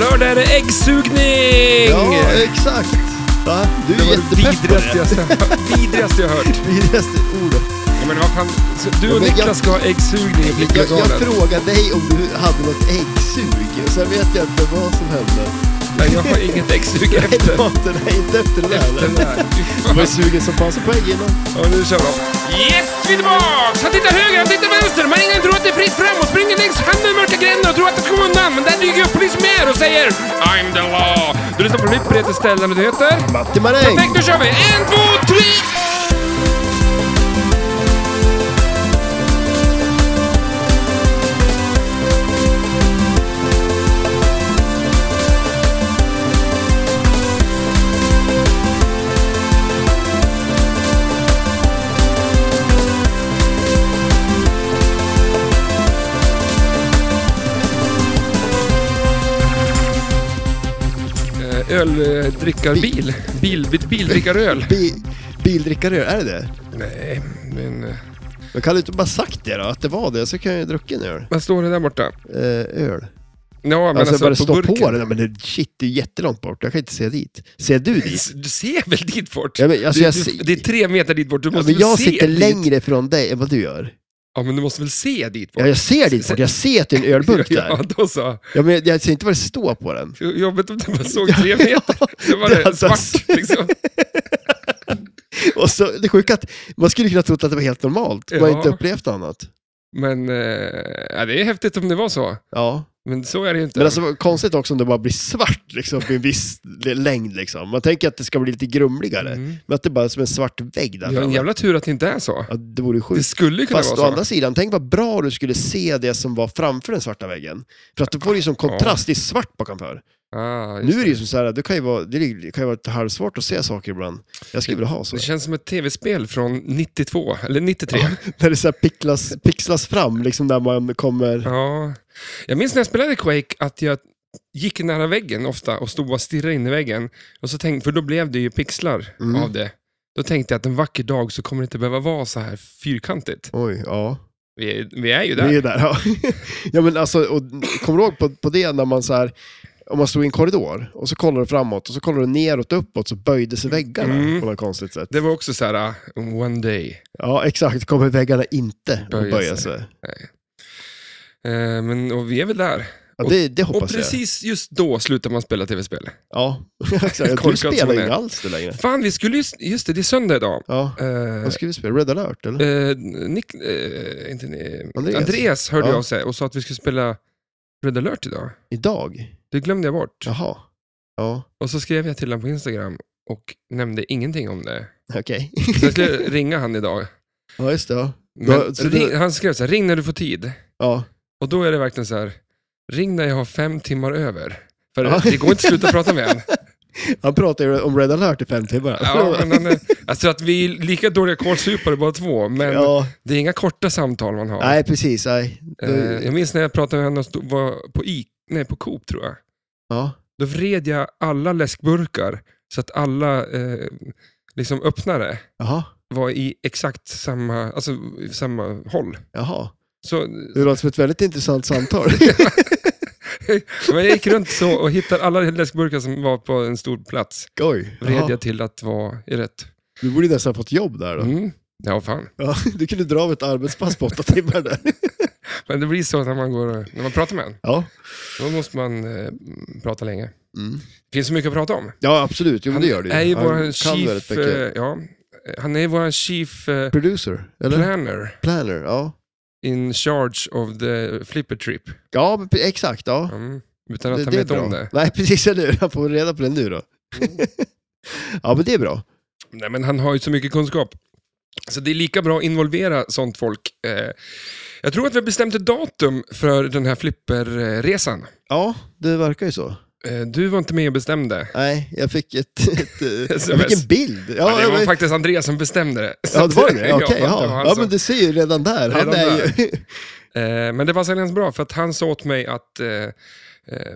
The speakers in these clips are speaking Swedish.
lördag är det äggsugning! Ja, exakt. Va? Du det är var det jättepepp på vidrigaste, det. vidrigaste jag hört. Vidrigaste ordet. Ja, men vad fan, så du och Men jag- Niklas ska ha äggsugning i Jag, jag Flickvägalen. frågade dig om du hade något äggsug. Sen vet jag inte vad som hände. Nej, jag har inget äggsug Nej, det efter. var inte, nej, inte efter det där. Den eller? här. Fy Du fan. var ju sugen som fan. Så poäng innan. Ja, nu kör vi. Yes, vi är tillbaks! Han tittar höger, han tittar vänster. Man ingen tror att det är fritt fram och springer längs handen mörka gränder och tror att det kommer undan. Men där dyker upp polis mer och säger I'm the law. Du lyssnar på nytt på det ställen och det heter... Matti Maräng. Perfekt, nu kör vi! En, två, tre! Eh, Öldrickarbil. Bil, bil, bildrickaröl. Bi, bildrickaröl, är det det? Nej, men... eh, Men kan du inte bara sagt det då? Att det var det. Så kan jag ju druckit en öl. Vad står det där borta? Eh, öl. Ja, men Alltså, alltså, jag bara på stå burken. på den. Men det, shit, det är ju jättelångt bort. Jag kan inte se dit. Ser du dit? Du ser väl dit bort? Ja, men, alltså, du, jag, du, ser- det är tre meter dit bort, du ja, måste men jag väl se sitter dit. längre från dig än vad du gör. Ja, men du måste väl se dit bort? Ja, jag ser det inte bort. Jag ser att det är en ölburk Ja, där. då så. Ja, men jag- jag ser inte vad det står på den. Jobbigt om du bara såg tre meter. Så var det alltså- det hade jag svart liksom. Och så, det sjuka är att man skulle kunna tro att det var helt normalt. Man har Ja. inte upplevt något annat. Men eh, ja, det är häftigt om det var så. Ja. Men så är det ju inte. Men alltså vad konstigt också om det bara blir svart liksom, på en viss längd. Liksom. Man tänker att det ska bli lite grumligare. Mm. Men att det bara är som en svart vägg där Vi har en framme. jävla tur att det inte är så. Ja, det vore ju Det sjukt. skulle ju kunna Fast å vara så. andra sidan, tänk vad bra du skulle se det som var framför den svarta väggen. För att då får du ju som kontrast, det är svart bakom för. Ah, just Nu är det ju som så här, det kan ju vara, det är- det kan ju vara lite halvsvårt att se saker ibland. Jag skulle vilja ha så. det känns som ett tv-spel från 92, eller 93. Ja. När det så här picklas, pixlas fram, liksom där man kommer... Ja. Jag minns när jag spelade Quake att jag gick nära väggen ofta och stod och stirrade in i väggen. Och så tänkte, för då blev det ju pixlar Mm. av det. Då tänkte jag att en vacker dag så kommer det inte behöva vara så här fyrkantigt. Oj, ja. Vi är, vi är ju Vi där. är där, ja. ja men alltså, och, kommer du ihåg på, på det när man så här, om man stod i en korridor och så kollar du framåt och så kollar du neråt och uppåt så böjde sig väggarna Mm. på något konstigt sätt. Det var också så här, uh, one day. Ja, exakt. Kommer väggarna inte Böja att böja sig. sig? Eh, men, och vi är väl där. Ja, det, det hoppas och precis just då slutar man spela tv-spel. jag. Ja, exakt. Du Korkad som spelar hon ju är. inte alls det längre. Fan, vi skulle ju, just det, det är söndag idag. Ja, Eh, vad ska vi spela? Red alert, eller? eh, Nick, eh, inte, ni- Andreas. Andreas. hörde Ja. jag av sig och sa att vi skulle spela Red alert idag. Idag? Det glömde jag bort. Jaha. Ja, Och så skrev jag till honom på Instagram och nämnde ingenting om det. okej. Så jag skulle ringa han idag. ja, just det. Ja. Men, så det- ring, han skrev så här, ring när du får tid. ja. Och då är det verkligen så här, ring när jag har fem timmar över. För Ja. det går inte att sluta prata med honom. Han pratar ju om Red alert i fem timmar. Ja, men han är, alltså att vi är lika dåliga kålsupare bara två, men Ja, det är inga korta samtal man har. nej precis. Nej. Eh, Du- Jag minns när jag pratade med henne och stod- var på, I, nej, på Coop, tror jag. ja. Då vred jag alla läskburkar så att alla eh, liksom öppnare Jaha. var i exakt samma, alltså, i samma håll. Jaha. Så Det låter som ett väldigt intressant samtal. men jag gick runt så och hittade alla läskburkar som var på en stor plats. Oj. Vred Jaha. jag till att vara i rätt. Du borde ju nästan ha fått jobb där då. Mm. Ja, fan. Ja, du kunde dra av ett arbetspass på åtta timmar där. Men det blir så när man, går, och- när man pratar med en. Ja. Då måste man eh, prata länge. Mm. Det finns så mycket att prata om. Ja, absolut. Jo, men det gör det är ju Han vår kan väldigt chief, eh, mycket. ja, han är vår chief eh, Producer, eller? planner Planner, ja. in charge of the flipper trip. Ja, men, pre- exakt. Ja. Mm. Utan att Det, han det är vet bra. om det. Mm. Nej, precis. Eller hur? Han får reda på det nu då. ja, men det är bra. Nej, men han har ju så mycket kunskap. Så det är lika bra att involvera sånt folk. Eh, jag tror att vi har bestämt ett datum för den här flipperresan. Ja, det verkar ju så. Eh, du var inte med och bestämde. Nej, jag fick ett... ett eh, jag fick SMS. en bild. Ja, Ja, det var jag- faktiskt Andreas som bestämde det. Ja, det var det? Ja, Okej, det var ja. han ja. som- men du ser ju redan där. Han Redan är ju... Eh, men det passade ganska bra, för att han sa åt mig att eh, eh,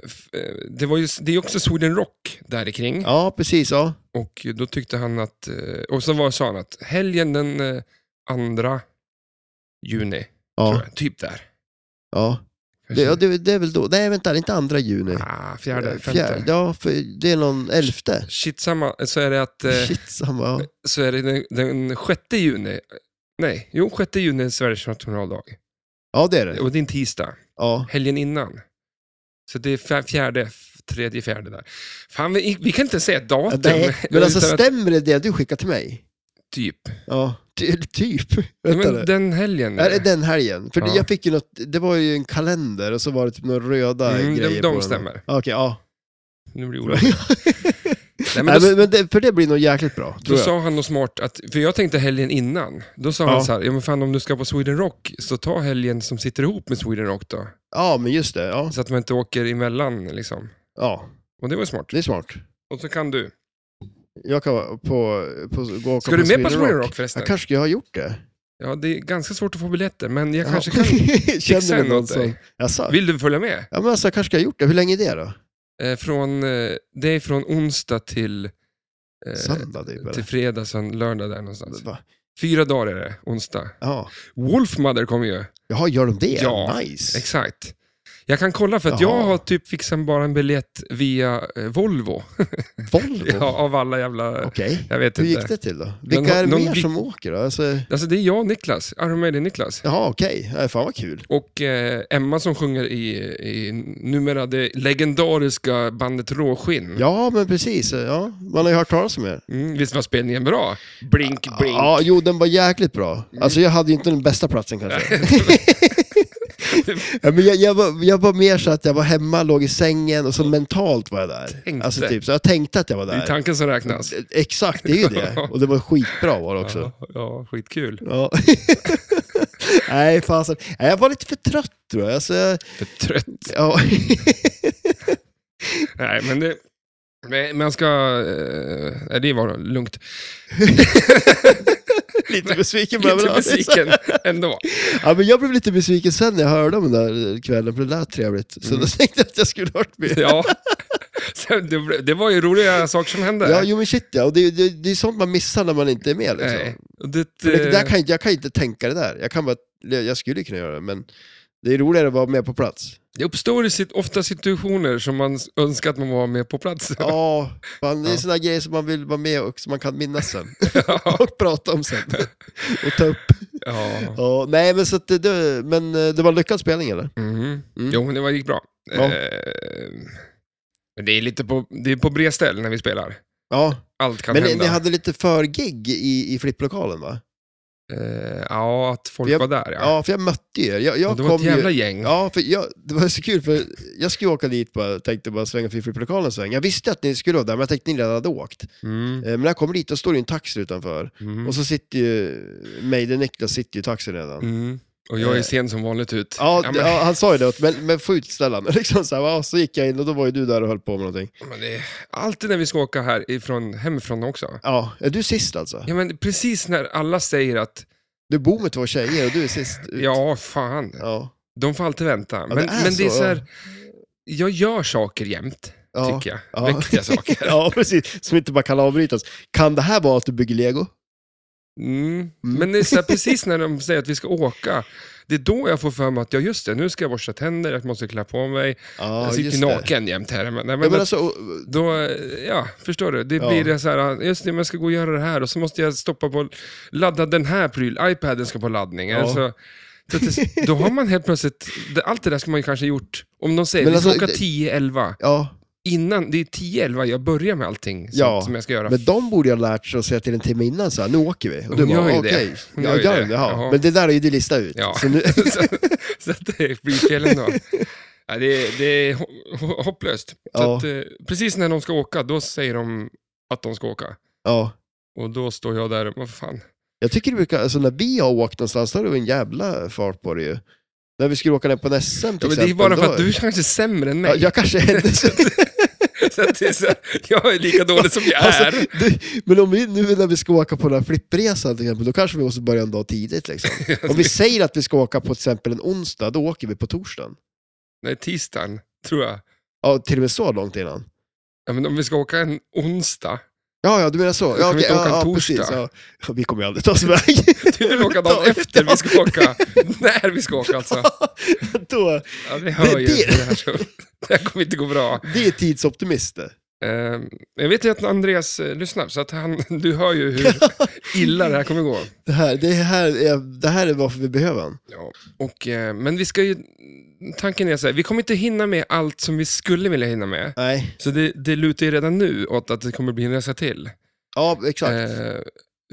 f- eh, det, var ju, det är också Sweden Rock där i kring. Ja, precis. Ja. Och då tyckte han att, eh, och så var, sa han att helgen den eh, andra juni, Ja, tror jag, typ där, ja. Det, ja, det, det är väl då? Nej, vänta, det är inte andra juni. Ah, fjärde, femte. Fjärde, ja, för det är någon elfte. Shit, samma. Så är det att... Eh, Shit, samma. ja. så är det den, den 6 juni. Nej, jo, 6 juni är Sveriges nationaldag. Ja, det är det. Och det är en tisdag, Ja. helgen innan. Så det är fj- fjärde, f- tredje, fjärde där. Fan, vi, vi kan inte säga datum. Nej, men alltså utan att- stämmer det det du skickar till mig? typ. Ja, ty, typ. Nej, Vänta men nu. den helgen. Är det den helgen? För det- Ja. jag fick ju något, det var ju en kalender och så var det typ några röda Mm, de- grejer de på den. stämmer. Ja, Okej, ja. Nu blir det Nej, oroligt. Nej, men men, då, men, det, för det blir nog jäkligt bra, då tror jag. sa han något smart, att, för jag tänkte helgen innan. Då sa Ja. han så här, ja men fan om du ska på Sweden Rock, så ta helgen som sitter ihop med Sweden Rock då. Ja, men just det. Ja, Så att man inte åker emellan liksom. ja Och det var ju smart. det är smart. Och så kan du. Jag kan vara på, på, gå och Ska kolla du med på Sweden Sweden Rock? Rock förresten? Jag kanske skulle ha gjort det. Ja, det är ganska svårt att få biljetter, men jag Ja. kanske kan fixa Känner en du någon åt som... dig. Jaså? Vill du följa med? Ja, men alltså, jag kanske ska ha gjort det. Hur länge är det då? Eh, från, eh, det är från onsdag till, eh, Söndag typ? till Eller? fredag, sen lördag där någonstans. Va? Fyra dagar är det, onsdag. Ja. Wolfmother kommer ju, Jaha, gör de det? Ja, nice. exakt. Jag kan kolla för att Jaha. jag har typ fixat bara en biljett via eh, Volvo. Volvo? Ja, av alla jävla... Okej. Jag vet Hur inte. gick det till då? Vilka nå- är det någon mer vi- som åker då? Alltså, Alltså det är jag och Niklas, Iron Maiden-Niklas. jaha, okej. Ja, Fan vad kul. Och eh, Emma som sjunger i, i numera det legendariska bandet Råskinn. Ja, men precis. Ja. Man har ju hört talas om er. Mm, visst var spelningen bra? Blink, blink. Ja, jo, den var jäkligt bra. Alltså jag hade ju inte den bästa platsen kanske. ja, men jag, jag, var, jag var mer så att jag var hemma, låg i sängen och så mentalt var jag där. Tänkte. Alltså typ, så jag tänkte att jag var Det är där. tanken som räknas. Exakt, det är ju det. Och det var skitbra var det också. Ja, ja, skitkul. Ja. Nej, fasen. Nej, Jag var lite för trött tror jag. Alltså, jag- För trött. ja. Nej, men det... Nej, man ska... eh, Nej, det var lugnt. lite besviken på Lite överallt. besviken ändå. Ja, men jag blev lite besviken sen när jag hörde om den där kvällen, för det lät trevligt. Så Mm. då tänkte jag att jag skulle ha varit med. Ja. Så det, blev- det var ju roliga saker som hände. Ja, jo men shit ja. Och det, är- det, det är sånt man missar när man inte är med liksom. Nej. Och Det, För det, där kan, jag- jag kan inte tänka det där. Jag, kan bara, jag jag skulle kunna göra det, men det är roligare att vara med på plats. det uppstår ju sit- ofta situationer som man s- önskar att man var med på plats. Ja, fan, det är Ja. sådana grejer som man vill vara med och som man kan minnas sen. Ja. och prata om sen. och ta upp. ja. Ja, nej, men, så att det- det, men eh, det var en lyckad spelning eller? Mm. Mm. Jo, men det var- gick bra. Ja. Eh, men det är lite på, det är på bredställ när vi spelar. Ja, Allt kan men ni, hända. ni hade lite för-gig i, i flipplokalen va? Eh, ja, att folk För jag- var där ja. Ja, för jag mötte ju er. Jag, jag det var ett kom ju... jävla gäng. Ja, för jag, det var så kul, för jag skulle åka dit bara, tänkte bara svänga förbi flipplokalen en sväng. Jag visste att ni skulle vara där, men jag tänkte att ni redan hade åkt. Eh, Mm, Men när jag kommer dit, då står det ju en taxi utanför. mm, Och så sitter ju Maiden Niklas sitter ju i taxin redan. mm. Och jag är Eh, sen som vanligt ut. Ja, men, d- ja, han sa ju det, åt- men, men få ut Stellan. Liksom så, här, va, så gick jag in och då var ju du där och höll på med någonting. men det är alltid när vi ska åka här ifrån, hemifrån också. Ja, är du sist alltså? Ja, men precis när alla säger att Du bor med två tjejer och du är sist ut. ja, fan, Ja, de får alltid vänta. Men, det är men det är så, så här, jag gör saker jämt, ja. tycker jag. ja. Viktiga saker. ja, precis. Som inte bara kan avbrytas. Kan det här vara att du bygger lego? Mm. Men det är så här, precis när de säger att vi ska åka, det är då jag får för mig att ja, just det, nu ska jag borsta tänder, jag måste klä på mig. Ja, jag sitter just ju det. naken jämt här. Men, nej, men Ja, men att- alltså, och- Då, eh, ja, förstår du. Det Ja. blir det så här, just det, men jag ska gå och göra det här och så måste jag stoppa på, ladda den här prylen, iPaden ska på laddning. Ja. Alltså, så att det, då har man helt plötsligt, det- allt det där ska man ju kanske gjort, om de säger Men vi ska alltså, åka det- 10-11, ja, innan, det är 10-11 jag börjar med allting som, Ja, som jag ska göra. men de borde ju ha lärt sig att säga till en timme innan så här, nu åker vi. Och du Hon gör bara, ju okej. det. Hon Ja, gör ju gör det. de det? Ja. Jaha. Men det där har ju du listat ut. Ja. Så nu, så, så att det blir fel ändå. Ja, det, det är ho- ho- hopplöst. Så Ja. att, eh, precis när de ska åka, då säger de att de ska åka. ja. Och då står jag där, vad fan. Jag tycker det brukar, alltså när vi har åkt någonstans, då har det varit en jävla fart på det ju. När vi skulle åka ner på Nässem till Ja, men det är exempel, bara för då- att du kanske är sämre än mig. Ja, jag kanske är Så att det är så, här, jag är lika dålig som jag är. Alltså, du, men om vi, nu när vi ska åka på den här flippresan till exempel, då kanske vi måste börja en dag tidigt. Liksom. Om vi säger att vi ska åka på till exempel en onsdag, då åker vi på torsdagen. Nej, tisdagen, tror jag. Ja, till och med så långt innan. Ja, men om vi ska åka en onsdag, Ja, ja, du menar så. Ska vi Ja, okej, inte åka ja, en ja, precis, torsdag? ja. Ja, Vi kommer ju aldrig ta oss iväg. Du vill typ åka dagen efter vi ska åka. När vi ska åka alltså. Då, Ja, det hör ju det- det här. Så. Det här kommer inte gå bra. det är tidsoptimister. Eh, jag vet ju att Andreas eh, lyssnar, så att han, du hör ju hur illa det här kommer gå. Det här, det, här är, det här är varför vi behöver honom. Ja, och, eh, men vi ska ju, tanken är så här, vi kommer inte hinna med allt som vi skulle vilja hinna med. Nej, Så det, det lutar ju redan nu åt att det kommer bli en resa till. ja, exakt. Eh,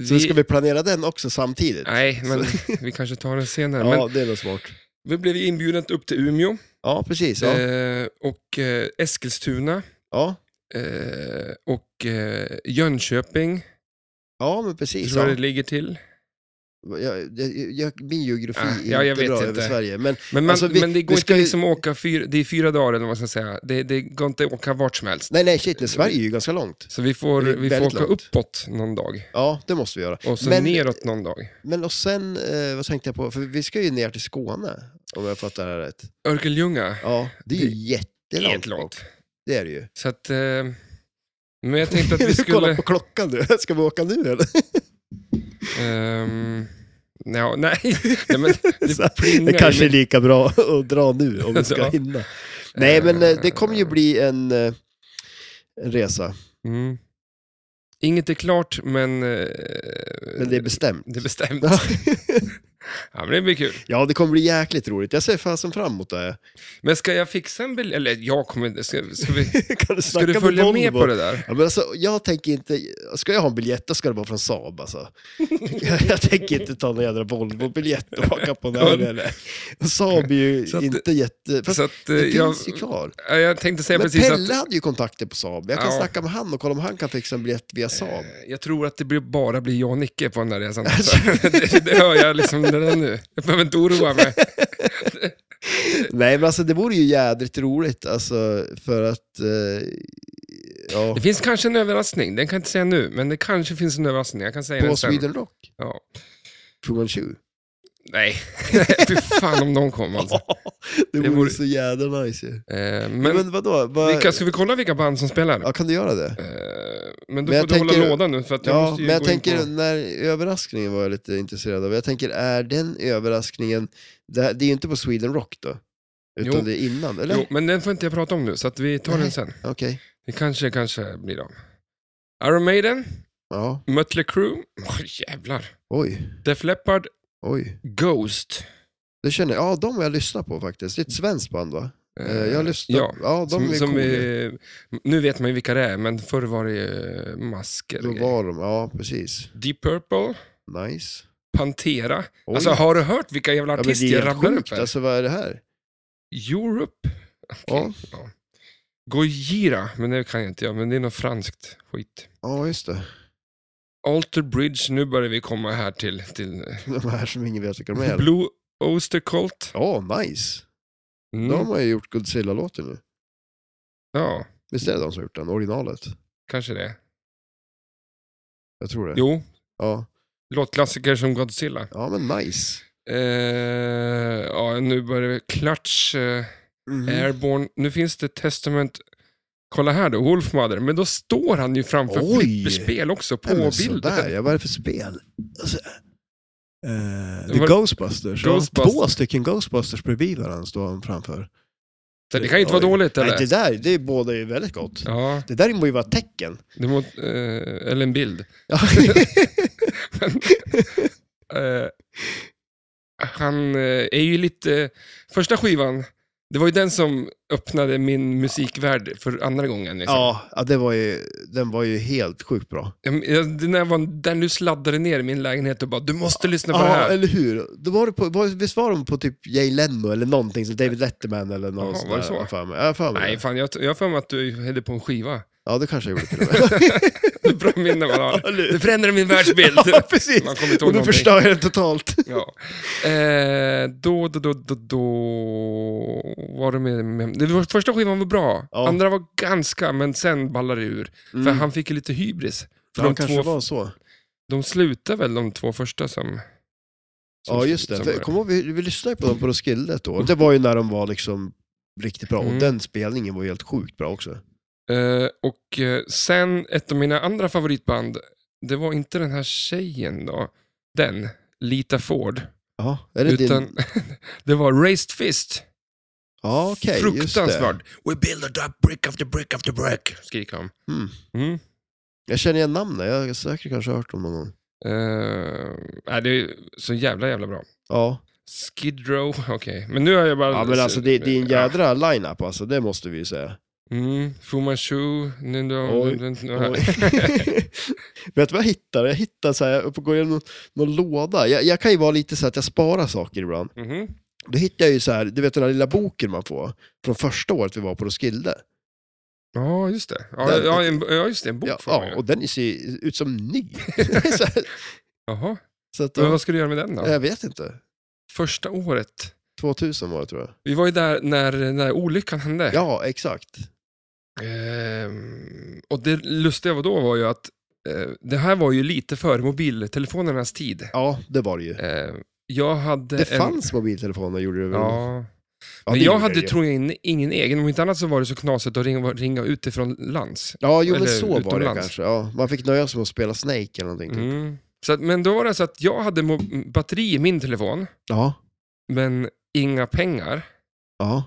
så vi- ska vi planera den också samtidigt. Nej, men vi kanske tar den senare. Men ja, det är nog smart. vi blev ju inbjudna upp till Umeå Ja, precis. Ja. eh, och eh, Eskilstuna ja. eh, och eh, Jönköping, ja, men precis. tror jag Ja. det ligger till. Jag, jag, jag, min geografi Ah, är ja, jag inte vet bra inte. över Sverige. Men Men, man, Alltså, vi- men det vi går ska inte ju- liksom att åka, fyra, det är fyra dagar eller vad man ska säga. Det, det går inte att åka vart som helst. nej, nej, shit, nej, Sverige är ju ganska långt. Så vi får, Det är vi får väldigt åka långt. uppåt någon dag Ja, det måste vi göra. och så Men- neråt någon dag. Men och sen, eh, vad tänkte jag på? För vi ska ju ner till Skåne, om jag fattar det här rätt. Örkelljunga, Ja, det är Det- ju jättelångt. helt långt. Det är det ju. Så att, eh, men jag tänkte att vi Du kollar skulle... på klockan nu. Ska vi åka nu eller? ehm, nja, nej, nej, men Så- det plingar Det ju kanske är med- lika bra att dra nu om vi Ja. ska hinna. Nej, men eh, det kommer ju bli en, eh, en resa. Mm. Inget är klart, men... eh, Men det är bestämt. det är bestämt. Ja. Ja, men det blir kul. Ja, det kommer bli jäkligt roligt. Jag ser fasen fram emot det. här. Men ska jag fixa en biljett? Eller jag kommer... Ska, ska, vi, Kan ska du snacka du följa med Volvo? på det där? Ja, men alltså, jag tänker inte, ska jag ha en biljett då ska det vara från Saab alltså. jag, jag tänker inte ta någon jädra Volvo-biljett och åka på en Ja. älg. Saab är ju Så att- inte jätte... Fast Så att, eh, det jag, finns ju kvar. ja, jag tänkte säga Men precis att... Pelle hade ju kontakter på Saab. Jag kan Ja. snacka med han och kolla om han kan fixa en biljett via Saab. Eh, Jag tror att det blir bara blir jag och Nicke på den där resan. Alltså. det, det hör jag liksom redan nu. Jag behöver inte oroa mig. Nej, men alltså det vore ju jädrigt roligt alltså, för att... Eh, ja, Det finns kanske en överraskning. Den kan jag inte säga nu, men det kanske finns en överraskning. Jag kan säga på den sen. Sweden Rock. Ja. Fu Manchu. Nej, fy fan om de kom alltså. det, Det vore vore- så jädra nice ju. Eh, Men, men vadå? Vad- vilka, ska vi kolla vilka band som spelar? Ja, kan du göra det? Eh, men då Men jag får du hålla tänker- lådan nu, för att jag Ja, måste ju men jag gå in tänker på... när överraskningen var jag lite intresserad av. Jag tänker, är den överraskningen, det, här, det är ju inte på Sweden Rock då? Utan Jo. det är innan, eller? Jo, men den får inte jag prata om nu, så att vi tar den Nej. sen. Okej. Det kanske, kanske blir dem. Iron Maiden, Ja, Mötley Crüe, oh, jävlar. oj, Def Leppard, oj. Ghost. Det känner jag, ja de har jag lyssnat på faktiskt. Det är ett svenskt band va? Eh, Jag har lyssnat, Ja, ja, ja de som, är som coola. är, nu vet man ju vilka det är, men förr var det ju masker. Då var de, ja precis. Deep Purple, Nice. Pantera. Oj. Alltså har du hört vilka jävla ja, men det artister är jag helt rabblar upp sjukt, här? alltså vad är det här? Europe. Ja. Ja. Gojira, men det kan jag inte jag, men det är något franskt skit. Ja, just det. Alter Bridge, nu börjar vi komma här till, till De här som ingen vet vilka de är. Blue Oyster Cult. Ja, nice. Mm. De har ju gjort Godzilla-låten nu. Ja, Visst är det de som har gjort den, originalet? kanske det. Jag tror det. Jo, Ja. låtklassiker som Godzilla. ja, men nice. Eh, ja, nu börjar vi. Clutch, eh, Mhm. Airborne. Nu finns det Testament. Kolla här då, Wolfmother. Men då står han ju framför Oj. flipperspel också på Nej, men sådär, bilden. ja, vad är det för spel? Alltså, eh, det Var- är Ghostbusters. ja. Ghostbusters. Två stycken Ghostbusters bredvid varandra står han framför. Så det kan ju inte vara Oj. dåligt Nej, eller? det där, det är båda ju väldigt gott. Ja, Det där må ju vara ett tecken. det må, eh, eller en bild. Ja. Men, eh, han eh, är ju lite... Första skivan, det var ju den som öppnade min musikvärld för andra gången. Liksom. ja, ja, det var ju, den var ju helt sjukt bra. Jag- jag- Den där var den du sladdade ner i min lägenhet och bara, du måste lyssna på det Ja, här. eller hur? Då var det på, var, visst var de på typ Jay Leno eller någonting, så David Letterman eller någon Jaha, sån var det där, så? har jag för mig. Ja, för mig. Nej, Nej. fan, jag, jag har för mig att du hade på en skiva. Ja, det kanske jag gjorde till och med. Det är bra minne man har. Eller hur? Det förändrar min världsbild. ja, precis. Man kommer inte ihåg Och nu någonting. förstör jag den totalt. Ja. Eh, då, då, då, då, då var det med, med det var, Första skivan var bra, Ja. Mm. andra var ganska, men sen ballade det ur. För han fick ju lite hybris. För Ja, de de, kanske två, var så. de slutade väl de två första som... som Ja, just det. som För, var- kom ihåg, vi, vi lyssnade på dem på Roskilde ett år. Det var ju när de var liksom riktigt bra. Mm. Och den spelningen var ju helt sjukt bra också. Eh, och eh, sen ett av mina andra favoritband, det var inte den här tjejen då, den, Lita Ford, Ja, är det din? utan det var Raised Fist. Ja, okej. just det. Fruktansvärd. We build up brick after brick after brick, skriker han. Mm. Mm. Jag känner igen namnet, jag har säkert kanske hört om någon. Eh, nej, det är så jävla, jävla bra. Ja, Skid Row, okej. Men nu har jag bara... ja men alltså det, det är en jädra line-up alltså, det måste vi ju säga. Mm, Fu Manchu, Nindo... Oj, Och- Vet du vad jag hittade? Jag hittade så här, jag upp och går igenom någon, någon låda. Jag, jag kan ju vara lite så här att jag sparar saker ibland. Mhm. Då hittade jag ju så här, du vet den här lilla boken man får från första året vi var på Roskilde. Ja, just det. Ja, Där- ja, en, ja, just det. En bok Ja, får man ja, ju. och den ser ju ut som ny. så här, Jaha. så att, Men vad ska du göra med den då? Jag vet inte. Första året. 2000 var det tror jag. Vi var ju där när, när olyckan hände. Ja, exakt. Ehm, och det lustiga var då var ju att eh, det här var ju lite före mobiltelefonernas tid. Ja, det var det ju. Ehm, jag hade Det en... fanns mobiltelefoner gjorde det väl? äh, Ja. Ja, Men det jag gjorde hade, det ju. tror jag, in- ingen egen. Om inte annat så var det så knasigt att ringa, ringa utifrån lands. Ja, jo, men eller så var det utomlands. kanske. Ja, man fick nöja sig med att spela Snake eller någonting. typ. Mm. Så att, men då var det så att jag hade mo- batteri i min telefon, Ja, men inga pengar. ja.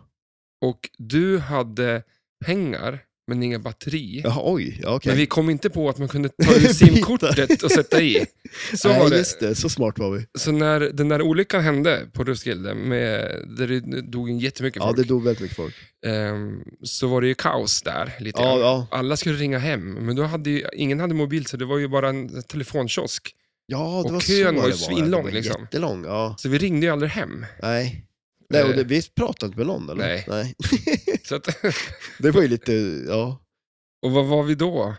Och du hade pengar, men inga batteri. Jaha, oj, ja, okej. Men vi kom inte på att man kunde ta ut simkortet och sätta i. Så Nej, var det. just det. Så smart var vi. Så när den där olyckan hände på Roskilde, med, där det dog en jättemycket Ja, folk, det dog väldigt mycket folk. ehm, så var det ju kaos där. lite Ja, grann. ja. Alla skulle ringa hem, men då hade ju, ingen hade mobil, så det var ju bara en telefonkiosk. Ja, det Och kön var så var ju det var. svinlång, det var liksom. Jättelång, ja. Så vi ringde ju aldrig hem. Nej. Nej, och Eh. det, vi pratade inte med någon, eller? Nej. Så att, Det var ju lite, ja. och vad var vi då?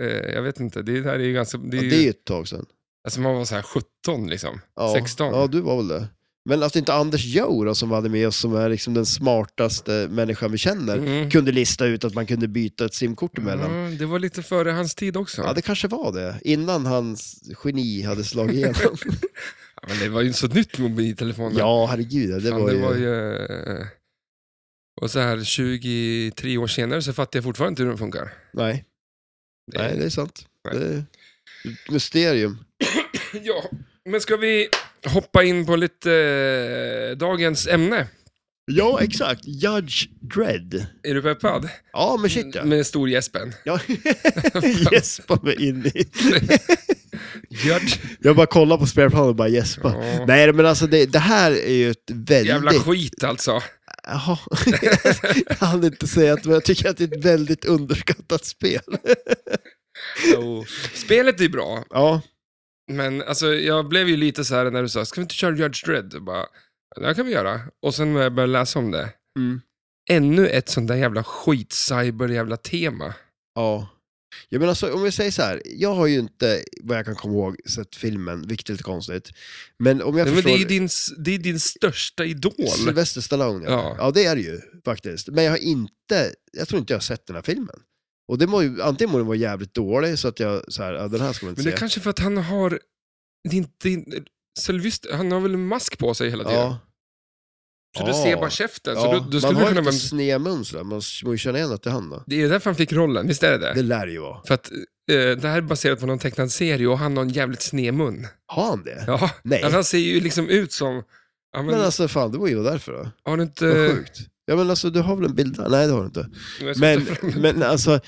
Eh, jag vet inte, det här är ju ganska... Det Det är är, ja, ju, det är ju ett tag sedan. Alltså man var så här 17 liksom. Ja. 16. Ja, du var väl det. Men att inte Anders Joe då, som vi hade med oss, som är liksom den smartaste människan vi känner, Mm. kunde lista ut att man kunde byta ett simkort emellan. Ja, det var lite före hans tid också. Ja, det kanske var det. Innan hans geni hade slagit igenom. Ja, Men det var ju inte så nytt mobiltelefoner. ja, herregud. ja, Det Fan, var ju... det var ju... eh, Och så här 23 år senare så fattar jag fortfarande inte hur den funkar. Nej. Det- Nej, det är sant. Nej. Det är ett mysterium. Ja, men ska vi hoppa in på lite eh, dagens ämne? Ja, exakt. Judge Dredd. Är du peppad? Ja, men shit ja. Med stor gäspen. Ja. Gäspa mig in i. Gert. Jag bara kollar på spelplanen och bara gäspa. Ja. Nej, men alltså det, det här är ju ett väldigt... Jävla skit alltså. Jaha. jag hann inte säga att men jag tycker att det är ett väldigt underskattat spel. Jo. Spelet är bra, Ja, men alltså, jag blev ju lite så här när du sa, ska vi inte köra Judge Dredd? Jag bara, det här kan vi göra. Och sen när jag började läsa om det, Mm. ännu ett sånt där jävla skit-cyber-jävla-tema. Ja. Jag menar så, om vi säger så här, jag har ju inte, vad jag kan komma ihåg, sett filmen, vilket är lite konstigt. Men om Nej, jag men det förstår... är ju din, s- det är din största idol. Sylvester Stallone, ja. Ja. ja. det är det ju faktiskt. Men jag har inte, jag tror inte jag har sett den här filmen. Och det må ju, antingen må den vara jävligt dålig, så att jag, så här, ja, den här ska man inte Men det se. är kanske för att han har... Din, din, Sylvester, han har väl en mask på sig hela tiden? ja. Så du Ja. ser bara käften. ja. Så du, du man Alltså, skulle har ju kunna, lite sned mun sådär, man må ju känna igen att det är han då. det är därför han fick rollen, visst är det det? Det lär det ju vara. För att eh, det här är baserat på någon tecknad serie och han har en jävligt sned mun. Har han det? Ja, Nej. han ser ju liksom ut som... Ja, men, Eh. Men alltså fan, det var ju därför då. har du inte... Vad sjukt. Ja men alltså, du har väl en bild där? Nej, det har du inte. Jag ska Men, ta fram- men alltså,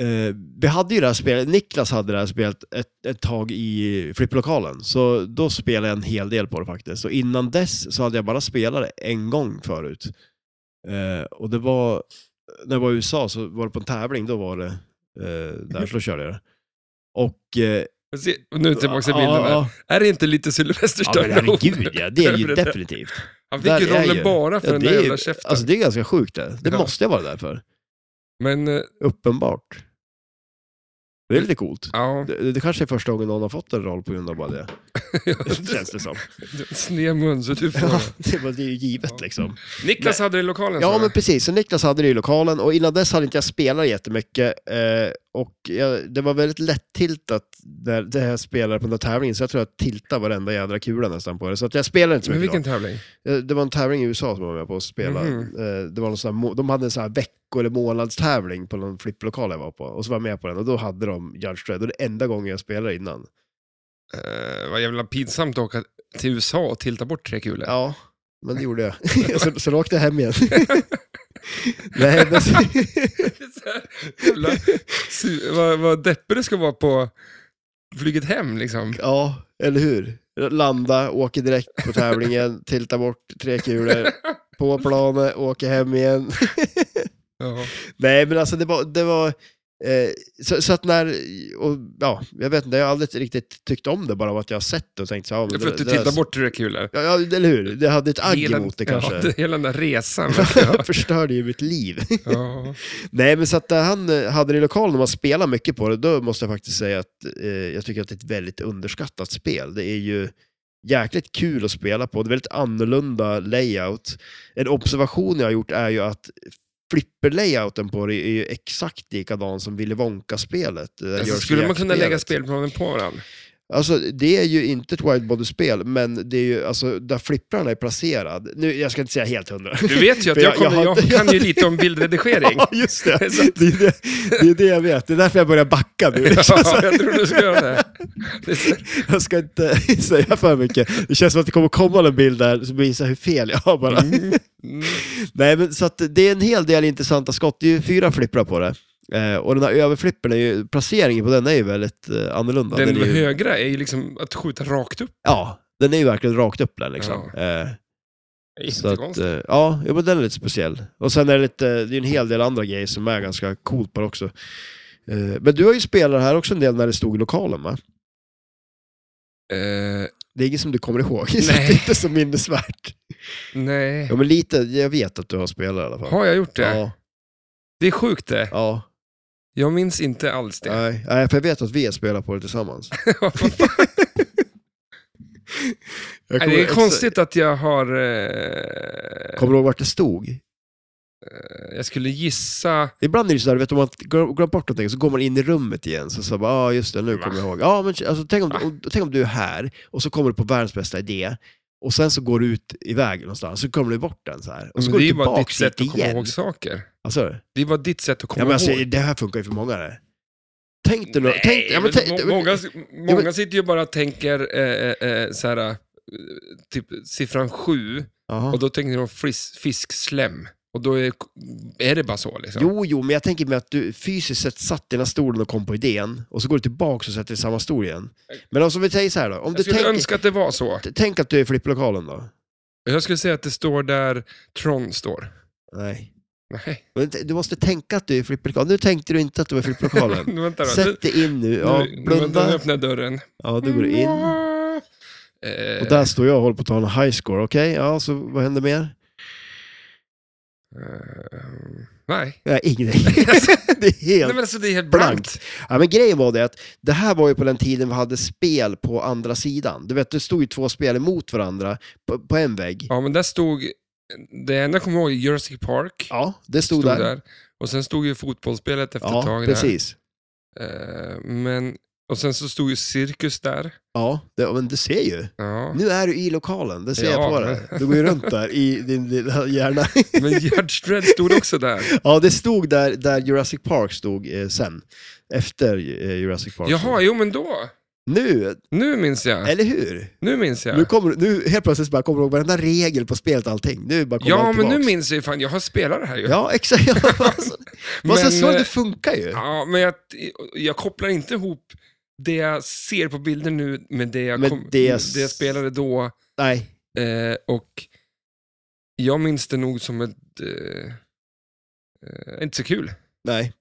eh, vi hade ju det här spelet, Niklas hade det här spelet ett, ett tag i flipplokalen, så då spelade jag en hel del på det faktiskt. Och innan dess så hade jag bara spelat det en gång förut. Eh, och det var, när jag var i USA så var det på en tävling, då var det eh, där, så då körde jag det. Och... Eh, Får se- Nu tillbaka till bilden ja, här. ja. Är det inte lite Sylvester Ja, men Stallone? herregud ja, det är det ju Över det där. definitivt. Han där fick ju är rollen ju. bara för Ja, den det, där jävla är, käften. alltså, det är ganska sjukt det. Det Ja. måste jag vara därför. Men, eh, Uppenbart. Det är lite coolt. ja, Det, det kanske är första gången någon har fått en roll på grund av bara det. Känns det som. sned mun så du får... Ja, det, var- det är ju givet liksom. Niklas hade det i lokalen. sa Ja du. men precis, så Niklas hade det i lokalen och innan dess hade inte jag spelat jättemycket. Eh, och jag, det var väldigt lätt-tiltat när det här spelade på den där tävlingen så jag tror jag tiltade varenda jädra kula nästan på det. Så att jag spelade inte så men mycket. vilken tävling? då. Eh, Det var en tävling i USA som jag var med på att spela. Mhm. Eh, det var någon sån här, mo- de hade en sån här vecko eller månadstävling på någon flipplokal jag var på. Och så var jag med på den och då hade de Judge Dredd. Och det är enda gången jag spelade innan. Eh, vad jävla pinsamt att åka till USA och tilta bort tre kulor. Ja, men det gjorde jag. så, så då åkte jag hem igen. Nej, men... Så här, jävla su- vad, vad deppig det ska vara på flyget hem liksom. Ja, eller hur? Landa, åker direkt på tävlingen, tilta bort tre kulor, på planet, åker hem igen. Ja. Nej, men alltså det var... Det var eh, så, så att när... Och, ja, jag vet inte, jag har aldrig riktigt tyckt om det bara av att jag har sett det och tänkt så här, ja, men För att du det- det- tiltar bort tre kulor. Ja, ja, eller hur? Det hade ett agg Hela- emot det kanske. Ja, det- hela den där resan. Jag förstörde ju mitt liv. ja. Nej, men så att eh, han eh, hade det i lokalen och man spelar mycket på det, då måste jag faktiskt säga att eh, jag tycker att det är ett väldigt underskattat spel. Det är ju jäkligt kul att spela på. Det är väldigt annorlunda layout. En observation jag har gjort är ju att flipper-layouten på det är ju exakt likadan som Willy Wonka-spelet. Det där Alltså, Jersey skulle man kunna Jack-spelet. lägga spelplanen på varandra? Alltså, det är ju inte ett widebody-spel, men det är ju alltså, där flipprarna är placerad. Nu, jag ska inte säga helt hundra. Du vet ju att jag, För jag- jag kommer, har jag, inte- kan ju lite om bildredigering. Ja, just det. Så att- Det är det, det är det jag vet. Det är därför jag börjar backa nu. Ja, Mm. jag tror du ska göra det. det är så, Jag ska inte säga för mycket. Det känns som att det kommer komma en bild där som visar hur fel jag har bara. mm, Nej, men så att det är en hel del intressanta skott. Det är ju fyra flipprar på det. Eh, och den här överflippen, är ju, placeringen på den är ju väldigt eh, annorlunda. den är ju, högra är ju liksom att skjuta rakt upp. ja, den är ju verkligen rakt upp där liksom. Eh, Det är så att, jättekonstigt. eh, ja, jo, men den är lite speciell. Och sen är det, lite, det är en hel del andra grejer som är ganska coolt på det också. Eh, men du har ju spelat här också en del när det stod i lokalen va? Eh, Det är inget som du kommer ihåg, så det är Nej. inte så minnesvärt. nej. Ja, men lite. Jag vet att du har spelat i alla fall. Har jag gjort det? Ja, Det är sjukt det. ja. Jag minns inte alls det. Nej, nej, för jag vet att vi spelar på det tillsammans. Vad fan? Jag Nej, det är exa- konstigt att jag har... Eh, Kommer du ihåg vart det stod? jag skulle gissa... Ibland är det sådär, vet du, om man glöm- glömmer bort någonting så går man in i rummet igen, så så bara, ja ah, just det, nu Va? kommer jag ihåg. Ja, men alltså, tänk, om, Va? om, tänk om du är här, och så kommer du på världens bästa idé, och sen så går du ut iväg någonstans, så kommer du bort den så här. Och så Men går det är du ju bara ditt tillbaks sätt dit att komma igen. ihåg saker. Alltså, Det är bara ditt sätt att komma ja, men alltså, ihåg. det här funkar ju för många det. Tänk dig nu, Nej, tänk, ja, men, tänk, må- men- många, många ja, men- sitter ju bara och tänker eh, eh, eh, så här, eh, typ siffran sju, Jaha. och då tänker de fris, fiskslem. Och då är, är det bara så liksom. Jo, jo, men jag tänker mig att du fysiskt sett satt i den här stolen och kom på idén och så går du tillbaka och sätter dig i samma stol igen. Men alltså, om vi säger så här då. Om jag du skulle tänker, önska att det var så. t- Tänk att du är i flipplokalen då. Jag skulle säga att det står där Tron står. Nej. Nej, Men t- Du måste tänka att du är i flipplokalen. Nu tänkte du inte att du var i flipplokalen. nu vänta då. Nu- Sätt dig in nu. Ja, nu, nu Mm. blunda. öppnar jag dörren. Ja, du går du in. Eh, Och där står jag och håller på att ta en high score. Okej, ja, så vad händer mer? eh, nej. Nej, ingenting. Det är nej, helt men alltså det är helt Blankt. blankt. Ja, men grejen var det att det här var ju på den tiden vi hade spel på andra sidan. Du vet, det stod ju två spel emot varandra på, på en vägg. Ja, men där stod, det enda jag kommer ihåg är Jurassic Park. Ja, det stod, där. Och sen stod ju fotbollsspelet efter ett Ja, tag precis. där. Eh, men, och sen så stod ju cirkus där. Ja, det, men du ser ju. Ja. Nu är du i lokalen, det ser Ja. jag på dig. Du går ju runt där i din lilla hjärna. Men Judge Dredd stod också där. Ja, det stod där, där Jurassic Park stod eh, sen. Efter eh, Jurassic Park. Jaha, jo men då. Nu, Nu minns jag. eller hur? Nu minns Eh, Nu, jag. kommer, nu helt plötsligt bara kommer du ihåg varenda regel på spelet och allting. Nu bara kommer Ja, allt men nu tillbaks. minns jag ju fan, jag har spelat det här ju. Ja, exakt. Alltså, men, så, Men, så eh, det funkar ju. Ja, men jag, jag kopplar inte ihop det jag ser på bilder nu med det jag, Med kom, det det jag jag... s- spelade då. Nej. Eh, och jag minns det nog som ett eh, eh, inte så kul Nej.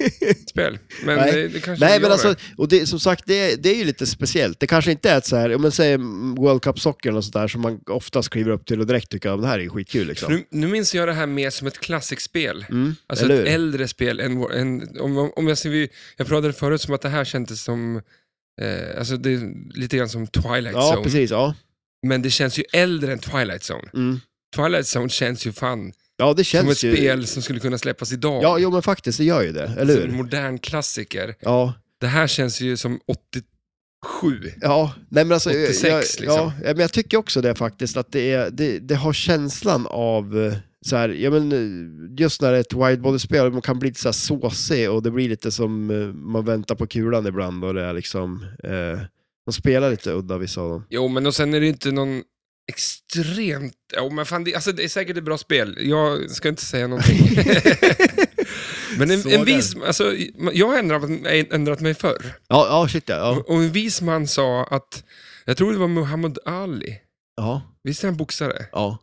spel. Men Nej. Det, det kanske Nej gör men det. alltså, och det, som sagt det, är- det är ju lite speciellt. Det kanske inte är ett så här, om man säger World Cup Soccer och sådär som man oftast kliver upp till och direkt tycker att det här är ju skitkul liksom. nu, nu minns jag det här mer som ett klassikspel. Mm, Alltså eller ett hur? äldre spel. Än, vår- än, om, om jag, ser, vi- jag pratade förut som att det här kändes som eh, alltså det är lite grann som Twilight Ja, Zone. precis. Ja. Men det känns ju äldre än Twilight Zone. Mm. Twilight Zone känns ju fan Ja, som det känns ett ju... spel som skulle kunna släppas idag. Ja, jo men faktiskt, det gör ju det. Eller Som en hur? modern klassiker. Ja, Det här känns ju som 87. ja. Nej, men alltså, 86 jag, liksom. ja, ja, men jag tycker också det faktiskt, att det, är, det, det har känslan av eh, så här, ja, men, eh, just när det är ett widebody-spel, man kan bli lite så här såsig och det blir lite som eh, man väntar på kulan ibland och det är liksom, eh, de spelar lite udda vissa av dem. Jo, men och sen är det inte någon extremt... Jo, men fan, det, alltså, det är säkert ett bra spel. Jag ska inte säga någonting. men en, Så en där. vis... Alltså, jag har ändrat, ändrat mig förr. Ja, ja shit ja. Ja, Och en vis man sa att... Jag tror det var Muhammad Ali. ja. Visst är han boxare? ja.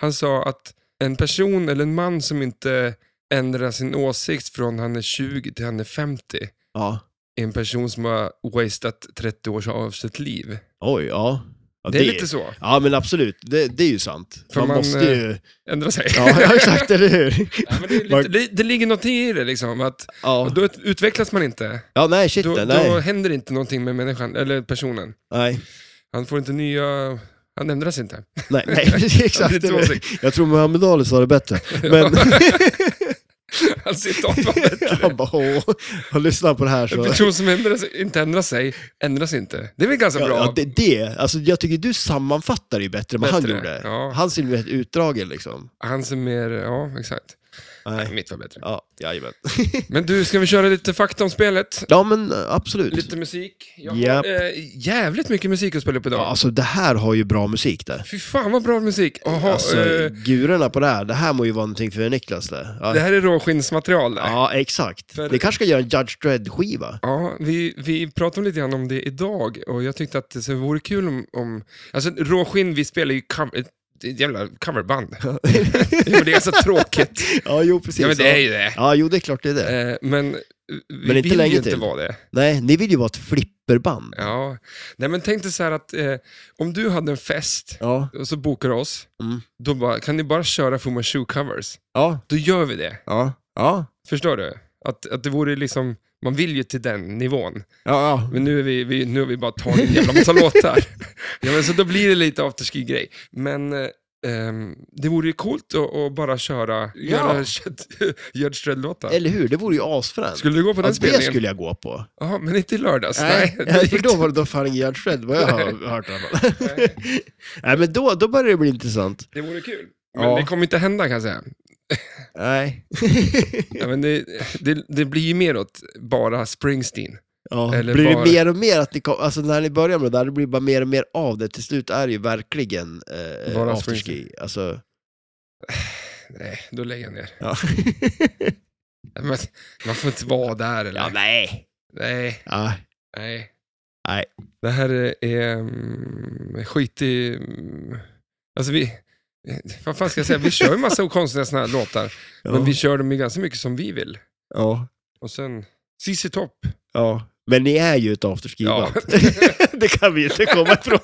Han sa att en person eller en man som inte ändrar sin åsikt från han är 20 till han är 50 ja. är en person som har wasted 30 år av sitt liv. Oj, ja. ja det är lite så. Ja, men absolut. Det, det är ju sant. För man, man, måste ju... Ändra sig. Ja, ja, exakt, eller hur? Ja, men det, är lite, Man- det, det ligger något i det liksom. Att, Ja, och då ut- utvecklas man inte. ja nej, shit, Då, nej. då händer inte någonting med människan, eller personen. nej. Han får inte nya... Han ändras inte. Nej, nej, precis, exakt. Det är tråkigt. Jag tror Muhammed Ali sa det bättre. Men Hans citat var det. han bara, åh, och lyssnar på det här En så... person som ändras, inte ändrar sig, ändras inte. Det är väl ganska Ja, bra? ja, det, det, alltså jag tycker du sammanfattar det ju bättre än vad han Bättre, gjorde. ja. Han ser ju helt utdragen liksom. Han som är... Ja, exakt. Nej, Nej. mitt var bättre. Ja, jajamän. Men du, ska vi köra lite fakta om spelet? Ja, men eh, absolut. Lite musik? Jag har Japp. eh, jävligt mycket musik att spela upp idag. Ja, alltså det här har ju bra musik det. Fy fan vad bra musik. Aha, Alltså, eh, gurorna på det här, det här må ju vara någonting för Niklas det. Ja, det här är råskinnsmaterial. där. ja exakt. För- Ni kanske ska göra en Judge Dredd-skiva? Ja, vi, vi pratade lite grann om det idag och jag tyckte att det så vore kul om... om alltså, Råskinn, vi spelar ju cover, ett jävla coverband. ja, men det är så tråkigt. Ja, jo precis. Ja, men det är ju det. Ja, jo det är klart det är det. Eh, Men vi inte vill länge ju inte till. vara det. Nej, ni vill ju vara ett flipperband. Ja. Nej, men tänk dig så här att eh, om du hade en fest Ja. och så bokar du oss, Mm. då bara, kan ni bara köra Fuma Shoe-covers? Ja. Då gör vi det. Ja. Ja. Förstår du? Att, att det vore liksom, man vill ju till den nivån. Ja. Men nu, är vi, vi, nu har vi bara tagit en jävla massa låtar. Ja, men så då blir det lite afterski-grej. Men eh, ehm, det vore ju coolt att, att bara köra, göra Gerd Strödd-låtar. Eller hur? Det vore ju asfränt. Skulle du gå på den Ja, det spelningen? skulle jag gå på. Ja, men inte i lördags. Nej, Nej, nej gick för då var det då fan ingen Judge Dredd vad jag har hört i alla fall. Nej, men då, då börjar det bli intressant. Det vore kul. Men Ja. det kommer inte hända kan jag säga. Nej. Ja, men det, det, det blir ju mer åt bara Springsteen. Ja, Eller blir bara- det mer och mer att ni kom, alltså när ni börjar med det där, det blir bara mer och mer av det. Till slut är det ju verkligen eh, Bara afterski. Alltså, Nej, då lägger jag ner. ja. Ja, Men, man får inte vara där eller? ja, nej. Nej, Ja, nej. Nej. Det här är, är mm, skit i... mm, Alltså vi... eh, Vad fan ska jag säga? Vi kör ju massa konstiga såna här låtar. ja. Men vi kör dem ju ganska mycket som vi vill. ja, Och sen... ZZ Top. ja. Men ni är ju ett afterski-band. Ja. det kan vi inte komma ifrån.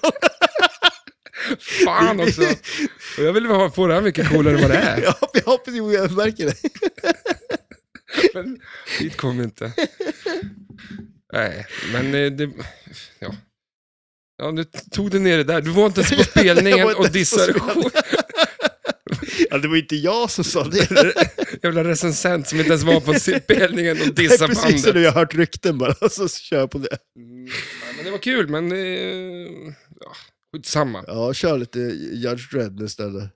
Fan också! Och jag vill ha- få det här mycket coolare än vad det är. ja, jag hoppas ju jag märker det. Men dit kom vi inte. Nej, men eh, det... Ja. Ja, nu tog du ner det där. Du var inte ens på Jag spelningen var inte och ens på dissade spelningen. Ja, det var ju inte jag som sa det. jävla recensent som inte ens var på spelningen och Nej, dissade precis som bandet. nu jag har hört rykten bara, så kör jag på det. Mm, ja, men det var kul, men... Eh, ja, skitsamma. Ja, kör lite Judge Dredd nu istället.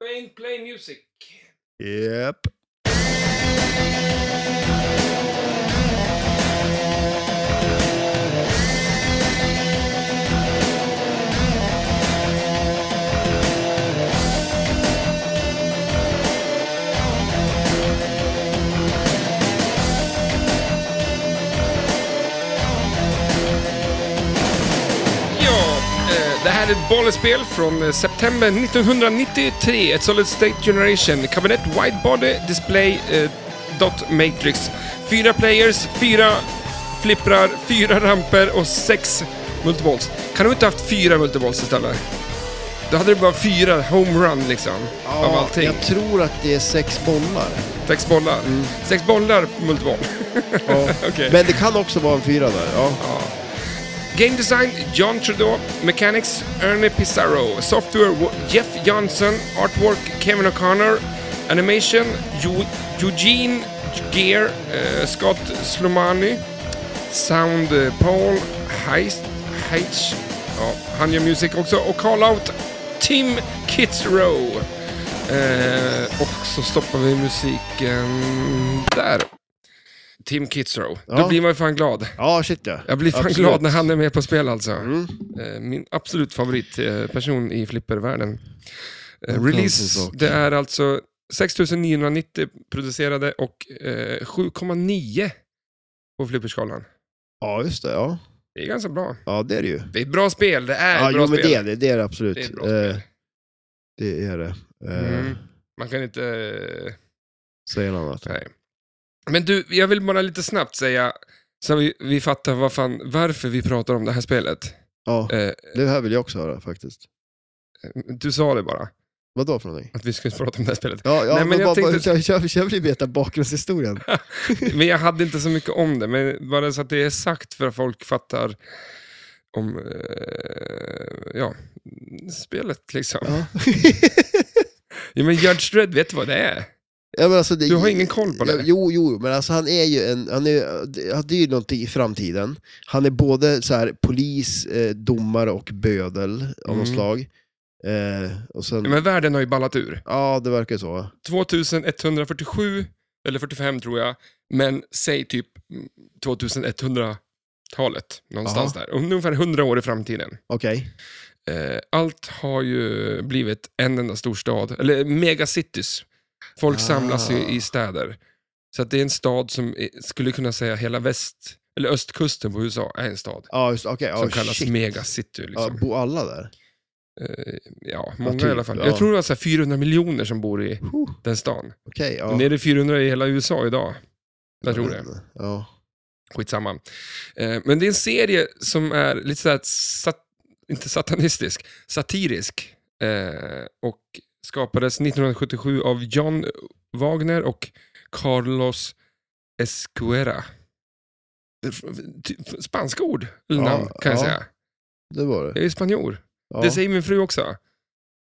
Play, play music. Japp. Ja, eh, det här är ett bollespel från eh, september 1993. Ett Solid State Generation. Kabinett Wide Body Display eh, Dot Matrix. Fyra players, fyra flipprar, fyra ramper och sex multiballs. Kan du inte haft fyra multiballs istället? Då hade du bara fyra homerun liksom, av allting. jag tror att det är sex bollar. Sex bollar. Sex bollar multiball. Okej. Men det kan också vara en fyra där. Ja. Game Design, John Trudeau. Mechanics, Ernie Pizarro. Software, Wa- Jeff Johnson. Artwork, Kevin O'Connor. Animation, Eu- Eugene Gear. eh, Scott Slomani. Sound, eh, Paul Heist. Oh, Heitch. Ja, han gör musik också. Och Call Out, Tim Kitzrow. Eh, Och så stoppar vi musiken där. Tim Kitzrow. Då Ja. blir man ju fan glad. Ja, shit ja. Jag blir fan Absolut. glad när han är med på spel alltså. Mm. Eh, Min absolut favoritperson i flippervärlden. Eh, Ja, Release, tusen det är alltså 6990 producerade och eh, 7,9 på flipperskalan. Ja, just det. Ja. Det är ganska bra. ja, det är det ju. Det är ett bra spel, det är Ja, ett jo, bra men spel. det är det. Det är det absolut. Det är ett bra Eh, spel. det är det. Eh, Mm. Man kan inte... eh, Säger något annat. Nej. Men du, jag vill bara lite snabbt säga, så vi, vi fattar vad fan, varför vi pratar om det här spelet. Ja, Eh, det här vill jag också höra faktiskt. du sa det bara, Vad då för någonting? att vi skulle prata om det här spelet. Ja, ja Nej, men men, jag bara, tänkte- bara, jag, jag, jag vill veta bakgrundshistorien. Men jag hade inte så mycket om det, men bara så att det är sagt för att folk fattar om, eh, ja, spelet liksom. Ja. Ja, men Judge Dredd, vet du vad det är? Ja, men alltså, det, Du har ingen koll på det? Ja, Jo, jo, men alltså han är ju en, han är, han är ju någonting i framtiden. Han är både så här, polis, eh, domare och bödel av något Mm. slag. Eh, och sen, Ja, men världen har ju ballat ur. ja, det verkar så. 2147, eller 45 tror jag, men säg typ 2100-talet, någonstans där. Ungefär 100 år i framtiden. Okej. Eh, Allt har ju blivit en enda stor stad, eller megacities. Folk Ah. samlas ju i städer. Så att det är en stad som eh, skulle kunna säga hela väst, eller östkusten på USA är en stad. Ja, just okej. som ja, kallas Oh, shit. megacity. Liksom. Ja, bor alla där? Eh, ja, många typ, i alla fall. ja. Jag tror det var så här 400 miljoner som bor i Huh. den stan. Okej, ja. Men är det 400 i hela USA idag? Jag tror det. Ja. Skitsamma. Eh, men det är en serie som är lite så här sat- inte satanistisk, satirisk. Eh, och skapades 1977 av John Wagner och Carlos Escuera. Det är f- ty- Spanska ord, eller Ja, namn, kan jag ja. säga. Det var det. Jag är spanjor. Ja. Det säger min fru också.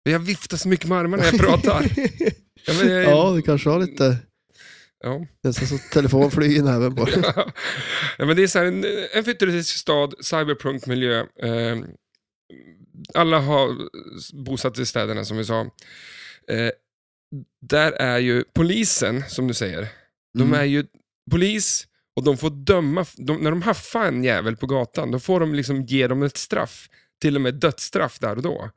Men Jag viftar så mycket med armarna när jag pratar. Ja, men jag, ja, du kanske har lite... Ja. Nästan så telefon flyger in även på det. ja, men det är så här, en, en futuristisk stad, cyberpunkmiljö. Eh, alla har bosatt sig i städerna som vi sa. Eh, där är ju polisen, som du säger, de Mm. är ju polis och de får döma, de, när de haffar en jävel på gatan, då får de liksom ge dem ett straff. Till och med dödsstraff där och då.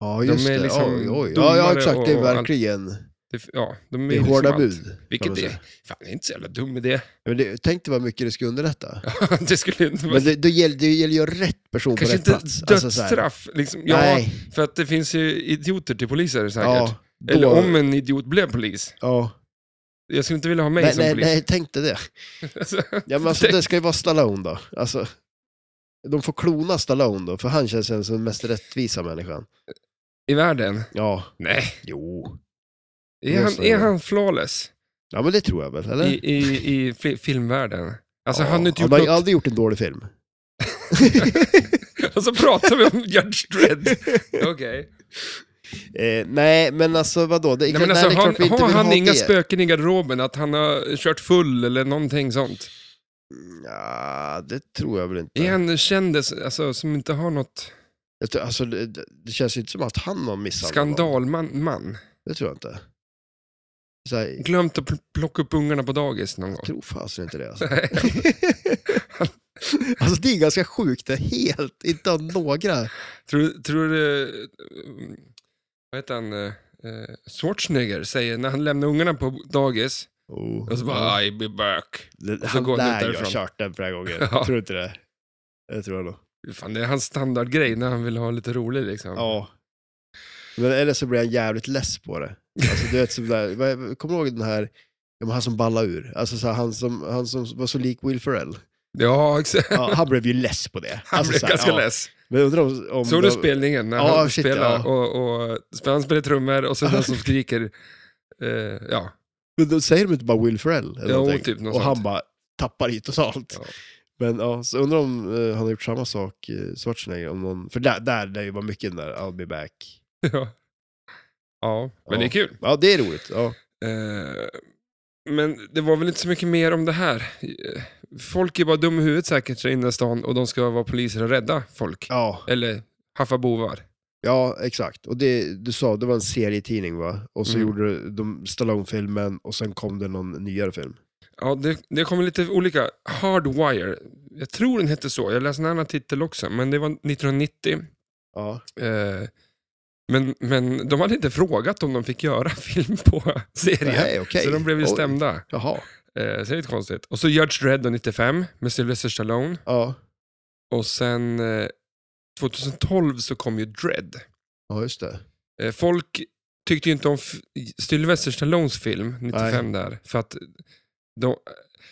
Ja, just de är det. liksom oj, oj. Ja, domare ja, exakt. Det är och allt. verkligen... Det, ja, de är Det är liksom hårda allt. bud. kan man Vilket säga. är, fan jag är inte så jävla dum med det. Men det, tänk dig vad mycket det skulle underlätta. det skulle inte vara... Men det, det, gäller, det gäller ju rätt person Kanske på rätt inte plats. Alltså, så här. dödsstraff, liksom. ja, Nej, för att det finns ju idioter till poliser säkert. ja, då, Eller om en idiot blev polis. Ja. Jag skulle inte vilja ha mig Nej, som nej, polis. nej, tänk dig det. Alltså, Ja, men alltså, det ska ju vara Stallone då. Alltså, de får klona Stallone då, för han känns som den mest rättvisa människan. I världen? Ja, Nej. jo. Är han, så är är det. han flawless Ja, men det tror jag väl, eller? i, i, i fli- filmvärlden? Alltså ja. han har inte gjort Han har ju något... aldrig gjort en dålig film. Och så Alltså, pratar vi om Judge Dredd. Okej. Eh, nej, men alltså vadå? Det, Nej, men alltså, det är klart vi har, inte har vill han ha inga det. spöken i garderoben? Att han har kört full eller någonting sånt? Ja, det tror jag väl inte. Är han kändis, alltså, som inte har något Jag tror, alltså, det, det- det känns ju inte som att han har misshandlat någon. skandalman? Man? Det tror jag inte. Så här, Glömt att pl- plocka upp ungarna på dagis någon gång? jag tror fasen inte det. Alltså. alltså det är ganska sjukt, det är helt, inte av några. Tror, tror du... eh, Vad heter han? eh, eh, Schwarzenegger säger när han lämnar ungarna på dagens Oh. och så bara I be back. det, så han går han ut lär ju ha därifrån. kört den flera gånger, Ja. tror du inte det? Det tror jag nog. Fan, det är hans standardgrej när han vill ha lite rolig liksom. Ja. Men eller så blir han jävligt less på det. Alltså, du vet, som där, vad- kommer du ihåg den här, ja, men han som ballade ur? Alltså, så här, han, som, han som var så lik Will Ferrell. ja exakt. Ja, han blev ju less på det. Han Alltså, blev så här, ganska ja. less. Men jag undrar om... om Såg de- du spelningen när Ja, han shit, spelar ja. och, och han spelar trummor och så någon som skriker eh, ja. Men då säger de inte bara Will Ferrell? Eller Jo, någonting? typ något och sånt. han bara tappar i totalt. Ja. Men ja, så undrar om eh, han har gjort samma sak, uh, Schwarzenegger, om någon... För där, där det är ju bara mycket den där I'll be back. ja. Ja, men det är kul. Ja, det är roligt. Ja. Eh, men det var väl inte så mycket mer om det här. Eh, Folk är bara dumma i huvudet säkert inne i stan och de ska vara poliser och rädda folk. ja. Eller haffa bovar. Ja, exakt. Och det, du sa, det var en serietidning va? Och så Mm. gjorde de Stallone-filmen och sen kom det någon nyare film. Ja, det, det kommer lite olika. Hardwire, jag tror den hette så. Jag läste en annan titel också, men det var 1990. Ja. Eh, men, men de hade inte frågat om de fick göra film på serien. Nej, okej. Så de blev ju Oj. stämda. Jaha. Eh, så det är lite konstigt. Och så Judge Dredd då, 95 med Sylvester Stallone. Ja. Och sen eh, 2012 så kom ju Dredd. ja, just det. Eh, folk tyckte ju inte om f- Sylvester Stallones film, 95 där, för att de,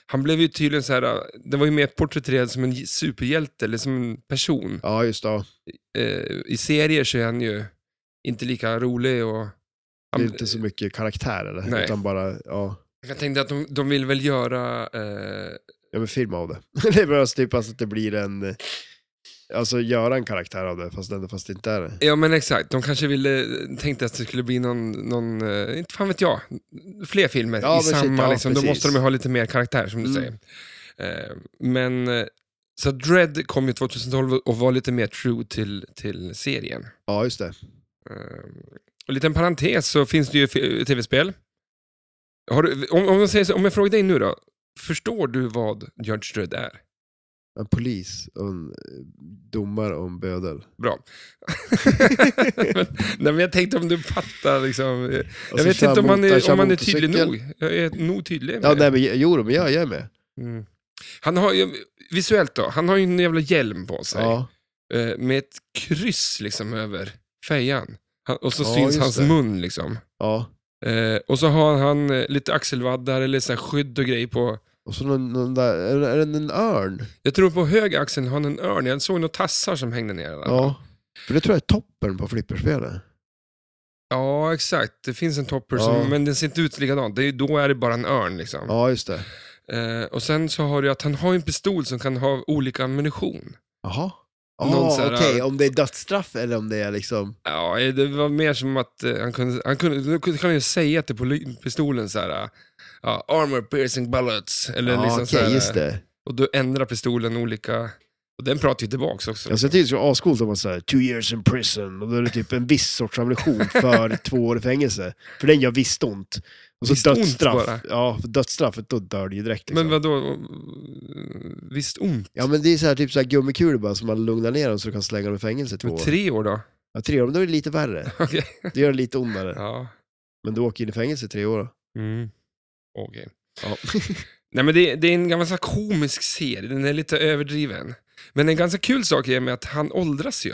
han blev ju tydligen så här, eh, det var ju mer porträtterad som en j- superhjälte, eller som en person. Ja, just det. Eh, I serier så är han ju inte lika rolig och... Det är inte så mycket karaktär eller? Nej. Utan bara, ja. Jag tänkte att de, de vill väl göra... Eh, Ja, men film av det. det är bara typ alltså att det blir en... eh, Alltså göra en karaktär av det, fast, ändå, fast det inte är det. ja men exakt, de kanske ville, tänkte att det skulle bli någon, någon eh, inte fan vet jag, fler filmer Ja, i precis, samma, ja, liksom, då precis. måste de ju ha lite mer karaktär som du Mm. säger. Eh, men, eh, så Dread kom ju 2012 och var lite mer true till, till serien. Ja, just det. Eh, och liten parentes så finns det ju fi- tv-spel. Har du, om, om, jag säger så, om jag frågar dig nu då, förstår du vad Judge Dredd är? En polis och en eh, domare och en bödel. Bra. men, nej, men jag tänkte om du fattar liksom. eh, Och Jag så vet kör inte om man mot- är, kör om man är tydlig motorcykel. nog. Jag är nog tydlig med Ja, det. nej, men, jo, men jag, jag är med. Mm. Han har ju, visuellt då, han har ju en jävla hjälm på sig. Ja. eh, Med ett kryss liksom över fejan. Han, och så Ja, syns just hans det. mun liksom. ja. Eh, och så har han eh, lite axelvaddar eller så här skydd och grejer på. Och så någon, någon där, är, det- är det en örn? Jag tror på höger axeln har han en örn. Jag såg några tassar som hängde ner. där. Ja. För det tror jag är toppen på flipperspelet. ja exakt. Det finns en topper, som, Ja. men den ser inte ut likadant. Det är, då är det bara en örn liksom. Ja, just det. Eh, och sen så har du att han har en pistol som kan ha olika ammunition. Jaha. Någon Ja, så här- okej. Om det är dödsstraff eller om det är liksom... Ja, eh, det var mer som att eh, han kunde, han kunde, nu kunde han ju säga till poli- pistolen så här, eh, ja, armor piercing bullets. Eller ja, liksom så okej, här, eh, just det. Och då ändrar pistolen olika, och den pratar ju tillbaks också. Jag ser till att det är ascoolt om man säger two years in prison och då är det typ en viss sorts ammunition för två år i fängelse. För den gör visst ont. Och så Visst ont dödsstraff. bara. ja, för dödsstraffet, då dör du ju direkt. Liksom. Men vadå, visst ont? Ja, men det är så här, typ så här gummikulor bara som man lugnar ner dem så du kan slänga dem i fängelse i två Men år. tre år då? Ja, tre år, men då är det lite värre. Okej. Det gör det lite ondare. Ja. Men du åker in i fängelse i tre år. Mm. Okej. Ja. Nej men det, det är en ganska komisk serie, den är lite överdriven. Men en ganska kul sak är med att han åldras ju.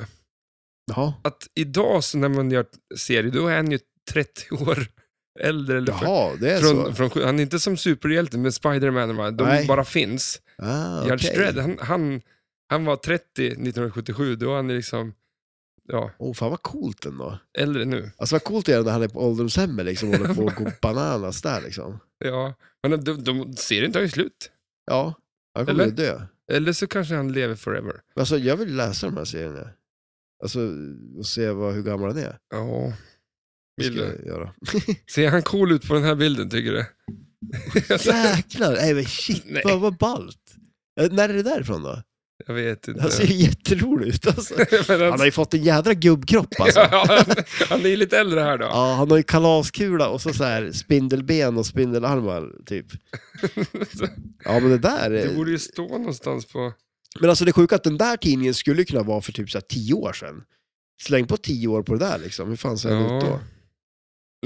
Jaha. att idag så när man gör serie, då är han ju 30 år äldre. Eller för, Jaha, det är från, så. från, han är inte som superhjälten med Spider-Man, och bara- de Nej. bara finns. Ah, Judge okej. Dredd, han, han, han var 30 1977, då är han liksom ja, Åh, fan vad coolt ändå. äldre nu. Alltså vad coolt det är när han är på ålderdomshemmet liksom, och håller på att gå bananas där liksom. Ja. Men de, de, serien tar ju slut. Ja, han kommer Eller? ju dö. Eller så kanske han lever forever. Men Alltså jag vill läsa de här serierna. Alltså, och se vad, hur gammal han är. Ja. Det ska Vill jag göra. Ser han cool ut på den här bilden, tycker du? Jäklar! Nej men shit, Alltså- Nej. vad, vad ballt! Eh, När är det därifrån då? Jag vet inte. Han ser ju jätterolig ut alltså. Men han- Han har ju fått en jädra gubbkropp alltså. ja, han, han är ju lite äldre här då. Ja, han har ju kalaskula och så, så här spindelben och spindelarmar, typ. Ja, men det där... är- Det borde ju stå någonstans på... Men alltså det sjuka att den där tidningen skulle kunna vara för typ så här tio år sedan. Släng på tio år på det där liksom, hur fan ser han Ja. ut då?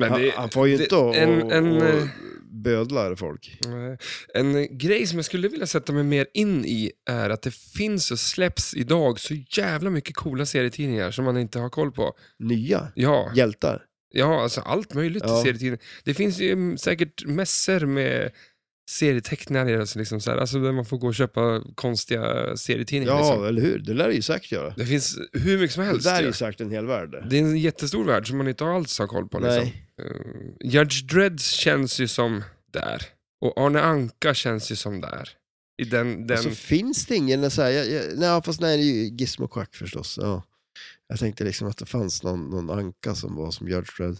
Men Han, det, han får ju det- inte och, en, en, och eh, bödlar folk. nej. en eh, grej som jag skulle vilja sätta mig mer in i är att det finns och släpps idag så jävla mycket coola serietidningar som man inte har koll på. Nya Ja, hjältar. ja alltså allt möjligt i Ja. serietidningar. Det finns ju mm, säkert mässor med serietecknare, alltså liksom så här, alltså där man får gå och köpa konstiga serietidningar. Ja, Liksom. eller hur? Det lär det ju säkert göra. Det finns hur mycket som Det helst. där är ju. ju säkert en hel värld. det är en jättestor värld som man inte alls har koll på. Liksom. Nej. Eh, Judge Dredd känns ju som där. Och Arne Anka känns ju som där. I den, den... Alltså finns det ingen så här, jag, jag, nej fast nej det är ju Gizmo Quack förstås. Ja. Jag tänkte liksom att det fanns någon, någon anka som var som Judge Dredd.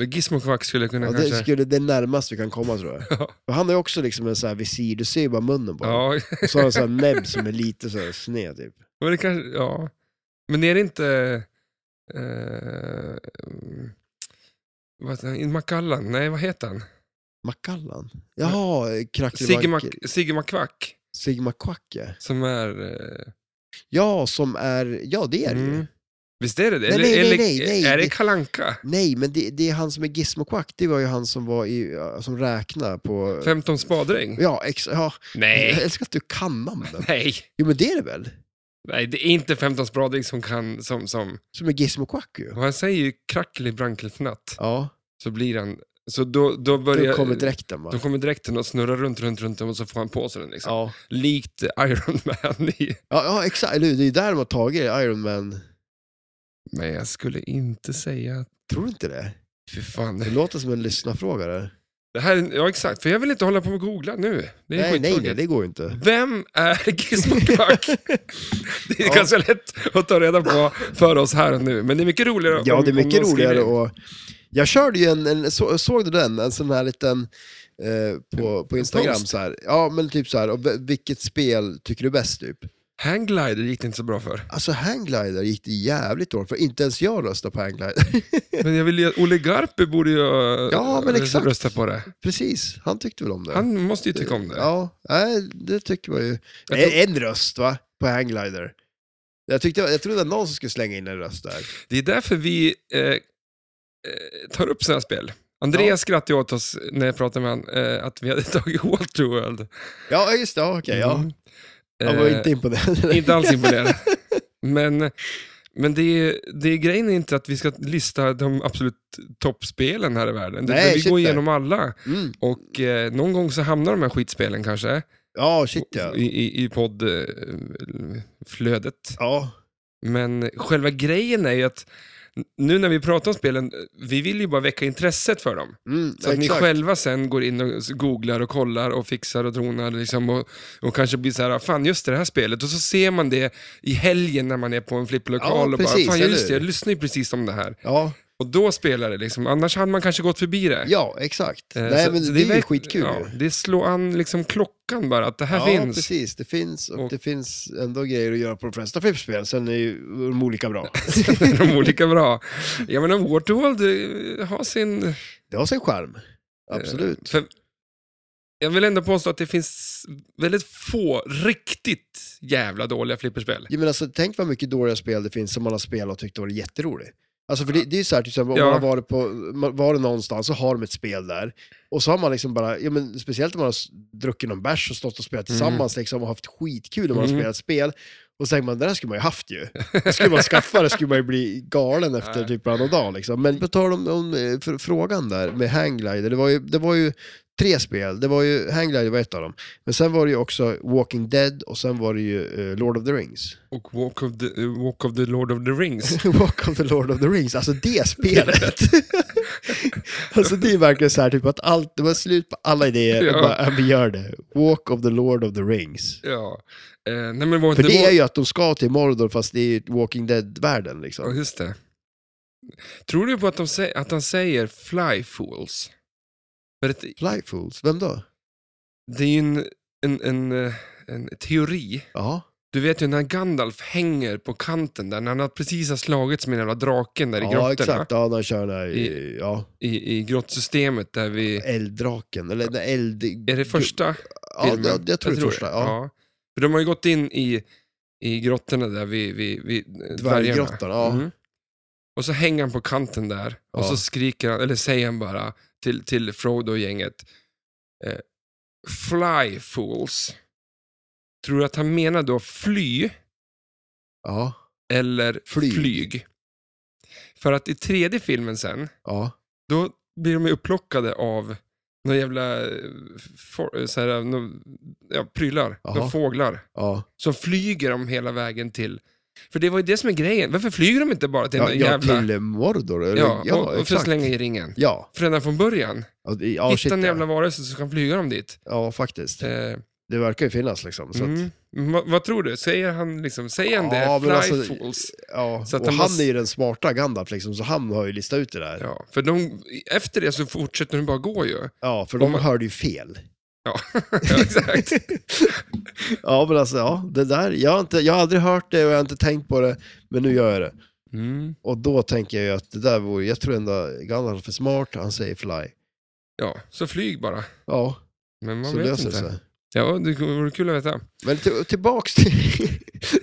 Gizmo Quack skulle kunna Ja, det, kanske... skulle, det är närmast vi kan komma tror jag. För han har ju också liksom en sån här visir, du ser ju bara munnen på honom. ja, Och så har han en sån här näbb som är lite så här sned typ. men det kanske... Ja. Men är det inte... Eh, vad, inte Macallan, nej vad heter han? Macallan? Jaha, Sigge Krackelimack... Mac- Sigge McQuack, Sigma Quacke. som är... eh, Ja, som är... Ja, det är det ju. mm. Visst är det det? Eller, Nej, nej, nej, eller nej, nej, är det det- Kalanka? Nej, men det, det är han som är Gizmo Quack. Det var ju han som var i... Som räknade på... 15 spadring? Ja, ex... ja. Jag Nej, älskar att du kan namnen. nej. Jo, men det är det väl? Nej, det är inte 15 spadring som kan... Som, som. Som är Gizmo Quack ju. Och Han säger ju krackelibrankelfnatt, Ja, så blir han... Så då, då börjar... då kommer dräkten va? Då kommer dräkten och snurrar runt, runt, runt och så får han på sig den. Liksom. Ja. Likt Iron Man. I... Ja, ja, exakt. Eller hur? Det är där de har tagit Iron Man. Men jag skulle inte säga... att- Tror du inte det? Fy fan. Det låter som en lyssnarfråga där. Det här, är- ja, exakt. För jag vill inte hålla på och googla nu. Det är Nej, nej, nej, skittråkigt. det går ju inte. Vem är Gizmo Clark? Det är Ja. ganska lätt att ta reda på för oss här och nu. Men det är mycket roligare Ja, det är mycket någon skriver roligare in. och... Jag körde ju en, en så, såg du den? En sån här liten... Eh, på, på Instagram post. så här. Ja, men typ så här. Och v- vilket spel tycker du bäst typ? Hangglider gick det inte så bra för. Alltså Hanglider gick det jävligt dåligt för. Inte ens jag röstar på Hanglider. Men jag vill ju, Olle Garpe borde ju eh, Ja, men exakt. rösta på det. Precis, han tyckte väl om det. Han måste ju tycka om det. Ja, nej, det tycker man ju. Jag En- tror- En röst va, på Hanglider. Jag, tyckte, jag trodde det var någon som skulle slänga in en röst där. Det är därför vi eh, eh, tar upp sådana spel. Andreas skrattade åt oss när jag pratade med honom eh, att vi hade tagit Waterworld. Ja, just det. Ja, okej. ja. Mm. Han var Eh, inte imponerad. Inte alls imponerad. men men det är, det är grejen är inte att vi ska lista de absolut toppspelen här i världen. Det- Nej, vi shit, går nej. igenom alla Mm. och eh, någon gång så hamnar de här skitspelen kanske Ja, shit ja. i, i, i poddflödet. Ja, Men själva grejen är ju att nu när vi pratar om spelen, vi vill ju bara väcka intresset för dem. mm, Så att ni exakt. själva sen går in och googlar och kollar och fixar och tronar liksom och, och kanske blir så här, "Ah, fan just det, det här spelet. Och så ser man det i helgen när man är på en flipplokal Ja, och precis, bara, "Ah, fan eller just det, hur? jag lyssnar ju precis om det här. Ja, Och då spelar det liksom, annars hade man kanske gått förbi det. ja, exakt. Eh, Nej, så- men så det, är ju verk- skitkul Ja, ju. det slår an liksom klockan bara, att det här ja, finns. precis. Det finns, och, Och- det finns ändå grejer att göra på de flesta flippspel, sen är ju de olika bra. Sen är de olika bra. Jag menar, Waterworld eh, har sin... det har sin charm. Absolut. För jag vill ändå påstå att det finns väldigt få riktigt jävla dåliga flipperspel. Ja, men alltså, tänk vad mycket dåliga spel det finns som man har spelat och tyckt var jätteroligt. Alltså för det, det är ju så här, till exempel, om Ja. man har varit på, man- varit någonstans så har de ett spel där. Och så har man liksom bara, ja, men speciellt om man har s- druckit någon bärs och stått och spelat tillsammans liksom, och haft skitkul om man Mm. har spelat spel. Och så tänker man, det där skulle man ju haft ju. Det skulle man skaffa, det skulle man ju bli galen efter Nej. typ varannan dag. Liksom. Men på tal om, om eh, fr- frågan där med Hanglider, det var ju, det var ju tre spel. Det var ju, Hanglider var ett av dem. Men sen var det ju också Walking Dead och sen var det ju eh, Lord of the Rings. Och Walk of the, eh, Walk of the Lord of the Rings. Walk of the Lord of the Rings, alltså det spelet. alltså det är verkligen så här, typ att allt, det var slut på alla idéer, Ja. och bara, "Ja, vi gör det. Walk of the Lord of the Rings. ja. Eh, nej, men var För inte det är Walk- ju att de ska till Mordor fast det är ju Walking Dead-världen Ja, liksom. just det. Tror du på att, de sä- att han säger Fly Fools? För att Fly Fools, vem då? det är ju en, en, en, eh, en teori. Ja, Du vet ju när Gandalf hänger på kanten där, när han har precis har slagits med den jävla draken där i ja grottorna. exakt. Ja, de kör den här, I- ja, I, I grottsystemet där vi... elddraken, eller den eld... Är det första? Ja, filmen. jag, jag tror det är första. Ja. För de har ju gått in i, i grottorna där vid, vid, vid Dvärggrottan, ja. Mm. Och så hänger han på kanten där Ja. och så skriker han, eller säger han bara till, till Frodo och gänget eh, Fly fools. Tror du att han menar då fly Ja, eller Flyg. flyg? För att i tredje filmen sen, ja. då blir de ju upplockade av några jävla eh, for, eh, så här, nå- ja, prylar, Jaha. några fåglar. ja. Så flyger de hela vägen till... För det var ju det som är grejen. Varför flyger de inte bara till Ja, den ja, jävla... till Mordor, eller? ja, Ja, och, och för att exakt. slänga i ringen. Ja, För redan från början. ja, det- ja, shit, Hitta en ja. jävla varelse så kan flyga dem dit. Ja, faktiskt. Eh, Det verkar ju finnas liksom. Så att, mm. Va, vad tror du? Säger han, liksom, säger han Ja, det? men Fly alltså- fools. ja. Så att och den han bara- är ju den smarta Gandalf liksom, så han har ju listat ut det där. Ja, Ja, för de, efter det så fortsätter de bara gå ju. för Om de man- hörde ju fel. Ja, ja exakt. ja, men alltså, ja, det där. Jag har, inte, jag har aldrig hört det och jag har inte tänkt på det, men nu gör jag det. Mm. Och då tänker jag ju att det där vore, jag tror ändå Gandalf är för smart, han säger fly. Ja, så flyg bara. Ja, Men man så vet löser det inte. sig. Ja, det vore kul att veta. Men till, tillbaks till,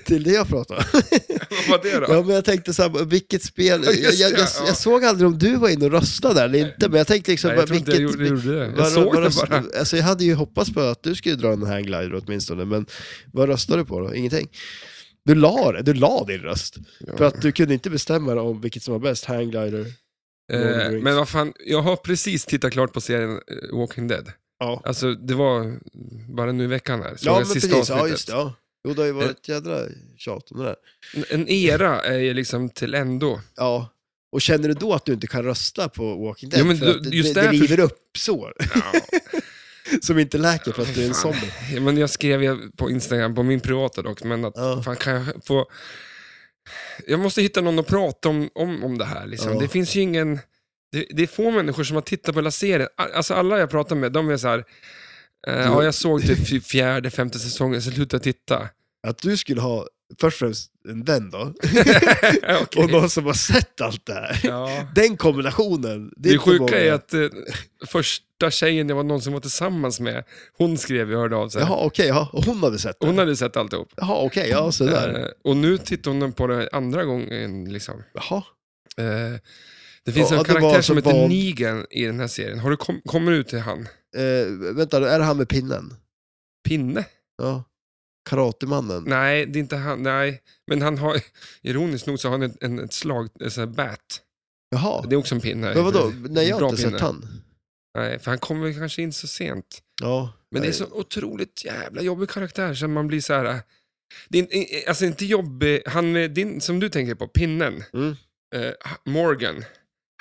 till det jag pratade om. Vad var det då? Ja, men jag tänkte så här, vilket spel, Ja, jag, just jag, jag, det, ja. jag såg aldrig om du var inne och röstade där eller inte, men jag tänkte liksom, Nej, bara, jag tror inte jag vilket- gjorde, gjorde det. Jag vad- såg vad det röst- bara. Alltså jag hade ju hoppats på att du skulle dra den här glider åtminstone, men vad röstade du på då? Ingenting? Du la, det- du la din röst, för att du kunde inte bestämma dig om vilket som var bäst, hangglider. Eh, Wolverines. men vad fan, jag har precis tittat klart på serien eh, Walking Dead. Ja, Alltså det var bara nu i veckan här. Såg ja jag men sista precis, ja avsnittet. just det. Ja. Jo, det har ju varit ett jädra tjat om det där. En- En era är ju liksom till ändå. Ja. Och känner du då att du inte kan rösta på Walking Dead? Ja, men för att då- det, just det, det därför- river upp sår som inte läker för att du är en Fan. zombie. Ja, men jag skrev ju på Instagram, på min privata dock, men att Ja. fan, kan jag få... Jag måste hitta någon att prata om, om, om det här. Liksom. Ja. Det finns ju ingen... Det, det är få människor som har tittat på hela serien. A- Alltså alla jag pratar med, de är så här... Eh, ja, jag såg typ fj- fjärde, femte säsongen, sen slutade jag titta. Att du skulle ha först och främst en vän då, Okej. och någon som har sett allt det här. ja. Den kombinationen, det Det, är inte många. sjuka är att eh, första tjejen det var någon som var tillsammans med, hon skrev ju och hörde av sig. Jaha, okej, ja. Och hon hade sett det? Hon hade sett alltihop. Jaha, okej, ja, sådär. Eh, och nu tittar hon på det andra gången. Liksom. Jaha. Eh, det finns Ja, en det var karaktär som alltså heter vald- Negan i den här serien. Har du kom, kommer ut till han? Eh, vänta, är det han med pinnen? Pinne? Ja. Karatemannen? Nej, det är inte han. Nej. Men han har, ironiskt nog så har han ett, en, ett slag, ett sånt här bat. Jaha. Det är också en pinne. Men vadå, nej jag har Bra inte pinne. sett han. Nej, för han kommer väl kanske in så sent. Ja. Men det är så otroligt jävla jobbig karaktär så man blir så här. äh, Det är, in- i- alltså inte jobbig, han är din, som du tänker på, pinnen, Mm. eh, Morgan.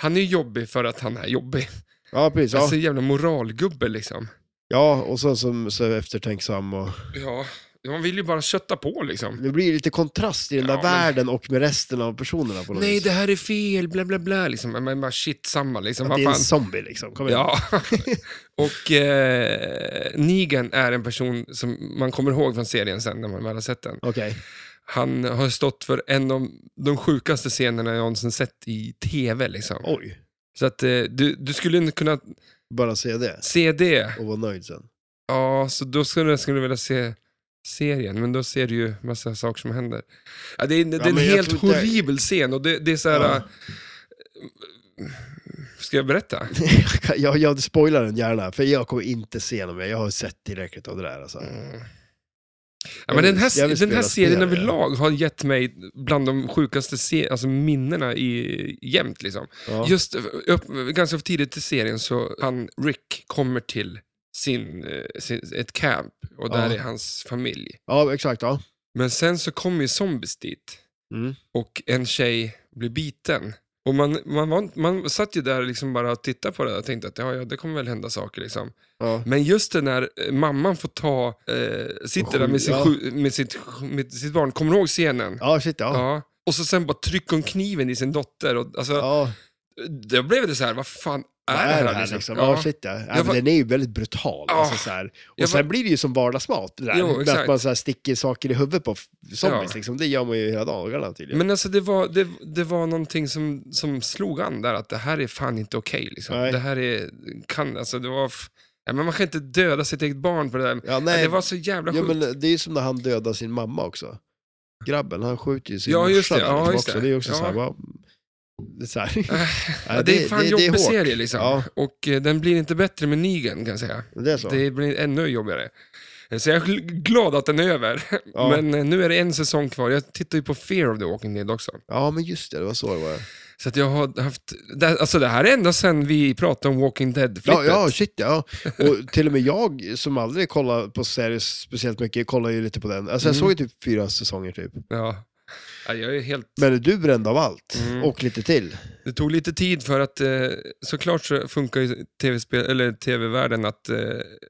Han är jobbig för att han är jobbig. Ja, precis. Ja, Alltså jävla moralgubbe liksom. ja och sen som, så eftertänksam och... Ja, man vill ju bara kötta på liksom. Det blir lite kontrast i den där Ja, men- världen och med resten av personerna på något Nej, vis. det här är fel, bla bla bla. Liksom. Men Man bara shit, samma liksom. Att Vad det är en fan. zombie liksom, kom igen. Ja. Och eh, Negan är en person som man kommer ihåg från serien sen när man väl har sett den. Okej. Han har stått för en av de sjukaste scenerna jag någonsin sett i tv. Liksom. Oj, Så att eh, du, du skulle kunna bara se det se det. och vara nöjd sen. Ja, så då skulle, skulle du vilja se serien, men då ser du ju massa saker som händer. Ja, det är, det är en men jag helt tror inte- horribel scen och det, det är så här... Ja. äh, Ska jag berätta? Jag kan- jag, jag spoilar den gärna, för jag kommer inte se den mer. Jag har sett tillräckligt av det där. Alltså. Mm. Ja, men den Jag här, vill den här spela serien spel, ja. överlag har gett mig bland de sjukaste se, alltså minnena i, jämt. Liksom. Ja. Just upp, ganska tidigt i serien så han Rick kommer till sin, eh, sin, ett camp och där Ja. är hans familj. ja, exakt. Ja. Men sen så kommer ju zombies dit Mm. och en tjej blir biten. Och man, man, var, inte- man satt ju där liksom bara och tittade på det där och tänkte att ja, ja, det kommer väl hända saker. Liksom. Ja. Men just det när eh, mamman får ta, eh, sitter där med, sin, Ja. sju- med, sitt, med sitt barn, kommer du ihåg scenen? ja, shit ja. Ja. Och så sen bara trycker hon kniven i sin dotter. Och, alltså, Ja, Då blev det så här, vad fan är, vad är det här? Liksom? Ja, Ja. shit ja. ja Jag men var- Den är ju väldigt brutal. Ja. Alltså, så här. Jag Och var- sen blir det ju som vardagsmat, det där. Jo, med exakt. att man så här, sticker saker i huvudet på f- zombies. Ja. Liksom. Det gör man ju hela dagarna tydligen. Men alltså det var, det, det var någonting som, som slog an där, att det här är fan inte okej. liksom. Nej. Det här är, kan, alltså det var, f- ja, men man kan inte döda sitt eget barn på det där. ja, Ja, nej, det var så jävla ja, sjukt. men det är ju som när han dödar sin mamma också. Grabben, han skjuter ju sin Ja, morsa. just det. där, Ja, liksom, just också. det. det är ju också så här, Ja. va? Det är, så här. Äh, Ja, ja, det är fan det- det är jobbig hårt. serie liksom. Ja. Och eh, den blir inte bättre med Negan kan jag säga. Det är så. Det blir ännu jobbigare. Eh, Så jag är gl- glad att den är över. Ja. Men eh, nu är det en säsong kvar. Jag tittar ju på Fear of the Walking Dead också. Ja, men just det. Det var så det var. Så att jag har haft, det, alltså det här är ända sedan vi pratade om Walking Ja, Dead-flippet. ja, shit ja. Och till och med jag som aldrig kollar på serier speciellt mycket, kollar ju lite på den. Alltså jag Mm. såg ju typ fyra säsonger typ. Ja. Ja, jag är helt... Men du brände av allt, Mm. och lite till. Det tog lite tid för att eh, såklart så funkar ju tv-spel, eller tv-världen att eh,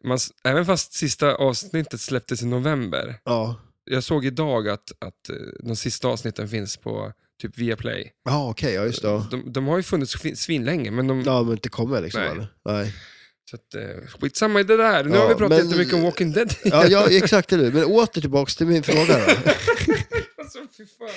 man, s- även fast sista avsnittet släpptes i november, Ja, jag såg idag att, att eh, de sista avsnitten finns på typ Viaplay. ja okej, ja just det. Ja. De, de har ju funnits svin- svinlänge, men de... Ja, men inte kommer liksom Nej. eller? Nej. Så att, eh, skitsamma i det där. Nu Ja, har vi pratat men- jättemycket om Walking Dead. Ja, ja, exakt det nu. Men åter tillbaks till min fråga då. Alltså fy fan.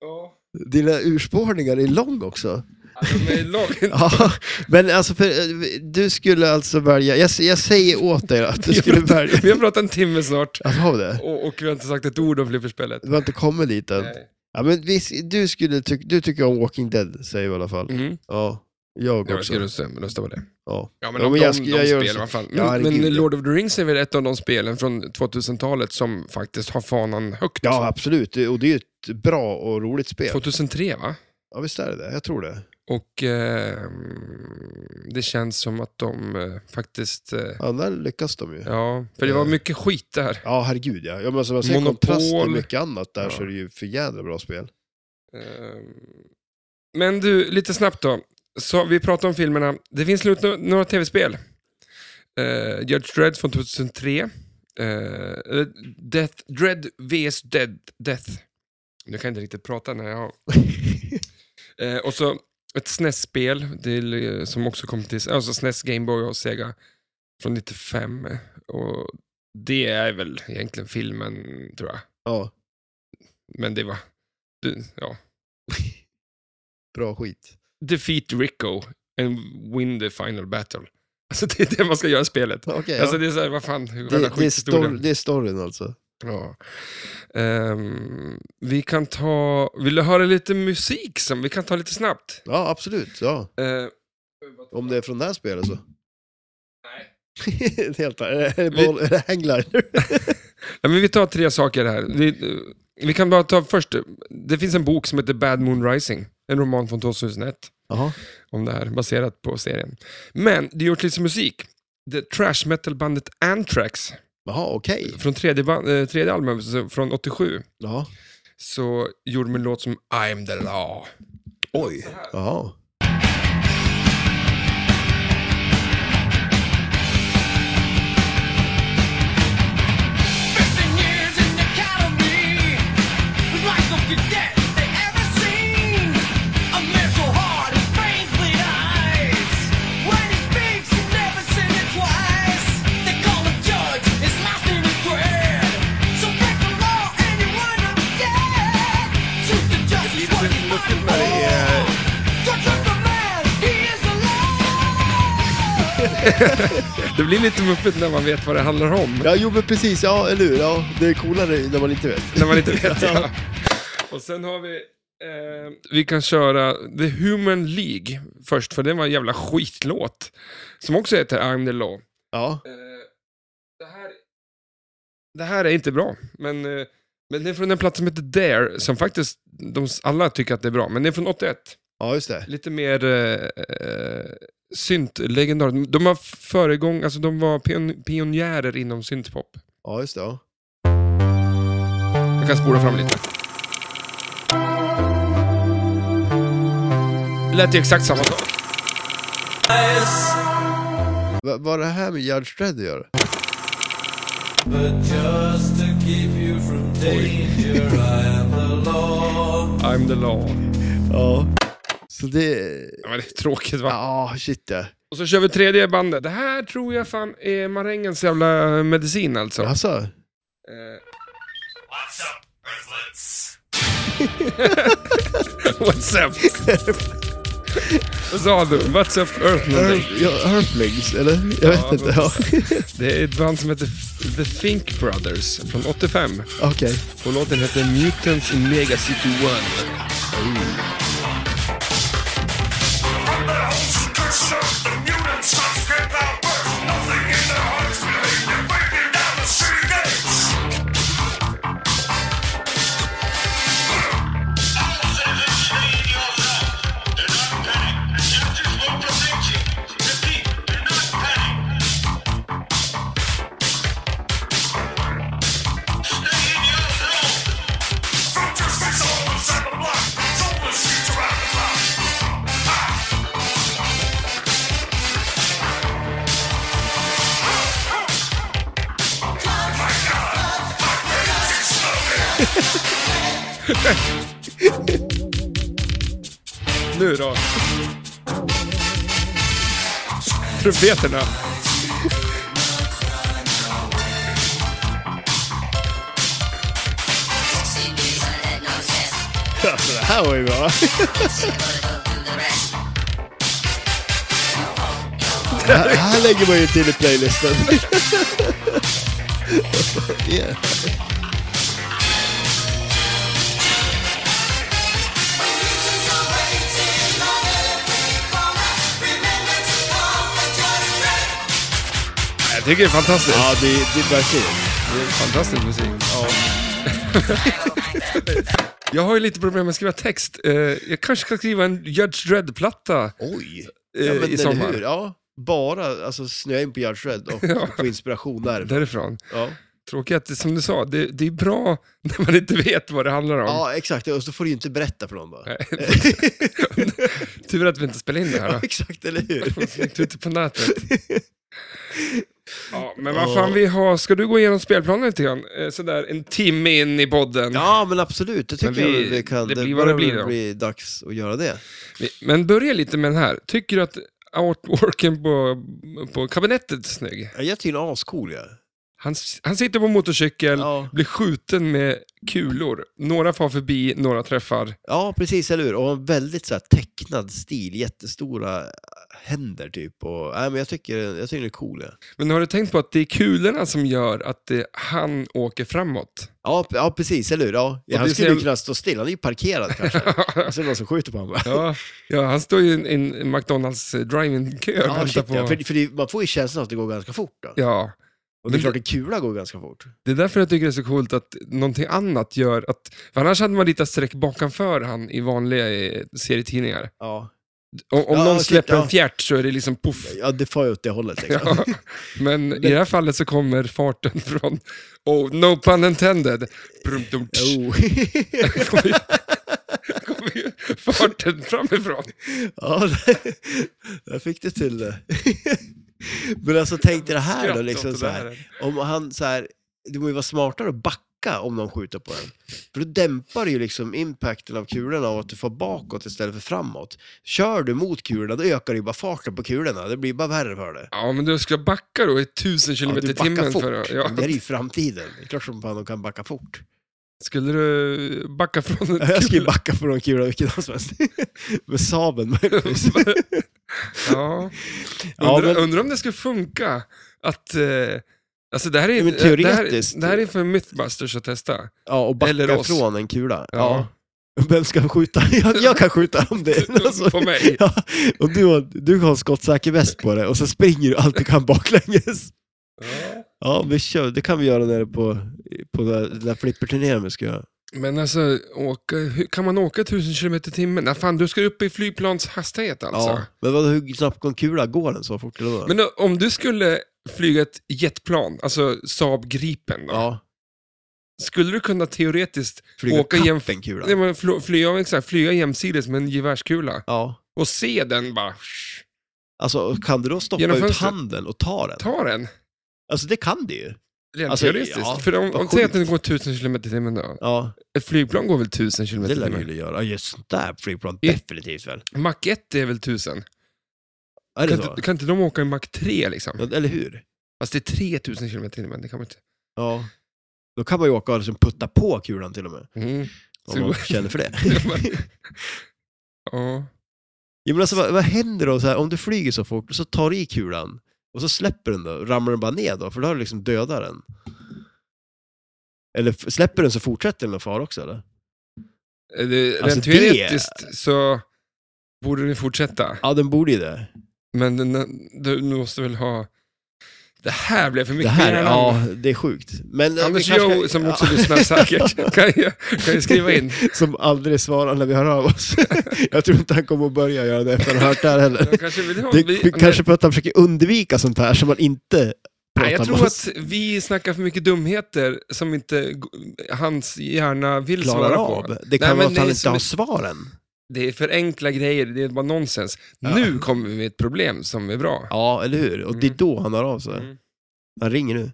Ja. Dina urspårningar är lång också. Alltså, de är långt. Ja, men alltså, för, eh, du skulle alltså välja, jag, jag säger åt dig att du skulle välja. Vi har pratat en timme snart. Alltså, har vi det? Och, och vi har inte sagt ett ord om flipperspelet. Du har inte kommit dit än. Nej. Ja, men vi, du, skulle tyck- du tycker om Walking Dead, säger vi i alla fall. Mm. Ja, jag Jag också. ska rösta, rösta på det. Ja. Ja, men, Ja, de, men de, jag ska- de jag gör spelen, så. vad fan. Ja, Men, herregud. men Lord of the Rings är väl ett av de spelen från 2000-talet som faktiskt har fanan högt. ja, absolut. Det- Och det är ju ett bra och roligt spel. 2003 va? Ja, visst är det det. Jag tror det. Och eh, det känns som att de eh, faktiskt... Eh, Ja, där lyckas de ju. ja, för det var Eh. mycket skit där. Ja, herregud ja. ja men som jag säger, Monopol. kontrast till mycket annat där Ja. så är det ju för jädra bra spel. Eh, men du, lite snabbt då. Så vi pratar om filmerna. Det finns slut no- några tv-spel. Eh, Judge Dredd från 2003. Eh, eh, Death, Dread vs Dead, Death. Nu kan jag inte riktigt prata när jag har Eh, och så ett SNES-spel till, eh, som också kom till alltså SNES, Gameboy och Sega från 95. Och det är väl egentligen filmen, tror jag. ja, Men det var... Det, ja. bra skit. Defeat Rico and win the final battle. Alltså det är det man ska göra i spelet. Okej, ja. Alltså det är såhär, vad fan, det, själva det, är skithistorien. stor, det är storyn alltså. Ja. Ehm, vi kan ta, vill du höra lite musik som vi kan ta lite snabbt? Ja, absolut. Ja. Eh, Om det är från det här spelet så. Nej. Helt är det- är det boll- är det hänglar? Ja, men vi tar tre saker här. Vi, eh, vi kan bara ta först, eh, det finns en bok som heter Bad Moon Rising, en roman från 2001 Jaha. om det här, baserat på serien. Men det gjorts lite musik. Det trash metal-bandet Anthrax, Jaha, okej. från tredje, ban- eh, tredje albumet så- från 87, Ja. så gjorde de en låt som I'm the law. Oj. Jaha. Det blir lite muppigt när man vet vad det handlar om, Ja, jo men precis. Ja, eller hur. Ja, det är coolare när man inte vet. när man inte vet. Ja. Och sen har vi... Eh, vi kan köra The Human League först, för den var en jävla skitlåt. Som också heter I'm the law. Ja. Eh, det, här, det här är inte bra, men, eh, men det är från en platta som heter Dare, som faktiskt de, s- alla tycker att det är bra, men det är från 81. ja, just det. Lite mer eh, eh, syntlegendar. De var föregång, alltså de var pion, pionjärer inom syntpop. Ja, just det. Ja. Jag kan spola fram lite. Lät ju exakt samma sak. Va- Vad det här med Judge Dredd gör? But just to keep you from danger, I am the law. I'm the law. Ja. Så det... Ja, men det är tråkigt va? Ja, shit ja. Och så kör vi tredje bandet. Det här tror jag fan är marängens jävla medicin alltså. Alltså. Eh, What's up, Earthlets? What's up? Vad sa du? What's up Earth någonting? Earth, ja, Earthlings, eller? Jag vet Ja, inte. Ja. Det är ett band som heter F- The Think Brothers från 85. Okej. Och låten heter Mutants in Mega City 1. From their holes and curses, the mutant sons get their birth. Nothing in their hearts will lead them breaking down the city gates. I will say this to you in your heart. Do not panic. Justice will protect you. Repeat, do not panic. Stay in your zone. From your space, all inside the block. Soulless streets around the block. Nu då. Trumpeterna. Sexy bees, I let no Alltså, det här var ju bra. Det här, det här lägger man ju till i playlisten. yeah. Jag tycker det är fantastiskt. Ja, det, det är verkligen. Fantastisk musik. Jag har ju lite problem med att skriva text. Eh, Jag kanske ska skriva en Judge Dredd-platta Oj! eh, Ja, men i eller sommar. hur? Ja, bara alltså, snöa in på Gerd Shred och få inspiration där. Därifrån. Ja. Tråkigt att, det- som du sa, det, det är bra när man inte vet vad det handlar om. ja, exakt. Och så får du ju inte berätta för någon då. Nej. Tur att vi inte spelar in det här. Ja, då. exakt, eller hur? Ute på nätet. Ja, men vad fan vi har, ska du gå igenom spelplanen lite grann? Eh, Sådär en timme in i podden. Ja, men absolut. Det tycker Men vi- jag vi kan. det blir vad det börjar blir väl då. bli dags att göra det. Vi- Men börja lite med den här. Tycker du att artworken på, på kabinettet är snygg? Ja, Jag tycker den är ascool. Ja. Han, han sitter på motorcykel, Ja. blir skjuten med kulor. Några far förbi, några träffar. ja, precis, eller hur? Och har en väldigt så här, tecknad stil, jättestora händer typ. Och, nej, men jag tycker, jag tycker den är cool. Ja, Men har du tänkt på att det är kulorna som gör att det, han åker framåt? ja, p- ja precis, eller hur? Ja. Och Ja, han det skulle ser- ju kunna stå still, han är ju parkerad kanske. Och så är det någon som skjuter på honom. va? Ja, ja han står ju i en, en McDonalds eh, drive-in-kö och Ja, väntar shit, på... ja. För, för det, man får ju känslan att det går ganska fort. Då. Ja, Och det Men- är klart, en kula går ganska fort. det är därför jag tycker det är så coolt att någonting annat gör att... För annars hade man ritat streck bakanför han i vanliga eh, serietidningar. Ja, Om, om Ja, någon shit, släpper ja. en fjärt så är det liksom poff. ja det far ju åt det hållet. Liksom. Ja, men i det här fallet så kommer farten från, oh, no pun intended, brum, dum, tsch, Oh. kommer, ju, kommer ju farten framifrån. Ja, det- där fick du till det. Men alltså tänk dig det här Skratt då, åt liksom det så här. där. Om han så här, det måste ju vara smartare att backa om någon skjuter på den. För då dämpar det ju liksom impacten av kulorna av att du får bakåt istället för framåt. Kör du mot kulorna, då ökar det ju bara farten på kulorna. Det blir bara värre för dig. Ja, men du ska backa då i 1000 km du i backar timmen. fort. För, att- ja. Men Det här är ju framtiden. Det är klart som fan de kan backa fort. Skulle du backa från Jag en ska ju kula? backa på de kulorna vilken dag som helst. Med sabeln möjligtvis. Ja. Ja, Undrar, men- undrar om det skulle funka att... Eh, alltså det här är, Men det här, teoretiskt- det här är för Mythbusters att testa. Ja, och backa Eller oss. från en kula. Ja. Ja. Vem ska skjuta? Jag, jag kan skjuta om det Alltså, På mig. Ja, och du har, du har en skottsäker väst på dig och så springer du allt du kan baklänges. Ja. Ja, vi kör. det kan vi göra nere på, på den där- den där flipperturneringen vi ska göra. Men alltså, åka, hur- kan man åka 1000 km i timmen? Nej, fan, du ska upp i flygplans hastighet alltså. Ja. Men vadå, hur snabbt går en kula? Går den så fort eller vadå? Men då, om du skulle flyga ett jetplan, alltså Saab Gripen då, Ja, skulle du kunna teoretiskt flyga åka kapp jäm- en kula. nej, men fl- flyga, exakt, flyga jämsides med en gevärskula Ja. och se den bara, Alltså, kan du då stoppa Genom ut fönstret? handen och ta den? ta den. Alltså, det kan du ju. Rent Alltså, teoretiskt. ja, För om, vad om säg att sjukt. den går 1000 km i timmen då. Ja, Ett flygplan går väl 1000 km i det lär du timmen? ju göra. Just sånt där flygplan, Ja. definitivt väl. Mach 1 är väl 1000? Är det Kan, så? inte- kan inte de åka i Mach 3 liksom? Ja, Eller hur? Fast det är 3000 km i timmen, det kan man inte... Ja. Då kan man ju åka och liksom putta på kulan till och med. Mm. Så Om det man går- känner för det. ja. ja, men alltså, vad, vad händer då så här, om du flyger så fort och så tar du i kulan och så släpper den då? Ramlar den bara ner då? För då har du liksom dödat den. Eller f- släpper den så fortsätter den att fara också eller? Eh, Det, Alltså, rent det- teoretiskt så borde den fortsätta. Ja, den borde ju det. Men den, du måste väl ha... Det här blev för Det mycket här, för ja, hjärnan. det är sjukt. Men, eh, Anders vi kanske Jo, ska- som också lyssnar säkert, kan ju, kan ju skriva in. Som aldrig svarar när vi hör av oss. Jag tror inte han kommer att börja göra det efter han har hört det här heller. De kanske vill ha, Det vi, är kanske för att han försöker undvika sånt här som man inte pratar nej, jag med tror oss. att vi snackar för mycket dumheter som inte g- hans hjärna vill klarar svara av. på. Det kan Nej, vara men att han det är inte som- har svaren. Det är för enkla grejer, det är bara nonsens. Ja. Nu kommer vi med ett problem som är bra. Ja, eller hur? Och det är Mm. då han hör av sig. Mm. Han ringer nu.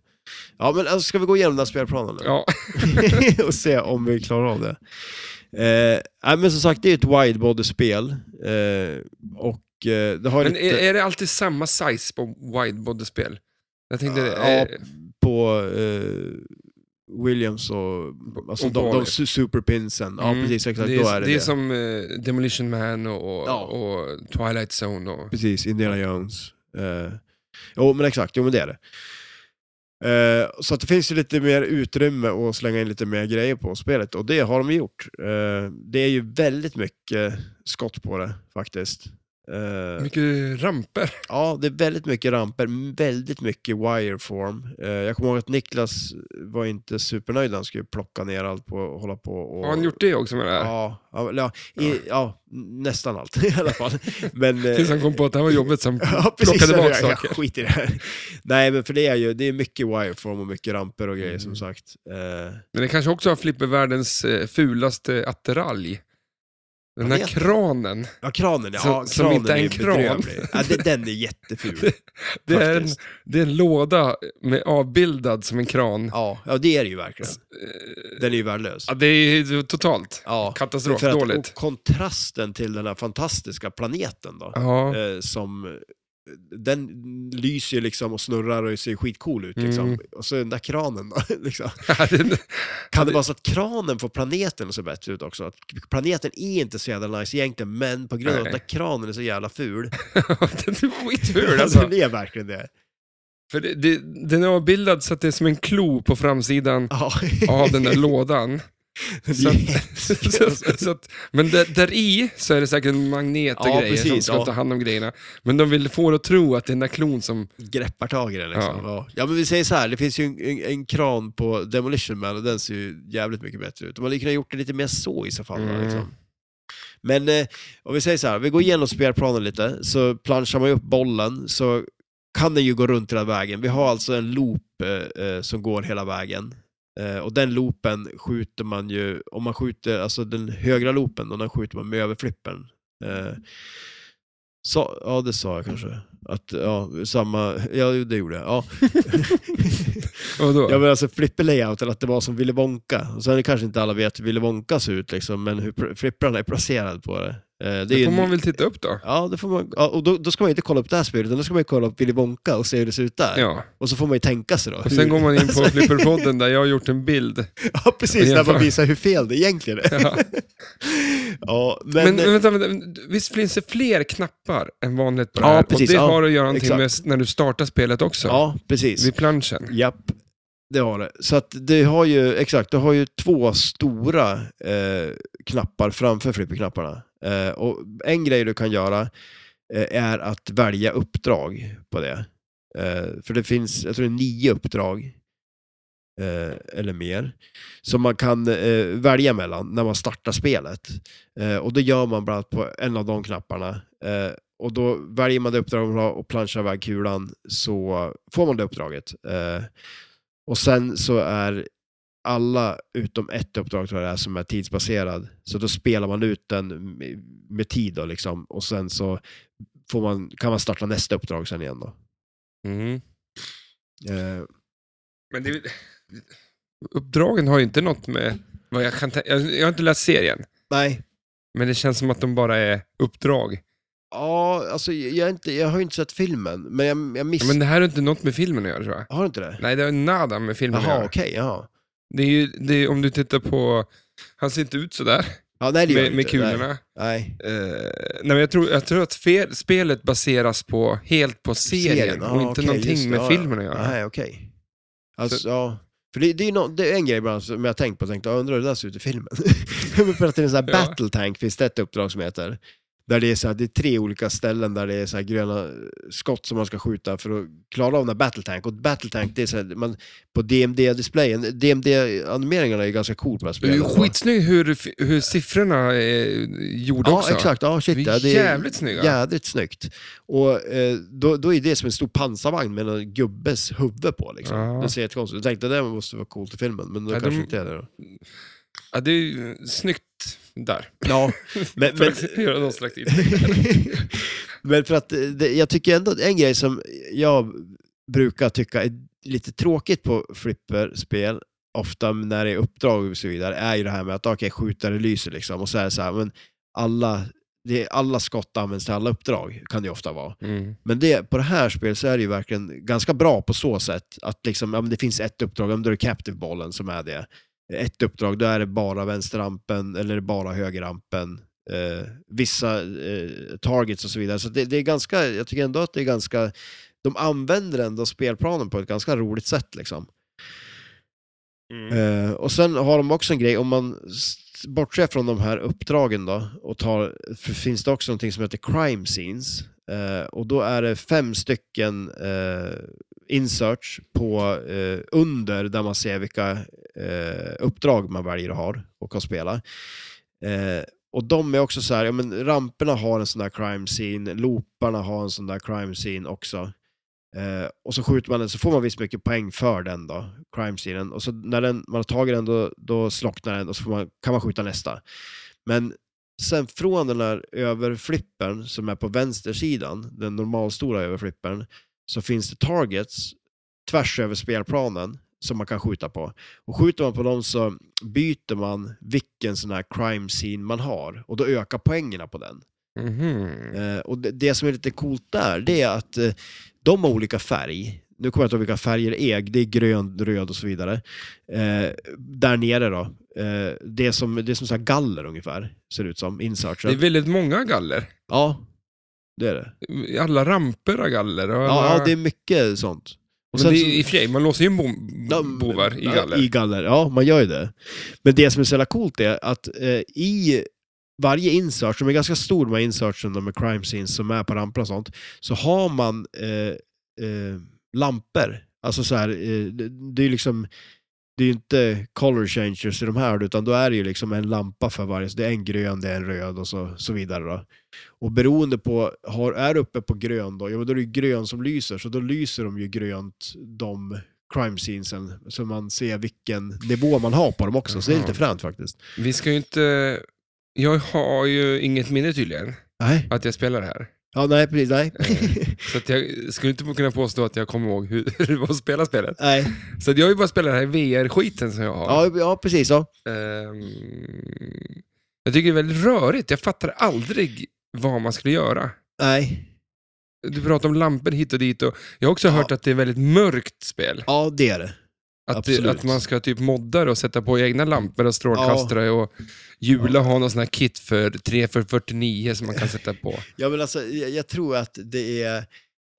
Ja, men alltså, ska vi gå igenom den här spelplanen nu? Ja, och se om vi klarar av det. Eh, nej, men som sagt, det är ett widebody-spel. Eh, och eh, det har men är, lite... är det alltid samma eh, size på widebody-spel? Jag tänkte, Ja, eh, på... Eh, Williams och, alltså, Och de, de Bowie. su- superpinsen. Ja, Mm. precis. Exakt, det är, då är det det det. är som eh, Demolition Man och, och, Ja. och Twilight Zone. Och, Precis, Indiana Jones. Eh, jo, men exakt. Jo, men det är det. Eh, så att det finns ju lite mer utrymme att slänga in lite mer grejer på spelet och det har de gjort. Eh, det är ju väldigt mycket skott på det faktiskt. Eh, mycket ramper. Ja, det är väldigt mycket ramper, väldigt mycket wireform. Eh, jag kommer ihåg att Niklas var inte supernöjd när han skulle plocka ner allt på, och hålla på och... Har han gjort det också med det här? Ja, ja, eller ja, i, ja, nästan allt i alla fall. Men, eh, Tills han kom på att det här var jobbet som Ja, precis. plockade bak jag, jag saker. skiter i det här. Nej, men för det är ju det är mycket wireform och mycket ramper och grejer Mm. som sagt. Eh, Men det kanske också har flippervärldens eh, fulaste attiralj. Den Jag här vet. kranen. ja, kranen, ja. Som- kranen som inte är en ju kran. bedrövlig. Ja, det, den är jätteful. Det är, en, faktiskt. det är en låda med, avbildad som en kran. Eh, Ja, ja, det är det ju verkligen. Den är ju värdelös. Ja, det är totalt Ja, katastrof. för att, dåligt. Och kontrasten till den här fantastiska planeten då, Ja. eh, som eh, den lyser ju liksom och snurrar och ser skitcool ut liksom. Mm. Och så den där kranen då, liksom. Ja, det- Kan det vara så att kranen får planeten att se bättre ut också? Att planeten är inte så jävla nice egentligen, men på grund av att Nej. den där kranen är så jävla ful. Den är skitful Alltså, alltså. den är verkligen det. För det, det, den är avbildad så att det är som en klo på framsidan Ja, av den där lådan. det så är att- hemskt. så, så att, men där, där i så är det säkert en magnet och Ja, grejer som precis, ska ja. ta hand om grejerna. Men de vill få det att tro att det är den där klon som... greppar tag i det liksom. Ja. Ja. Ja. men vi säger så här, det finns ju en, en, en kran på Demolition Man och den ser ju jävligt mycket bättre ut. De hade ju kunnat gjort det lite mer så i så fall. va, Mm. Liksom. Men eh, om vi säger så här, vi går igenom spelplanen lite, så planschar man ju upp bollen så kan den ju gå runt hela vägen. Vi har alltså en loop eh, eh, som går hela vägen. Eh, och den loopen skjuter man ju, om man skjuter, alltså den högra loopen, då, den skjuter man med överflippen. Eh, Sa, ja, det sa jag kanske. Att, ja, samma, ja, jo, det gjorde jag. Ja. Vadå? Jag menar alltså flipper-layouten, att det var som Willy Wonka. Och sen är det kanske inte alla vet hur Willy Wonka ser ut, liksom, men hur pr- flipprarna är placerade på det. Eh, det är det ju får en- man väl titta upp då. Ja, det får man, ja, och då, då ska man inte kolla upp det här spelet, utan då ska man ju kolla upp Willy Wonka och se hur det ser ut där. Ja. Och så får man ju tänka sig då. Och sen hur, går man in på Flipperpodden där jag har gjort en bild. ja, precis, där Jämför. man visar hur fel det egentligen är. Ja. Ja, Men, men, eh, men vänta, vänta, visst finns det fler knappar än vanligt på det Ja, här? precis, och det ja, har att göra någonting med exakt. när du startar spelet också. ja, precis. Vid planschen. Japp, det har det. Så att det har ju, exakt, det har ju två stora eh, knappar framför flipperknapparna. Eh, och en grej du kan göra eh, är att välja uppdrag på det. Eh, för det finns, jag tror det är nio uppdrag. Eh, eller mer. Som man kan eh, välja mellan när man startar spelet. Eh, och det gör man bland annat på en av de knapparna. Eh, och då väljer man det uppdrag man har och planschar iväg kulan så får man det uppdraget. Eh, och sen så är alla utom ett uppdrag tror jag det är, som är tidsbaserad. Så då spelar man ut den med- med tid då, liksom. och sen så får man, kan man starta nästa uppdrag sen igen. Då. Mm. Eh, Men det, är väl- uppdragen har ju inte något med... Vad jag, kan tän- jag, jag har inte läst serien, nej, men det känns som att de bara är uppdrag. ja, alltså, jag, är inte, jag har ju inte sett filmen, men jag, jag miss... Men det här har inte något med filmen att göra tror jag. Har du inte det? Nej, det har nada med filmen att Jaha, göra. okej. jaha. Det är ju, det är, om du tittar på... Han ser inte ut sådär ja, nej, det gör med, jag med inte. kulorna. Nej. nej. Eh, nej, men jag, tror, jag tror att fel, spelet baseras på, helt på serien, ja, och inte Ah, okej, just någonting det, med ja, ja. filmen att göra. Nej, okej. Alltså, ja. För det, det, är ju no, det är en grej ibland som jag har tänkt på, och tänkt, jag undrar hur det där ser ut i filmen. Men för att det är en sån här Ja. battle tank, finns det ett uppdrag som heter. Där det är, så här, det är tre olika ställen där det är så här gröna eh, skott som man ska skjuta för att klara av den här battle tank. Och battle tank, det är så här, man, på DMD-displayen, DMD-animeringarna är ju ganska cool på det här Det är spelet. ju skitsnyggt hur, hur siffrorna är gjorda Ja, också. exakt. Ja, shit, Det är ja, jävligt snygga. Jävligt snyggt. Och eh, då, då är det som en stor pansarvagn med en gubbes huvud på. Liksom. Ja. Det ser jättekonstigt ut. Jag tänkte det där måste vara coolt i filmen, men då Ja, kanske de- inte är det. Då. Ja, det är ju snyggt där. Ja, men, För men, att göra någon slags men för att eh, det, jag tycker ändå att en grej som jag brukar tycka är lite tråkigt på flipperspel, ofta när det är uppdrag och så vidare, är ju det här med att okej, skjuta det lyser liksom. Och så är det så här, men alla det är alla skott används till alla uppdrag, kan det ju ofta vara. Mm. Men det, på det här spelet så är det ju verkligen ganska bra på så sätt att liksom, ja, men det finns ett uppdrag, om då är det captive-bollen som är det. Ett uppdrag, då är det bara vänsterrampen eller bara högerrampen. Eh, vissa eh, targets och så vidare. Så det, det är ganska, jag tycker ändå att det är ganska, de använder ändå spelplanen på ett ganska roligt sätt liksom. Mm. Eh, och sen har de också en grej, om man s- bortser från de här uppdragen då, och tar, för finns det också någonting som heter crime scenes. Eh, och då är det fem stycken eh, inserts på eh, under där man ser vilka eh, uppdrag man väljer att ha och kan spela. Eh, och de är också så här, ja men ramperna har en sån där crime scene, looparna har en sån där crime scene också. Eh, och så skjuter man den, så får man visst mycket poäng för den då, crime scenen. Och så när den, man har tagit den, då, då slocknar den och så får man, kan man skjuta nästa. Men sen från den där överflippen som är på vänstersidan, den normalstora överflippen, så finns det targets tvärs över spelplanen som man kan skjuta på. Och skjuter man på dem så byter man vilken sån här crime scene man har och då ökar poängerna på den. Mhm. Eh, och det, det som är lite coolt där, det är att eh, de har olika färg. Nu kommer jag inte ihåg vilka färger det är, det är grön, röd och så vidare. Eh, där nere då, eh, det är som, det är som så här galler ungefär, ser det ut som, Det är insertsen. väldigt många galler. Ja, det är det. Alla ramper har galler. Och alla... Ja, ja, det är mycket sånt. Och Men sen det så- är, I och för sig, man låser ju in bom, De- bovar i ja, galler. I galler, ja man gör ju det. Men det som är så jävla coolt är att eh, i varje insert, som är ganska stor de här insertsen de med crime scenes som är på ramper och sånt, så har man eh, eh, lampor. Alltså så här, eh, det, det är ju liksom det är ju inte color changers i de här, utan då är det ju liksom en lampa för varje. Så det är en grön, det är en röd och så, så vidare. Då. Och beroende på, har, är du uppe på grön då, ja, men då är det ju grön som lyser, så då lyser de ju grönt de crime scenesen, så man ser vilken nivå man har på dem också. Så det är lite Jaha. fränt faktiskt. Vi ska ju inte... Jag har ju inget minne tydligen, Nej, att jag spelar det här. ja, nej precis, nej. Så att jag skulle inte kunna påstå att jag kommer ihåg hur hur det var att spela spelet. nej. Så att jag har ju bara spelat den här VR-skiten som jag har. Ja, ja, precis. Ja. Ehm, jag tycker det är väldigt rörigt. Jag fattar aldrig vad man skulle göra. Nej. Du pratar om lampor hit och dit. Och jag har också Ja. hört att det är väldigt mörkt spel. ja, det är det. Att, absolut. det, att man ska typ modda det och sätta på egna lampor och strålkastare. Och Jula har någon sån här kit för 3 för 49 som man kan sätta på. Ja, men alltså, jag, jag tror att det är...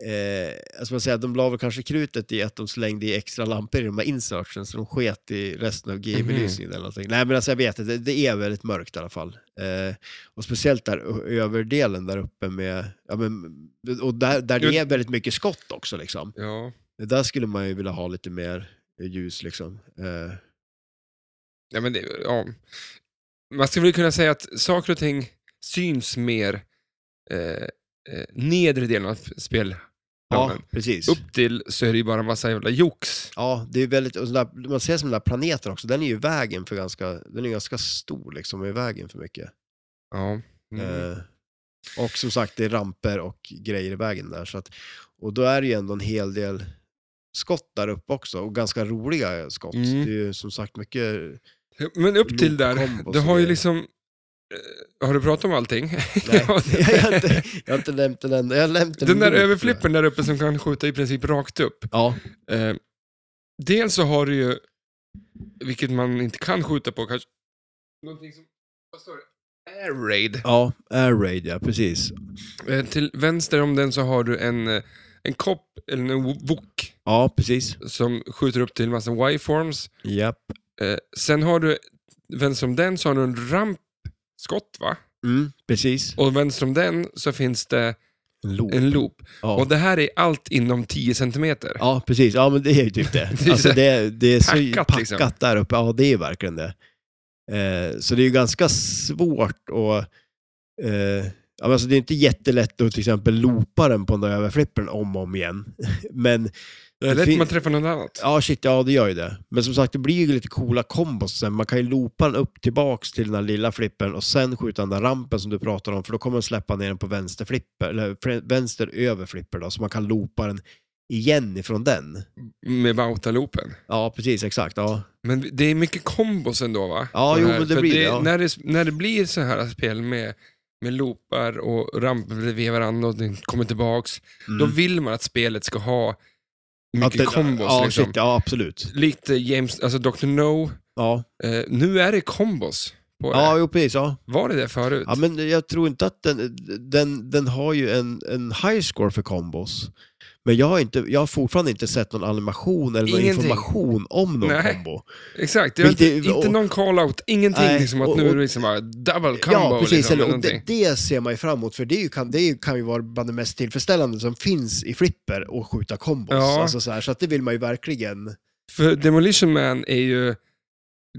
Eh, alltså man säger, de la väl kanske krutet i att de slängde i extra lampor i de här insertsen så de sket i resten av GI-belysningen eller någonting. Nej men alltså jag vet inte, det, det är väldigt mörkt i alla fall. Eh, och speciellt där ö- överdelen där uppe med, ja, men, och där, där det är väldigt mycket skott också liksom. Ja. Det där skulle man ju vilja ha lite mer ljus liksom. Eh, Ja, men det, ja. Man skulle väl kunna säga att saker och ting syns mer eh, eh, nedre delen av spel. ja, precis. Upp till så är det ju bara en massa jävla jox. Ja, det är väldigt, och sådär, man ser som den där planeten också, den är ju i vägen för ganska, den är ganska stor liksom, och i vägen för mycket. Ja. Mm. Eh, och som sagt, det är ramper och grejer i vägen där. Så att, och då är det ju ändå en hel del skott där uppe också, och ganska roliga skott. Mm. Det är ju som sagt mycket... Men upp till där, Loop-kombos du har och ju grejer. liksom... eh, Har du pratat om allting? Nej, Ja, det- jag, har inte, jag har inte nämnt den enda. Jag har nämnt Den där nu. överflippen där uppe som kan skjuta i princip rakt upp. Ja, Eh, dels så har du ju, vilket man inte kan skjuta på kanske, någonting som, vad står det? Air raid. ja, air raid ja, precis. Eh, till vänster om den så har du en, eh, en kopp, eller en wo- wok, Ja, precis. som skjuter upp till en massa Y-forms. Japp. Eh, sen har du, vänster om den så har du en rampskott va? Mm, precis. Och vänster om den så finns det Loop. en loop. Ja. Och det här är allt inom 10 centimeter. Ja, precis. Ja, men det är ju typ Det det. är Alltså, så- det, är- det är så packat, Packat, liksom. där uppe. Ja, det är ju verkligen det. Eh, så det är ju ganska svårt att... Eh, ja, men alltså, det är inte jättelätt att till exempel loopa den på den där överflippen om och om igen. Men... det är lätt fin- att man träffar något annat. Ja, shit, ja det gör ju det. Men som sagt, det blir ju lite coola kombos sen. Man kan ju loopa den upp tillbaks till den där lilla flippen och sen skjuta den där rampen som du pratar om, för då kommer den släppa ner den på vänster flipper, eller fr- vänster över flipper då, så man kan loopa den igen ifrån den. Med Bauta-loopen. Ja, precis, exakt. Ja, Men det är mycket kombos ändå va? Ja, På jo, här. men det För blir det, ja. När, det, när det blir så här spel med med loopar och ramp bredvid varandra och den kommer tillbaks. Mm. Då vill man att spelet ska ha Att mycket det- kombos. ja, liksom. shit, ja, absolut. Lite James, alltså Dr. No. Ja, Eh, nu är det kombos. På det. ja jo, precis. Ja. Var det det förut? Ja, men jag tror inte att den, den, den har ju en, en high score för kombos. Men jag har, inte, jag har fortfarande inte sett någon animation eller någon Ingenting. information om någon Nej. kombo. Exakt, det var inte, Vilket- inte och- någon call-out, ingenting Nej, liksom att och- nu är och- det liksom bara double combo. Ja, precis. Liksom, eller, eller och det, någonting. det ser man ju fram emot, för det, är ju, kan, det är ju, kan ju vara bland det mest tillfredsställande som finns i flipper att skjuta kombos. Ja. Alltså, så, här, så att det vill man ju verkligen. För Demolition Man är ju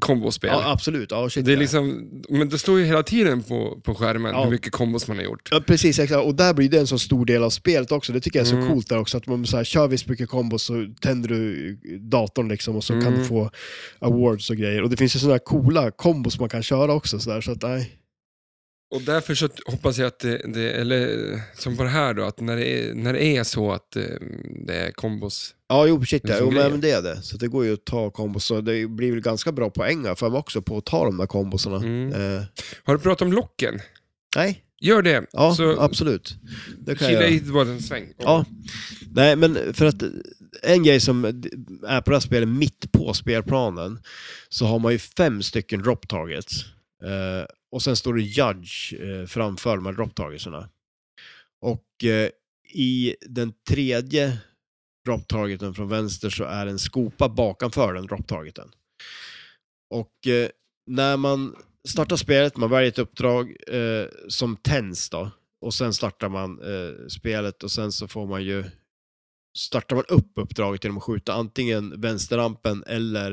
kombospel. Ja, absolut. Ja, shit, det är ja. liksom, men det står ju hela tiden på, på skärmen Ja. hur mycket kombos man har gjort. Ja, precis. Exakt. Och där blir det en så stor del av spelet också. Det tycker jag är så Mm. coolt där också. Att man så här, kör visst mycket kombos så tänder du datorn liksom och så kan Mm. du få awards och grejer. Och det finns ju sådana här coola kombos man kan köra också. Så där, så att, nej. Och därför så hoppas jag att det, det eller eh, som på det här då, att när det är, när det är så att eh, det är kombos. Ja, jo, shit Det är ja. som Jo, grejer. men det är det. Så det går ju att ta kombos. Så det blir väl ganska bra poäng här för mig också på att ta de där kombosarna. Mm. Eh, Har du pratat om locken? nej, Gör det. ja, så absolut. Det kan kila jag göra. hit bara en sväng. Ja. Nej, men för att en grej som är på det här spelet, mitt på spelplanen, så har man ju fem stycken drop targets. Eh, och sen står det judge eh, framför de här drop targetsarna. Och eh, i den tredje drop targeten från vänster så är en skopa bakanför den drop targeten. Och eh, när man startar spelet, man väljer ett uppdrag eh, som tänds då. Och sen startar man eh, spelet och sen så får man ju startar man upp uppdraget genom att skjuta antingen vänsterrampen eller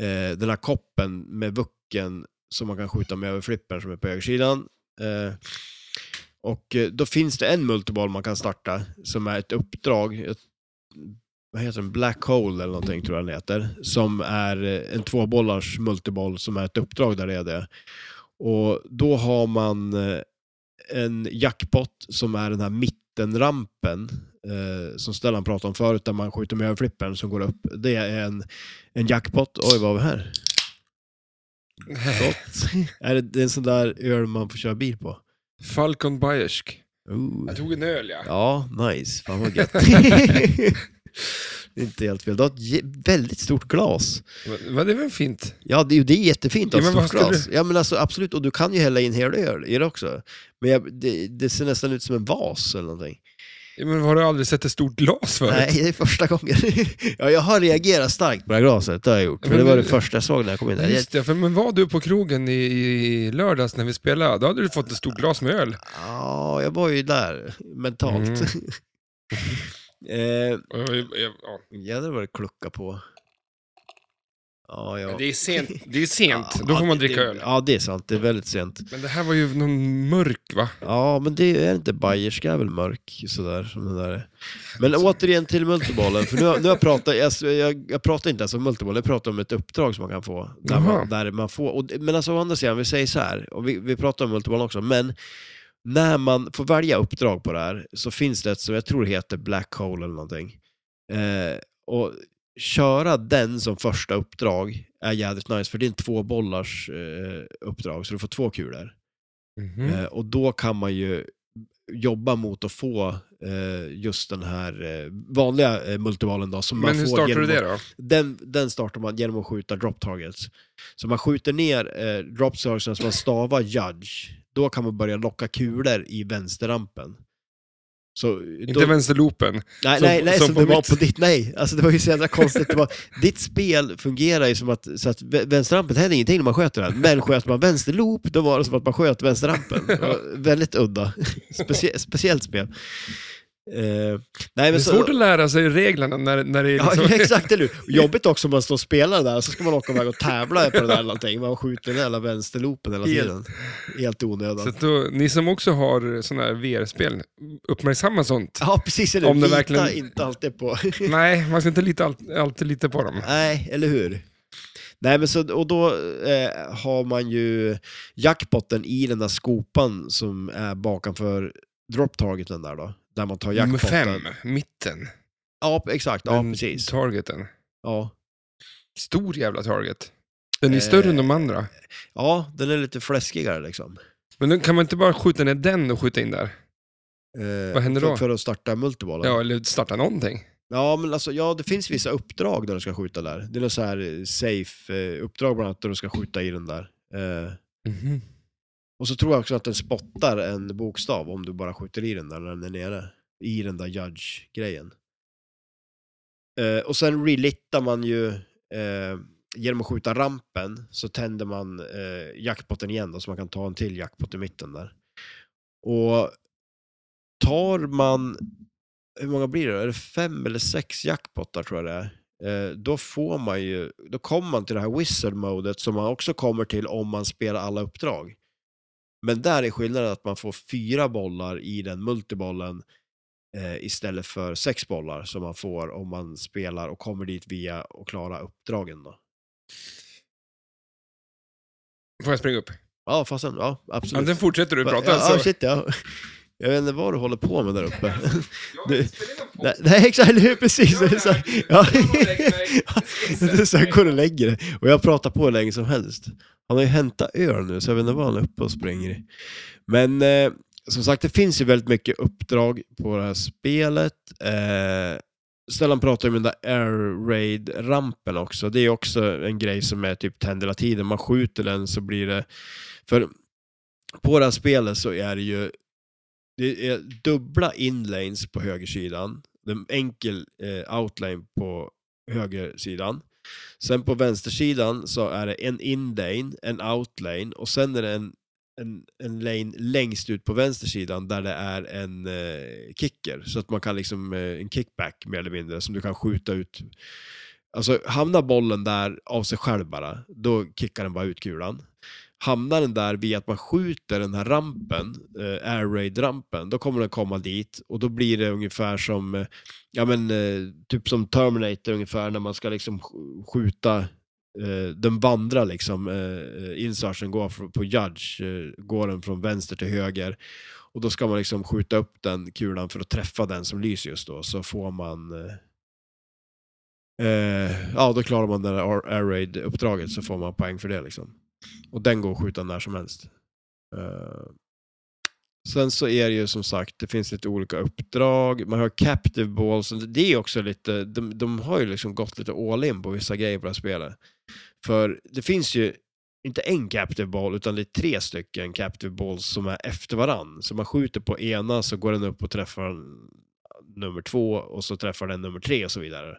eh, den här koppen med vucken som man kan skjuta med över flippern som är på högersidan. Eh, och eh, då finns det en multiball man kan starta som är ett uppdrag. Ett, vad heter den? Black Hole eller någonting tror jag den heter. Som är eh, en tvåbollars multiboll som är ett uppdrag där det är det. Och då har man eh, en jackpot som är den här mittenrampen eh, som Stellan pratade om förut där man skjuter med överflippern som går upp. Det är en, en jackpot. Oj, vad var vi här? Gott. är det, det är en sån där öl man får köra bil på? Falcon Bayersk. Ooh. Jag tog en öl ja. Ja, nice. Fan vad gött. det är inte helt fel. Du har ett ge- väldigt stort glas. Men- men Det var fint. Ja, det, är ju- det är jättefint att Ja, ha men ett stort vad glas. Ja, men alltså absolut. Och du kan ju hälla in hel öl i det också. Men jag, det, det ser nästan ut som en vas eller någonting. Ja, Men har du aldrig sett ett stort glas förut? Nej, det är första gången. ja, jag har reagerat starkt på det här glaset, det har jag gjort. För Men det var nu- det första jag såg när jag kom in där. Jag, Just det, för, men var du på krogen i, i lördags när vi spelade, då hade du fått ett stort glas med öl. ja, jag var ju där Mm. mentalt. eh, Och jag- jag- ja. Jädrar vad det kluckar på. Ja, ja. Det är sent, det är sent. då får man det- dricka öl. Ja, det är sant. Det är väldigt sent. Men det här var ju någon mörk va? Ja, men det är inte bayerska är väl mörk sådär som den där är. Men återigen till multibollen, för nu, har- nu har jag pratat, jag, jag, jag pratar inte ens om multibollen, jag pratar om ett uppdrag som man kan få. Där Jaha. man, där man får och, det- men alltså å andra sidan, vi säger så här, och vi, vi pratar om multibollen också, men när man får välja uppdrag på det här så finns det ett som jag tror heter Black Hole eller någonting. Eh, och köra den som första uppdrag är jädrigt nice, för det är en tvåbollars eh, uppdrag, så du får två kulor. Mhm. Mm. Eh, och då kan man ju jobba mot att få eh, just den här eh, vanliga eh, multivalen då, som Men man hur får startar genom du det att, då? Den, den startar man genom att skjuta drop targets. Så man skjuter ner eh, drop targets så man stavar judge. Då kan man börja locka kulor i vänsterrampen. Så, då- Inte vänsterloopen. Nej, Som- nej, nej, som som, på det var mitt. på ditt, nej. Alltså det var ju så jävla konstigt. Det var, ditt spel fungerar ju som att, så att vä- vänsterrampen det händer ingenting när man sköter den. Men sköter man vänsterloop, då var det som att man sköt vänsterrampen. Det var Väldigt udda. Specie, speciellt spel. Eh, nej, men Det är så, svårt att lära sig reglerna när, när det är Ja, liksom... exakt, eller hur? Jobbigt också om man står och spelar där, så ska man åka iväg och tävla på det där eller någonting. Man skjuter den där jävla vänsterloopen hela Helt. tiden. Helt Så onödan. att då, ni som också har sådana här VR-spel, uppmärksamma sånt. Ja, precis, eller hur? Om det Lita verkligen- inte alltid på... Nej, man ska inte lita, all- alltid lita på dem. Nej, eller hur? Nej, men så, och då eh, har man ju jackpotten i den där skopan som är bakanför drop-targeten där då. Där man tar Nummer jackpotten. fem, mitten. Ja, exakt. Ja, Den precis. Targeten. Ja. Stor jävla target. Den är Eh, större än de andra. ja, den är lite fläskigare liksom. Men då kan man inte bara skjuta ner den och skjuta in där? Eh, Vad händer för, då? För att starta multiball. Ja, eller starta någonting. Ja, men alltså, ja, det finns vissa uppdrag där de ska skjuta där. Det är något så här safe-uppdrag bland annat där de ska skjuta i den där. Eh, Mhm. och så tror jag också att den spottar en bokstav om du bara skjuter i den där när den är nere. I den där judge-grejen. Eh, och sen relittar man ju, eh, genom att skjuta rampen så tänder man eh, jackpotten igen då, så man kan ta en till jackpot i mitten där. Och tar man, hur många blir det då? Är det fem eller sex jackpottar tror jag det är? Eh, då får man ju, då kommer man till det här wizard-modet som man också kommer till om man spelar alla uppdrag. Men där är skillnaden att man får fyra bollar i den multibollen eh, istället för sex bollar som man får om man spelar och kommer dit via och klara uppdragen då. Får jag springa upp? Ja, fastän, ja, Ja, absolut. den fortsätter du prata ja, ja, alltså. shit ja. Jag vet inte vad du håller på med där uppe. du- Nej, Nej. nej exakt, eller hur? Gör Precis. Det är det så, här. ja. Jag går och lägger mig. Det är så jag går och lägger det. Och jag pratar på hur länge som helst. Han har ju hämtat öl nu, så jag vet inte vad han är uppe och springer i. Men eh, som sagt, det finns ju väldigt mycket uppdrag på det här spelet. Eh, Stellan pratar ju om den där air raid-rampen också. Det är också en grej som är typ tänd hela tiden. Man skjuter den så blir det... För på det här spelet så är det ju det är dubbla inlanes på högersidan, en enkel eh, outlane på högersidan. Sen på vänstersidan så är det en inlane, en outlane och sen är det en, en, en lane längst ut på vänstersidan där det är en eh, kicker. Så att man kan liksom, eh, en kickback mer eller mindre som du kan skjuta ut. Alltså hamnar bollen där av sig själv bara, då kickar den bara ut kulan hamnar den där via att man skjuter den här rampen, eh, air raid-rampen, då kommer den komma dit och då blir det ungefär som, eh, ja men eh, typ som Terminator ungefär när man ska liksom sk- skjuta eh, den vandrar liksom, eh, eh, insertion går fr- på judge, eh, går den från vänster till höger och då ska man liksom skjuta upp den kulan för att träffa den som lyser just då, så får man eh, eh, ja, då klarar man det där air- air raid-uppdraget så får man poäng för det liksom. Och den går att skjuta när som helst. Eh, sen så är det ju som sagt, det finns lite olika uppdrag. Man har captive balls. och Det är också lite, de, de har ju liksom gått lite all in på vissa grejer på det här spelet. För det finns ju inte en captive ball, utan det är tre stycken captive balls som är efter varann. Så man skjuter på ena så går den upp och träffar nummer två och så träffar den nummer tre och så vidare.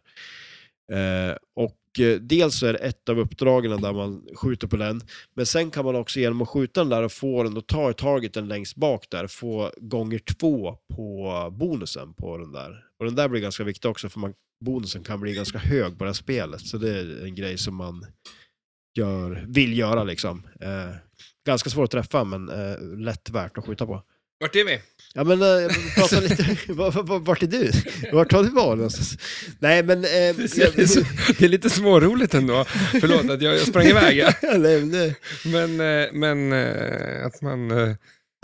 Eh, och eh, dels så är det ett av uppdragen där man skjuter på den, men sen kan man också genom att skjuta den där och få den och ta i targeten längst bak där, få gånger två på bonusen på den där. Och den där blir ganska viktig också för man, bonusen kan bli ganska hög på det här spelet, så det är en grej som man gör, vill göra liksom. Eh, ganska svår att träffa men eh, lätt värt att skjuta på. Vart är vi? Ja men eh, jag pratar lite, vart, vart- vart är du? Vart har du varit någonstans? Nej men... Eh, Det är, så, det är lite småroligt ändå. Förlåt att jag, jag sprang iväg. ja. Jag nämnde Men, eh, men eh, att man... eh,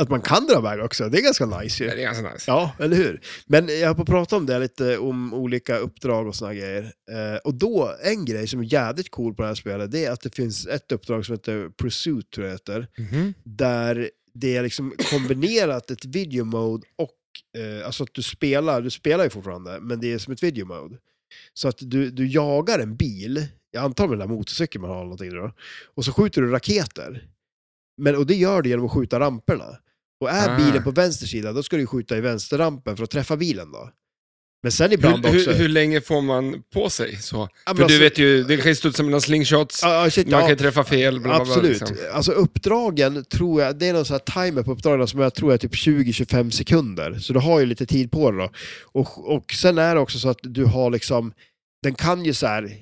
att man kan dra iväg också, det är ganska nice Det ju. är ganska nice. Ja, eller hur? Men jag höll på att prata om det lite, om olika uppdrag och såna grejer. Eh, och då, en grej som är jävligt cool på det här spelet, det är att det finns ett uppdrag som heter Pursuit, tror jag det heter, Mhm. där det är liksom kombinerat ett video mode och, eh, alltså att du spelar, du spelar ju fortfarande, men det är som ett video mode. Så att du, du jagar en bil, jag antar med den där motorcykeln man har eller någonting då, och så skjuter du raketer. Men, och det gör du genom att skjuta ramperna. Och är Ah. bilen på vänster sida, då ska du ju skjuta i vänsterrampen för att träffa bilen då. Men sen ibland Hur, också... hur, hur länge får man på sig? Så? Ja, men För du alltså- vet ju, det kan ju studsa mellan slingshots, Ja, ja, shit, man ja. kan ju träffa fel. Bla, bla, bla, Absolut. liksom. Alltså uppdragen tror jag, det är någon sån här timer på uppdragen som jag tror är typ 20-25 sekunder. Så du har ju lite tid på dig då. Och, och sen är det också så att du har liksom, den kan ju så här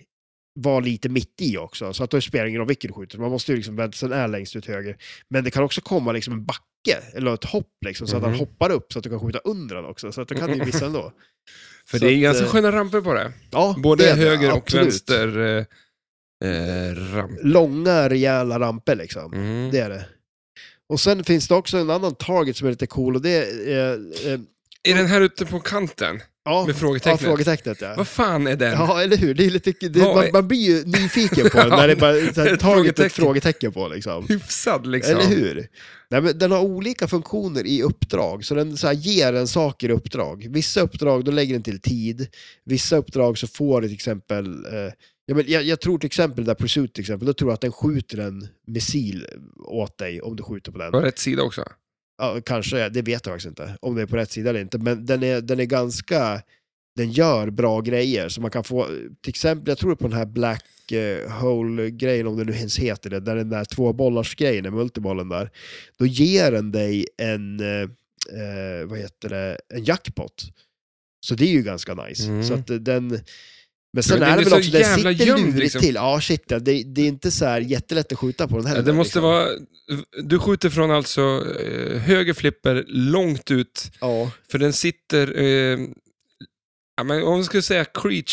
vara lite mitt i också, så att då spelar det ingen roll vilken du skjuter. Man måste ju liksom vänta, sen är längst ut höger. Men det kan också komma liksom en backe, eller ett hopp liksom, så att Mhm. han hoppar upp så att du kan skjuta under den också. Så att du kan ju missa ändå. För Så det är att, ganska eh, sköna ramper på det. Ja, Både det är det, höger och absolut. vänster eh, eh, ramp. Långa, rejäla ramper liksom. Mm. Det är det. Och sen finns det också en annan target som är lite cool och det är... Eh, eh, Är den här ute på kanten? Ja, Med frågetecknet. Ja, frågetecknet ja. Vad fan är den? Ja, eller hur? Det är lite, det, Vad man, är- man blir ju nyfiken på den när det bara så här, Ett taget frågetecken. ett frågetecken på liksom. Hyfsad liksom. Eller hur? Nej, men den har olika funktioner i uppdrag, så den så här, ger en saker i uppdrag. Vissa uppdrag då lägger den till tid, vissa uppdrag så får du till exempel, eh, ja, men jag, jag tror till exempel där Pursuit till exempel, då tror jag att den skjuter en missil åt dig om du skjuter på den. På rätt sida också. Ja, kanske, det vet jag faktiskt inte, om det är på rätt sida eller inte, men den är, den är ganska, den gör bra grejer, så man kan få, till exempel, jag tror på den här Black eh, Hole-grejen, om det nu ens heter det, där den där tvåbollars-grejen, multibollen där, då ger den dig en, eh, eh, vad heter det, en jackpot. Så det är ju ganska nice. Mm. Så att eh, den... Men sen Men den är det är väl så också, den jävla sitter gömd, lurigt liksom. till. Ja, shit, ja, det, det är inte så här jättelätt att skjuta på den heller. Ja, det måste liksom. vara... Du skjuter från alltså eh, höger flipper långt ut, Ja, för den sitter... Eh, ja, men om man skulle säga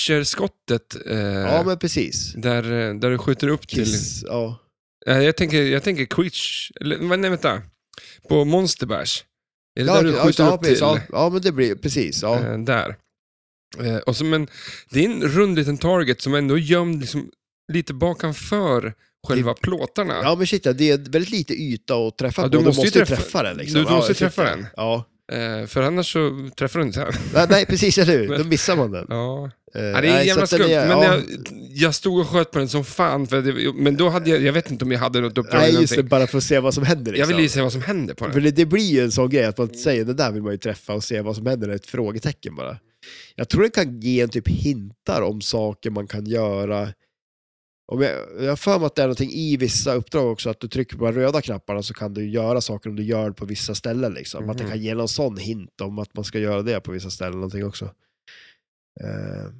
creature-skottet, eh, ja men precis. där, eh, där du skjuter upp till... Kiss, ja. Ja, jag, tänker, jag tänker creature... Eller, men nej, vänta. På Monster Bash. Är det Ja, där du ja, skjuter ja, upp precis, till? Ja, ja, men det blir precis. Ja, Eh, där. Eh, och så, men det är en rund liten target som ändå är gömd liksom, lite bakanför själva Typ. plåtarna. ja men shit, ja, det är väldigt lite yta att träffa Ja, på. du Du måste måste, ju måste träffa- träffa, den. Liksom. du- du ja, måste shit, träffa ja. den. Ja. Eh, för annars så träffar du inte den. Nej, nej, precis, eller hur? Då missar man den. Ja. Eh, Ja, det är nej, så jävla att den skumt, är- men ja. jag, jag stod och sköt på den som fan, för det, men då hade jag, jag vet inte om jag hade något uppdrag Nej, eller just det, någonting. bara för att se vad som händer. Jag Liksom. ville ju se vad som hände på För den. det, det blir ju en sån grej att man säger det där vill man ju träffa och se vad som händer, ett frågetecken bara. Jag tror det kan ge en typ hintar om saker man kan göra. Om jag, jag har för mig att det är någonting i vissa uppdrag också, att du trycker på de röda knapparna så kan du göra saker om du gör det på vissa ställen. Liksom. Att det Mhm. kan ge någon sån hint om att man ska göra det på vissa ställen någonting också. Eh,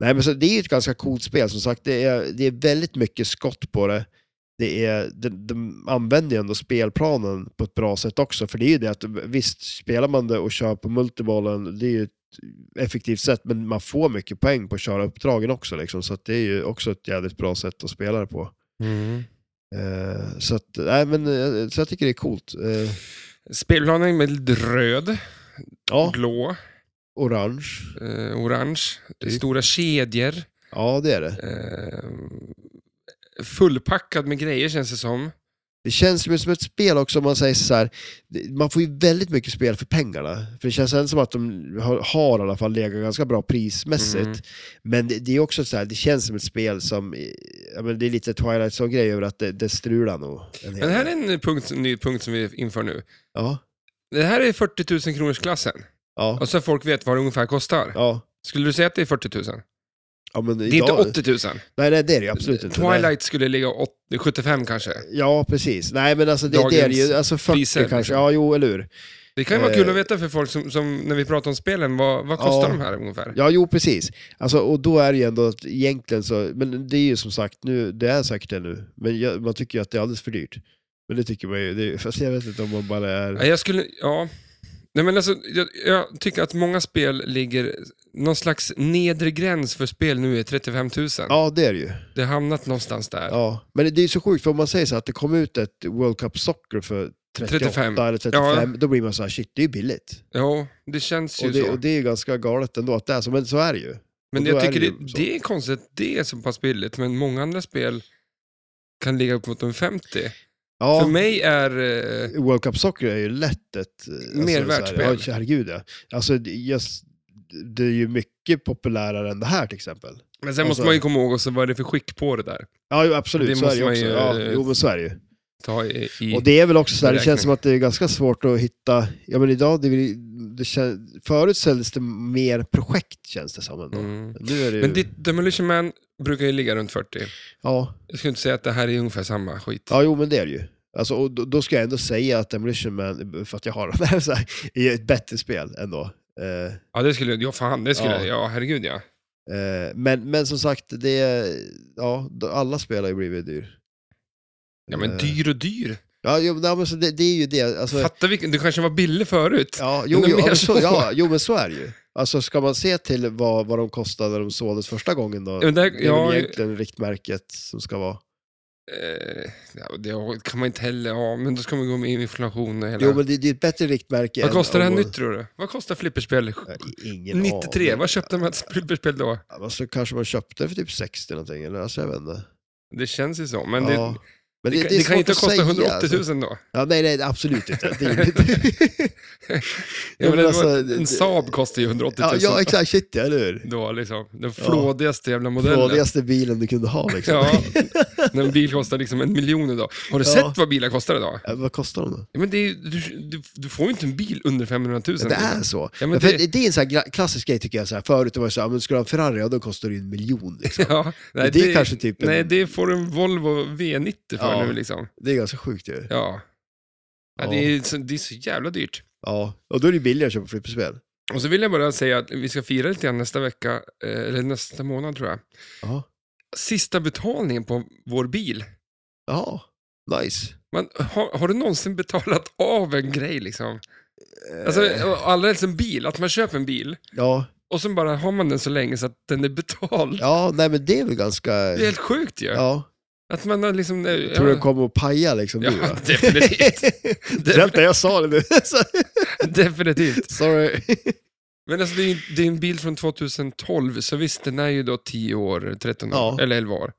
nej, men så, det är ju ett ganska coolt spel som sagt. Det är, det är väldigt mycket skott på det det är, de, de använder ju ändå spelplanen på ett bra sätt också. För det är ju det att visst, spelar man det och kör på multibollen, det är ju ett effektivt sätt, men man får mycket poäng på att köra uppdragen också. Liksom, så att det är ju också ett jävligt bra sätt att spela det på. Mm. Eh, så, att, nej, men, eh, så jag tycker det är coolt. Eh, Spelplanen är väldigt röd, ja, blå, orange. eh, orange, Typ. stora kedjor. Ja, det är det. Eh, fullpackad med grejer känns det som. Det känns ju som ett spel också om man säger så här. det- Man får ju väldigt mycket spel för pengarna. För det känns ändå som att de har, har i alla fall legat ganska bra prismässigt. Mm. Men det, det är också så här, det känns som ett spel som, eh, ja, men det är lite Twilight Zone-grej över att det, det strular nog. En hel Men det här är del. en, punkt, en ny punkt som vi inför nu. Ja, Det här är 40 000 kronors klassen. ja, Och så folk vet vad det ungefär kostar. ja. Skulle du säga att det är 40 000? ja men Det är idag, inte 80 000. Nej, nej, det är det ju absolut inte. Nej. Twilight skulle ligga åt- 75 kanske. Ja, precis. Nej, men alltså det, det är det Dagens ju. Alltså 40 priser, kanske. liksom. Ja, jo, eller hur. Det kan ju vara kul Eh. att veta för folk som, som när vi pratar om spelen, vad, vad kostar Ja. de här ungefär? Ja, jo, precis. Alltså, och då är det ju ändå att egentligen så, men det är ju som sagt, nu, det är säkert det nu, men jag, man tycker ju att det är alldeles för dyrt. Men det tycker man ju, det, är- fast jag vet inte om man bara Ja, är... jag skulle, ja. Nej, men alltså, jag, jag tycker att många spel ligger, någon slags nedre gräns för spel nu är 35 000. Ja, det är det ju. Det har hamnat någonstans där. Ja, men det är ju så sjukt, för om man säger så här att det kom ut ett World Cup Soccer för 38 35. eller 35, Ja. då blir man så här, shit, det är ju billigt. Jo, det känns ju Och det, så. och det är ju ganska galet ändå att det är så, men så är det ju. men och jag då är tycker det det, ju så. det är konstigt att det är så pass billigt, men många andra spel kan ligga upp mot en 50. Ja, För mig är... eh, World Cup Soccer är ju lätt ett... alltså, Mer så här, världsspel. Ja, herregud ja. Alltså, det- jag, det är ju mycket populärare än det här till exempel. Men sen måste Alltså- man ju komma ihåg också vad det är för skick på det där. Ja, jo, Det absolut. Så är måste det ju man också. ju, Ja, eh, jo, men så är det ju. Ta i, i... Och det är väl också så här, det beräkning. känns som att det är ganska svårt att hitta... Ja, men idag, det, är väl- det kän- förut säljs det mer projekt känns det som ändå. Mm. Nu är det ju... Men ditt Demolition Man brukar ju ligga runt 40. ja. Jag skulle inte säga att det här är ungefär samma skit. ja, jo men det är det ju. Alltså, och då, då ska jag ändå säga att Demolition Man, för att jag har den här, så här är ett bättre spel ändå. Eh, Ja, det skulle Ja, fan, det skulle Ja. Ja, herregud ja. eh, men, men som sagt, det är, ja, då- alla spel har ju blivit dyr. Ja, men Eh, dyr och dyr. Ja, jo, nej, men så det, det är ju det. Alltså, Fatta vilken... Det kanske var billig förut. Ja, jo, Men jo, mer ja, men så, så. ja, jo, men så är det ju. Alltså ska man se till vad, vad de kostade när de såldes första gången då? Men där, Det är väl ja, egentligen riktmärket som ska vara. Eh, ja, det kan man inte heller ha, men då ska man gå med inflation och hela... Jo, men det, det är ett bättre riktmärke. Vad än kostar det här om- nytt tror du? Vad kostar flipperspel? Ingen 93, aning. vad köpte man ett flipperspel då? Ja, men så kanske man köpte för typ 60 någonting, eller alltså, jag vet inte. Det känns ju så, men det, Ja. Men det, det, är kan ju inte svårt att kosta säga, 180 alltså. 000 då. Ja, nej, nej, absolut inte. Det är inte. Ja, men men alltså, en, en det- Saab kostar ju 180 000 ja, ja, exakt. Shit, ja, eller hur? då, liksom. Den flådigaste jävla modellen. Flådigaste bilen du kunde ha liksom. Ja, när en bil kostar liksom en miljon idag. Har du Ja. sett vad bilar kostar idag? Ja, Vad kostar de då? Ja, Men det är, ju- du, du, du får ju inte en bil under 500 000. Det är så. Ja, Ja, men men för det- det... är en sån här gra- klassisk grej tycker jag. Så här. Förut det var det så här, men skulle du ha en Ferrari, ja då kostar det ju en miljon. Liksom. Ja, nej, Men det är kanske typ en- Nej, det får du en Volvo V90 för Ja. nu liksom. Det är ganska sjukt ju. Ja. Ja. Ja, Ja. Det, är, så- det är så jävla dyrt. Och då är det ju billigare att köpa flipperspel. Och så vill jag bara säga att vi ska fira lite grann nästa vecka, eh, eller nästa månad tror jag. Ja. Sista betalningen på vår bil. Ja, nice. Man, har, har du någonsin betalat av en grej liksom? Alltså, och allra helst en bil, att man köper en bil Eh, Ja, och sen bara har man den så länge så att den är betald. ja nej men det är väl ganska... Det är helt sjukt ju. Ja. Att man har liksom... eh, Tror du den ja, kommer att paja liksom nu? ja, va? definitivt. Vänta, jag sa det nu. definitivt. Sorry. Men alltså det är, ju- det är en bil från 2012, så visst den är ju då 10 år, 13 år, Ja. eller 11 år.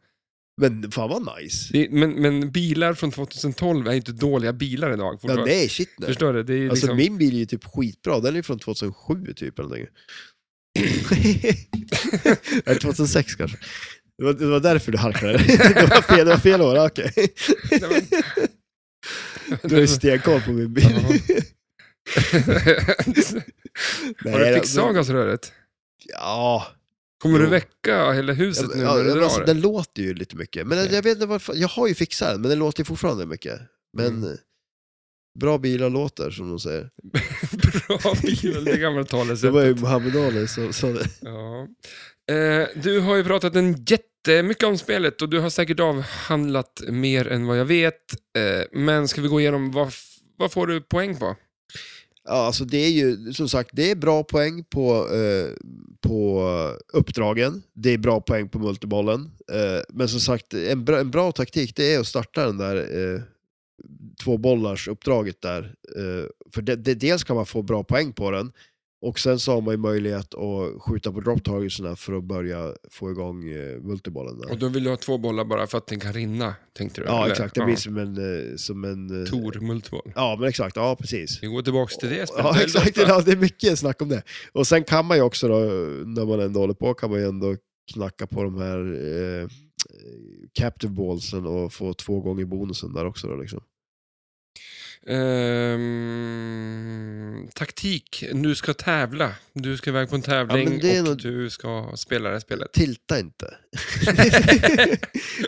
Men fan vad nice. Det är, men, men bilar från 2012 är ju inte dåliga bilar idag. Ja, fortfarande. nej, shit nej. Förstår du? Det är ju Alltså liksom... min bil är ju typ skitbra, den är ju från 2007 typ eller någonting. Eller 2006 kanske. Det var, det var därför du halkade. Det var fel, det var fel år, okej. Nej, men- Du har ju stenkoll på min bil. Har Nej, du då- fixat avgasröret? Ja, Kommer Jo. du väcka hela huset ja, nu när du men alltså, drar? den låter ju lite mycket. Men Okej. jag vet inte varför, jag har ju fixat den, men den låter ju fortfarande mycket. Men Mm. eh, bra bilar låter, som de säger. Bra bil, det gamla Det talesättet. var ju Muhammed Ali som sa det. Ja. Eh, du har ju pratat en jättemycket om spelet och du har säkert avhandlat mer än vad jag vet. Eh, men ska vi gå igenom, vad, f- vad får du poäng på? Ja, alltså det är ju som sagt, det är bra poäng på, eh, på uppdragen, det är bra poäng på multibollen. Eh, men som sagt, en bra, en bra taktik det är att starta den där eh, två bollars uppdraget där. Eh, för det, det, dels kan man få bra poäng på den, och sen så har man ju möjlighet att skjuta på drop targetsna för att börja få igång eh, multibollen. Där. Och då vill du ha två bollar bara för att den kan rinna, tänkte du? Ja, eller? exakt. Det blir som en... eh, Som en eh, Tor multiboll. ja, men exakt. Ja, precis. Vi går tillbaka till det spelet. Ja, väldigt exakt. ofta. Ja, det är mycket snack om det. Och sen kan man ju också då, när man ändå håller på, kan man ju ändå knacka på de här eh, captive ballsen och få två gånger bonusen där också. Då, liksom. Ehm, taktik, du ska tävla. Du ska iväg på en Ja, tävling men det är och nog- du ska spela det här spelet. Tilta inte.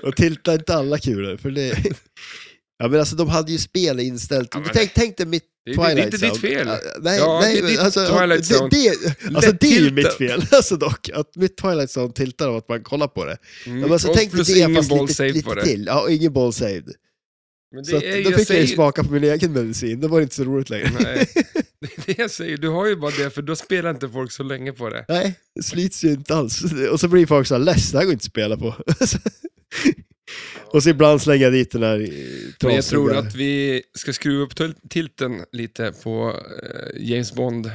och tilta inte alla kulor, för det... Ja men alltså de hade ju spel inställt. Ja, men- tänk, tänk dig mitt Det är- det är Twilight inte ditt Zone. fel. Ja, Nej, Ja, det är nej, men ditt alltså, Twilight Zone. det, det, alltså, det är ju Lätt-tiltat. mitt fel alltså dock. Att mitt Twilight Zone tiltar av att man kollar på det. Mm. Ja, men alltså, och tänk dig plus det ingen fast boll lite, saved på det. lite till. Ja, och ingen boll saved. Men Så att, är- då jag fick jag ju säger- smaka på min egen medicin, då var det inte så roligt längre. Nej, Nej, det är det jag säger. Du har ju bara det, för då spelar inte folk så länge på det. det slits ju inte alls. Och så blir folk så här less, det här går inte att spela på. och så ibland slänger jag dit den här eh, Men jag tror trasiga- att vi ska skruva upp til- tilten lite på eh, James Bond.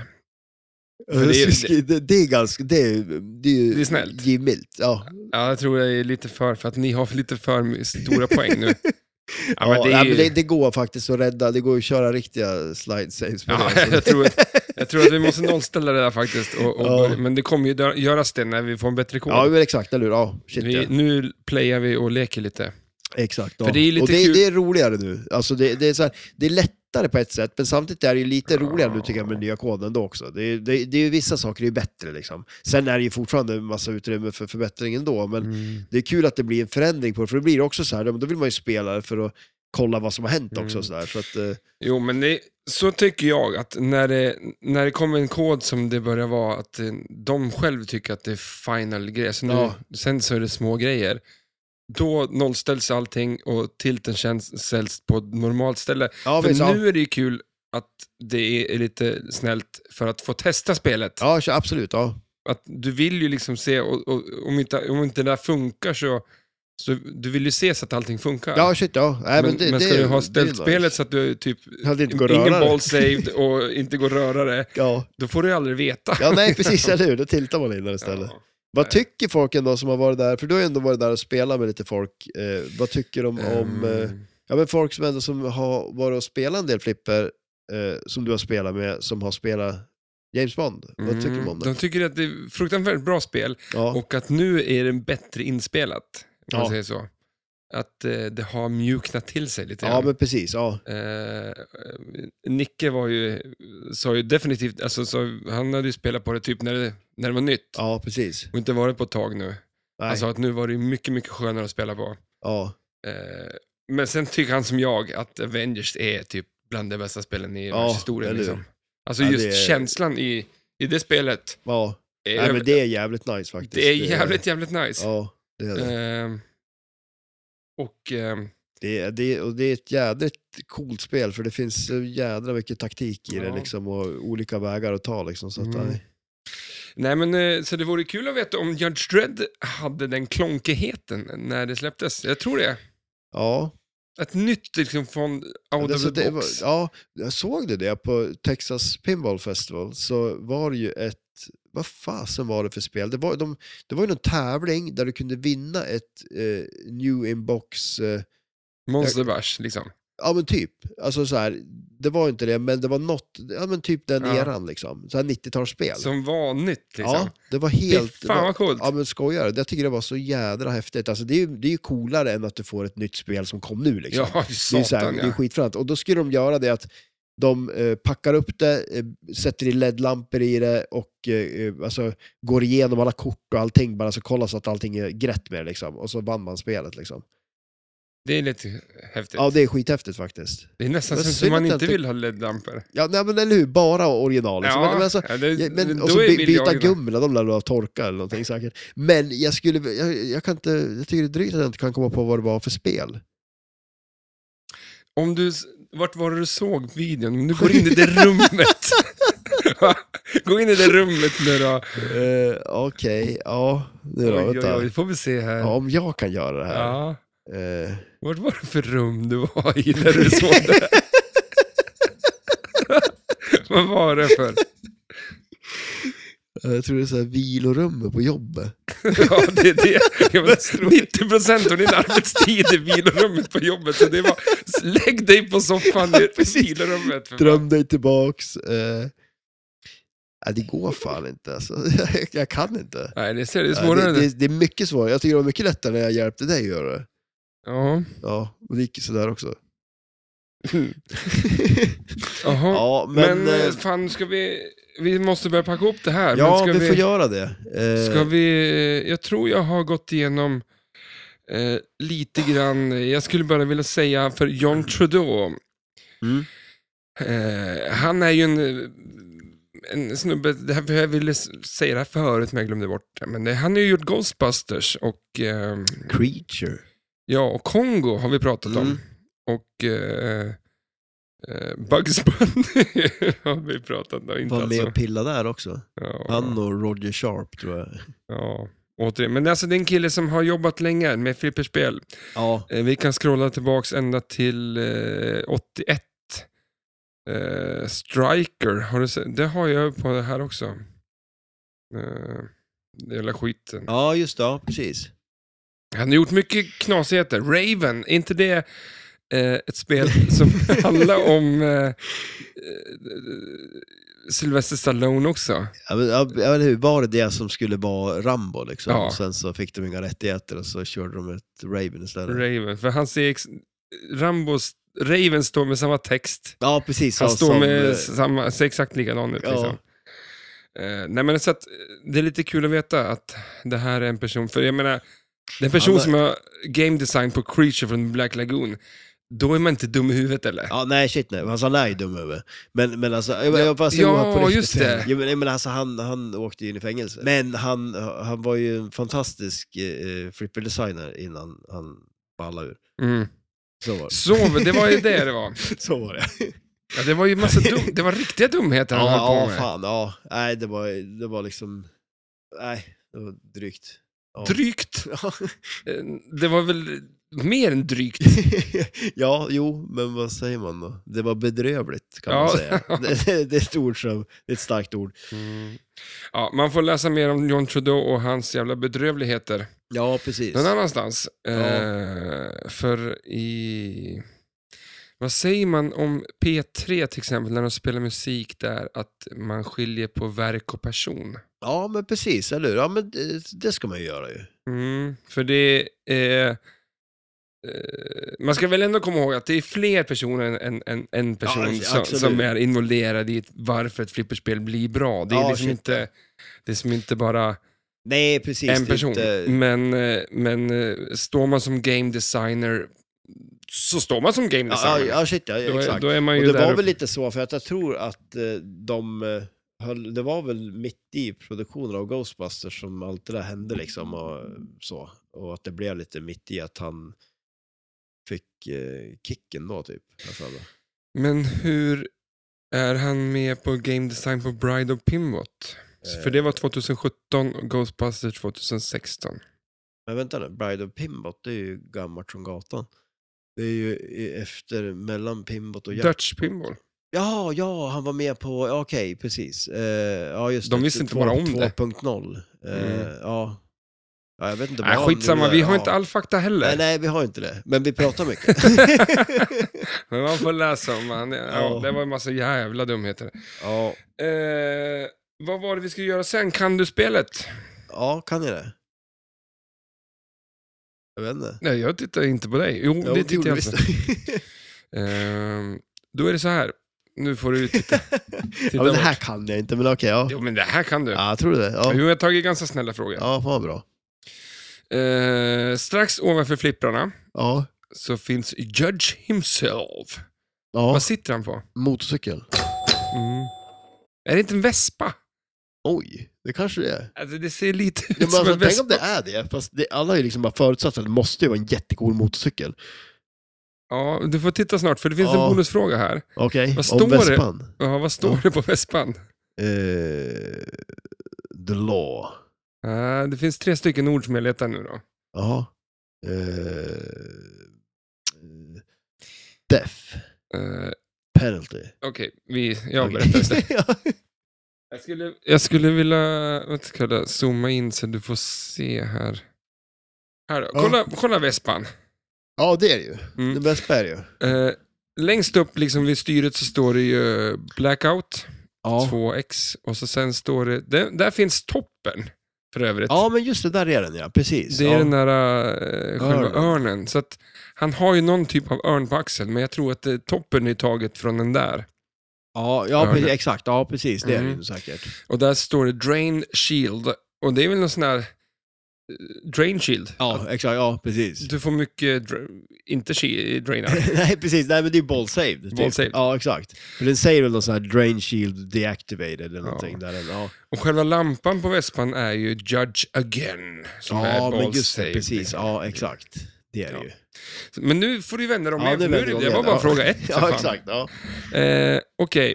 Ja, för det är- det, det, det är ganska, det är, det är ju Det är snällt. givmilt. Ja. Ja, jag tror jag är lite för, för att ni har lite för stora poäng nu. Ja, men Ja, det nej, är men det, ju... det går faktiskt att rädda, det går att köra riktiga slide saves på Ja, det. alltså. jag, tror att, jag tror att vi måste nollställa det där faktiskt. Och, och Ja. börja- Men det kommer ju dö- göras det när vi får en bättre kod. ja men exakt, eller hur? Ja, shit, ja. vi, nu playar vi och leker lite. Exakt. För det är ju lite och det, kul- det är roligare nu. Alltså det, det, är så här, det är lättare på ett sätt, men samtidigt är det ju lite roligare nu tycker jag med den nya koden då också. Det, är- det, det är ju vissa saker är ju bättre liksom. Sen är det ju fortfarande en massa utrymme för förbättring ändå, men Mm. det är kul att det blir en förändring på det, för det blir också så här, ja, men då vill man ju spela det för att kolla vad som har hänt också. Mm. och Så där. Så att, eh, Jo, men det, så tycker jag att när det, när det kommer en kod som det börjar vara, att eh, de själv tycker att det är final grejer, så nu, Ja. sen så är det små grejer. Då nollställs allting och tilten känns ställs på ett normalt ställe. ja, för visst, ja. nu är det ju kul att det är lite snällt för att få testa spelet. ja, kör- absolut. Ja. Att du vill ju liksom se, och, och, om, inte, om inte det där funkar så Så du vill ju se så att allting funkar. Ja, shit ja. Nej, men, men, men, det, ska det, du ha det är ställt nice. spelet så att du typ, Att det inte går att ingen röra det. ball saved och inte går att röra det, Ja. då får du ju aldrig veta. ja, nej precis, eller hur? Då tiltar man in där istället. Ja. Vad tycker folk ändå som har varit där? För du har ju ändå varit där och spelat med lite folk. Eh, vad tycker de om... Eh, Ehm, ja, men folk som ändå som har varit och spelat en del flipper eh, som du har spelat med, som har spelat James Bond. Vad tycker de om det? Mm. De tycker att det är fruktansvärt bra spel Ja, och att nu är det bättre inspelat, om man Ja. säger så. Att eh, det har mjuknat till sig lite ja grann. men precis. Ja. Eh, Nicke var ju, sa ju definitivt, alltså, så, han hade ju spelat på det typ när det, när det var nytt ja, precis. och inte varit på ett tag nu. Nej. Han sa att nu var det ju mycket, mycket skönare att spela på. ja. Eh, men sen tycker han som jag att Avengers är typ bland de bästa spelen i Ja, världshistorien. eller hur? Liksom. Alltså Ja, just det är- känslan i, i det spelet, ja. är, Nej, men det är jävligt nice faktiskt. det är jävligt, jävligt nice. Ja, det är det. Ehm, och ehm, Det är, det, är, och det är ett jädrigt coolt spel för det finns så jädra mycket taktik i det Ja. liksom och olika vägar att ta liksom. Så att, Mm. nej. nej men eh, så det vore kul att veta om Judge Dredd hade den klonkigheten när det släpptes. Jag tror det. Ja, Ett nytt liksom från out det, of så the det var, box. ja, jag såg det det på Texas Pinball Festival så var det ju ett, vad fasen var det för spel? Det var, de, det var ju någon tävling där du kunde vinna ett eh, new inbox, eh, Monster Bash liksom. ja men typ, alltså så här, det var inte det men det var något, ja men typ den Ja. eran liksom, så här 90-talsspel. Som var nytt liksom. Ja, det var Fy helt... det fan var- vad coolt. Ja men skojar Jag tycker det var så jädra häftigt. Alltså, det, är ju, det är ju coolare än att du får ett nytt spel som kom nu. Liksom. Ja, det är, satan ju så här, det är ja. skitfränt. Och då skulle de göra det att de eh, packar upp det, eh, sätter i LED-lampor i det och eh, eh, alltså, går igenom alla kort och allting. Bara så kollar så att allting är grätt med det. Liksom. Och så vann man spelet. Liksom. Det är lite häftigt. Ja, det är skithäftigt faktiskt. Det är nästan Men som- som synd man att jag inte inte- vill ha LED-lampor. Ja, nej, men eller hur? Bara original. Liksom. Men, men alltså, ja, det, Ja, men, då och så är- by, vill jag byta ju- gumla, de lär väl ha torka eller någonting säkert. Men jag skulle, jag, jag kan inte, jag tycker det är drygt att jag inte kan komma på vad det var för spel. Om du, s- vart var det du såg videon? Om du går in i det rummet. Va? Gå in i det rummet nu då. Uh, Okej, ja, nu då, Oj, oj, vänta. oj, får vi se här. Ja, om jag kan göra det här. Ja. Eh, Vart var det för rum du var i när du såg det? Vad var det för? Eh, jag tror det är så här vilorummet på jobbet. Ja, det är det. Jag var 90 procent av din arbetstid i vilorummet på jobbet. Så det var, lägg dig på soffan i Precis. vilorummet. för fan. Dröm dig tillbaks. eh. Ja, det går fan inte alltså. Jag, jag kan inte. Nej, det ser det är Ja, svårare. det, än det, det, det är mycket svårare. Jag tycker det var mycket lättare när jag hjälpte dig att göra det. Ja. Ja, och det gick ju sådär också. Jaha. ja, Mm. men men... eh, eh, fan, ska vi... Vi måste börja packa ihop det här. Ja, men vi, ska får göra det. Eh, Ska vi... Jag tror jag har gått igenom eh, lite grann. eh, Jag skulle bara vilja säga för John Trudeau. Mm. Eh, han är ju en... En snubbe, det här, jag ville s- säga det här förut men jag glömde bort det. Men det, han har ju gjort Ghostbusters och, eh, Creature. ja, och Kongo har vi pratat om. Mm. Och eh, eh, Bugs Bunny har vi pratat om. Inte Var med alltså. och pilla där också. Ja. Han och Roger Sharp tror jag. Ja, återigen. Men alltså det är en kille som har jobbat länge med flipperspel. Ja. Eh, Vi kan scrolla tillbaks ända till eh, 81. Eh, Striker, har du sett? det har jag på det här också. Eh, den jävla skiten. Ja, just det. Ja, precis. Han har gjort mycket knasigheter. Raven, är inte det eh, ett spel som handlar om eh, eh, Sylvester Stallone också? Ja, men, ja, ja, eller hur? Var det det som skulle vara Rambo liksom? Ja. Och sen så fick de inga rättigheter och så körde de ett Raven istället. Raven, för han ser... Ex- Rambos... Raven står med samma text. ja, precis. Han ja, står som, eh, med samma, ser exakt likadan ut. Ja. Liksom. Eh, nej, men så att, eh, det är lite kul att veta att det här är en person, för jag menar, den person Han har- som har game design på Creature från Black Lagoon, då är man inte dum i huvudet eller? Ja, nej shit nej. Alltså, han är ju dum över. Men, men alltså, jag, jag bara säger ja, här riktigt. just det. Jo, men, men alltså, han, han åkte ju in i fängelse. Men han, han var ju en fantastisk eh, flipperdesigner innan han ballade ur. Mm. Så var det. Så, det var ju det det var. Så var det. Ja, det var ju massa dum, det var riktiga dumheter han höll Ja, på ja med. fan, ja. Nej, det var, det var liksom... Nej, det var drygt. Ja. Drygt. Ja. Eh, Det var väl mer än drygt. ja, jo, men vad säger man då? Det var bedrövligt kan Ja. man säga. Det, det, det är ett ord som, det är ett starkt ord. Ja, man får läsa mer om John Trudeau och hans jävla bedrövligheter Ja, precis. någon annanstans. Eh, Ja. för i... Vad säger man om P3 till exempel, när de spelar musik där, att man skiljer på verk och person? Ja, men precis, eller hur? Ja, men det, det ska man ju göra ju. Mm, för det är... Eh, man ska väl ändå komma ihåg att det är fler personer än en, en, en person Ja, alltså, som, absolut. som är involverad i ett- varför ett flipperspel blir bra. Det är Ja, liksom shit. inte... Det är som inte bara Nej, precis. en det är person. Inte... Men, eh, men eh, står man som game designer så står man som game Ja, ja, designer. ja, shit, ja, då, är, exakt. då är man Och ju det där var uppe. väl lite så, för att jag tror att eh, de eh, höll, det var väl mitt i produktionen av Ghostbusters som allt det där hände liksom och eh, så. Och att det blev lite mitt i att han fick eh, kicken då typ. har jag för mig. Men hur är han med på game design på Bride of Pimbot? Eh. För det var 2017 och Ghostbusters 2016. Men vänta nu, Bride of Pimbot, det är ju gammalt som gatan. Det är ju i- efter, mellan Pimbot och Jack. Dutch Pinball. Ja, ja, han var med på, ja, okej, precis. Eh, ja, just De det, visste inte två- bara om det. 2.0. Eh, Mm. ja. ja, jag vet inte. vad Äh, han skitsamma, gjorde, vi har ja. inte all fakta heller. Nej, nej, vi har inte det. Men vi pratar mycket. Men man får läsa om han. Ja, Ja. det var en massa jävla dumheter. ja. Eh, vad var det vi skulle göra sen? Kan du-spelet? ja, kan ni det? Jag vet inte. Nej, jag tittar inte på dig. Jo, Jo, det tittar gjorde jag vi på. visst. Ehm, då är det så här. Nu får du titta. ja, men det här kan jag inte, men okej. ja. Jo, men det här kan du. ja, jag tror det. Ja, Jo, jag har tagit ganska snälla frågor. ja fan vad bra. Eh, strax ovanför flipprarna Ja, så finns Judge himself. ja. Vad sitter han på? Mm. motorcykel. Är det inte en vespa? Oj, det kanske det är. Alltså, det ser lite ut Ja, men som alltså, en tänk vespa. om det är det, fast det, alla har ju liksom bara förutsatt att det måste ju vara en jättecool motorcykel. Ja, du får titta snart, för det finns Ja. en bonusfråga här. Okej, Vad står om det? Vespan. Ja, vad står Ja. det på vespan? Eh, the law. Eh, det finns tre stycken ord som jag letar nu då. Jaha. Eh, eh, death. Eh, Penalty. Okej, vi, jag Okej. berättar istället. ja. Jag skulle, jag skulle vilja vad ska jag kalla, zooma in så du får se här. Här då. Ja. Kolla, kolla vespan. ja, det är det ju. Mm. Det bästa är det ju. Eh, längst upp liksom vid styret så står det ju eh, Blackout Ja. 2X och så sen står det, där, där finns toppen för övrigt. ja, men just det, där är den ja. Precis. Det är ja. den där eh, själva Örnen. örnen. Så att, han har ju någon typ av örn på axeln, men jag tror att eh, toppen är taget från den där. ja, ja precis, Örnen. exakt. Ja, precis. Det är det Mm. ju säkert. Och där står det Drain Shield. Och det är väl någon sån här... eh, Drain Shield? Ja, exakt. Ja, precis. Du får mycket, dra- inte shi- drainar. Nej, precis. Nej, men det är ju ball saved. typ. Ball saved. Ja, exakt. För den säger väl någon sån här drain shield deactivated eller någonting. Där den, ja, Och själva lampan på vespan är ju Judge Again. Som ja är men ball just det. saved, Precis. liksom. Ja, exakt. Det är det Ja. ju. Men nu får du vända dem Ja, igen, för nu är vänder det, vi det var om igen. bara Ja. fråga ett. för fan. Ja, exakt. Ja. Eh, Okej,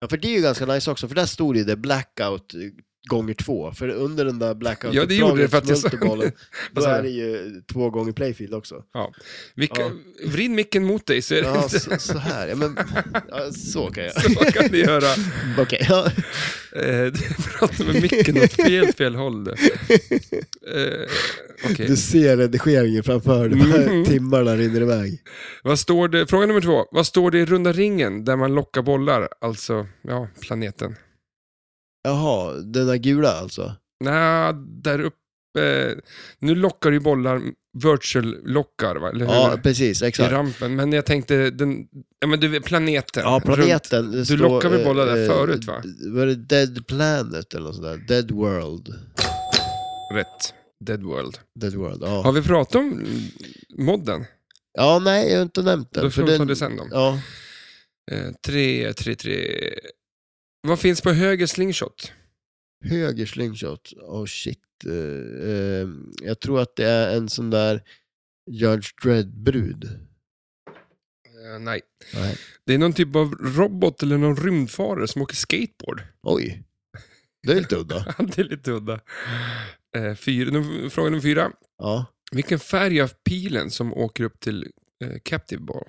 Ja, för det är ju ganska nice också, för där stod ju det blackout eh, gånger två. För under den där blackout Ja, det gjorde det för att jag sa- multibollen, Då Vad sa du? är det ju två gånger playfield också. vilka- Ja. vrid micken mot dig så är det Ja, inte... så, så här. Ja, men, ja, så kan jag. Så vad kan du göra? Okej, ja. Eh, du pratar med micken åt fel, fel håll. du. Eh, Okej, Du ser redigeringen framför dig, Mm. timmarna rinner iväg. Vad står det- fråga nummer två. Vad står det i runda ringen där man lockar bollar? Alltså, ja, planeten. Jaha, den där gula alltså? Nej, där uppe. Nu lockar ju bollar, virtual-lockar, va? eller hur? Ja, precis, I exakt. rampen, men jag tänkte, den, ja men du vet, planeten. Ja, Runt- planeten. det du lockar väl eh, bollar där eh, förut, va? Var det Dead Planet eller något sånt där? Dead World? Rätt. Dead World. Dead World, ja. Har vi pratat om mm, modden? Ja, nej, jag har inte nämnt den. Då får för vi ta den- det sen då. Ja. Eh, Tre, tre, tre. Vad finns på höger slingshot? Höger slingshot. Oh shit. Eh, eh, jag tror att det är en sån där Judge Dredd-brud. Eh, nej. Nej. Det är någon typ av robot eller någon rymdfarare som åker skateboard. Oj. Det är lite udda. det är lite udda. Eh, fyra, nu- fråga nummer fyra. Ja. Vilken färg har pilen som åker upp till eh, Captive Ball?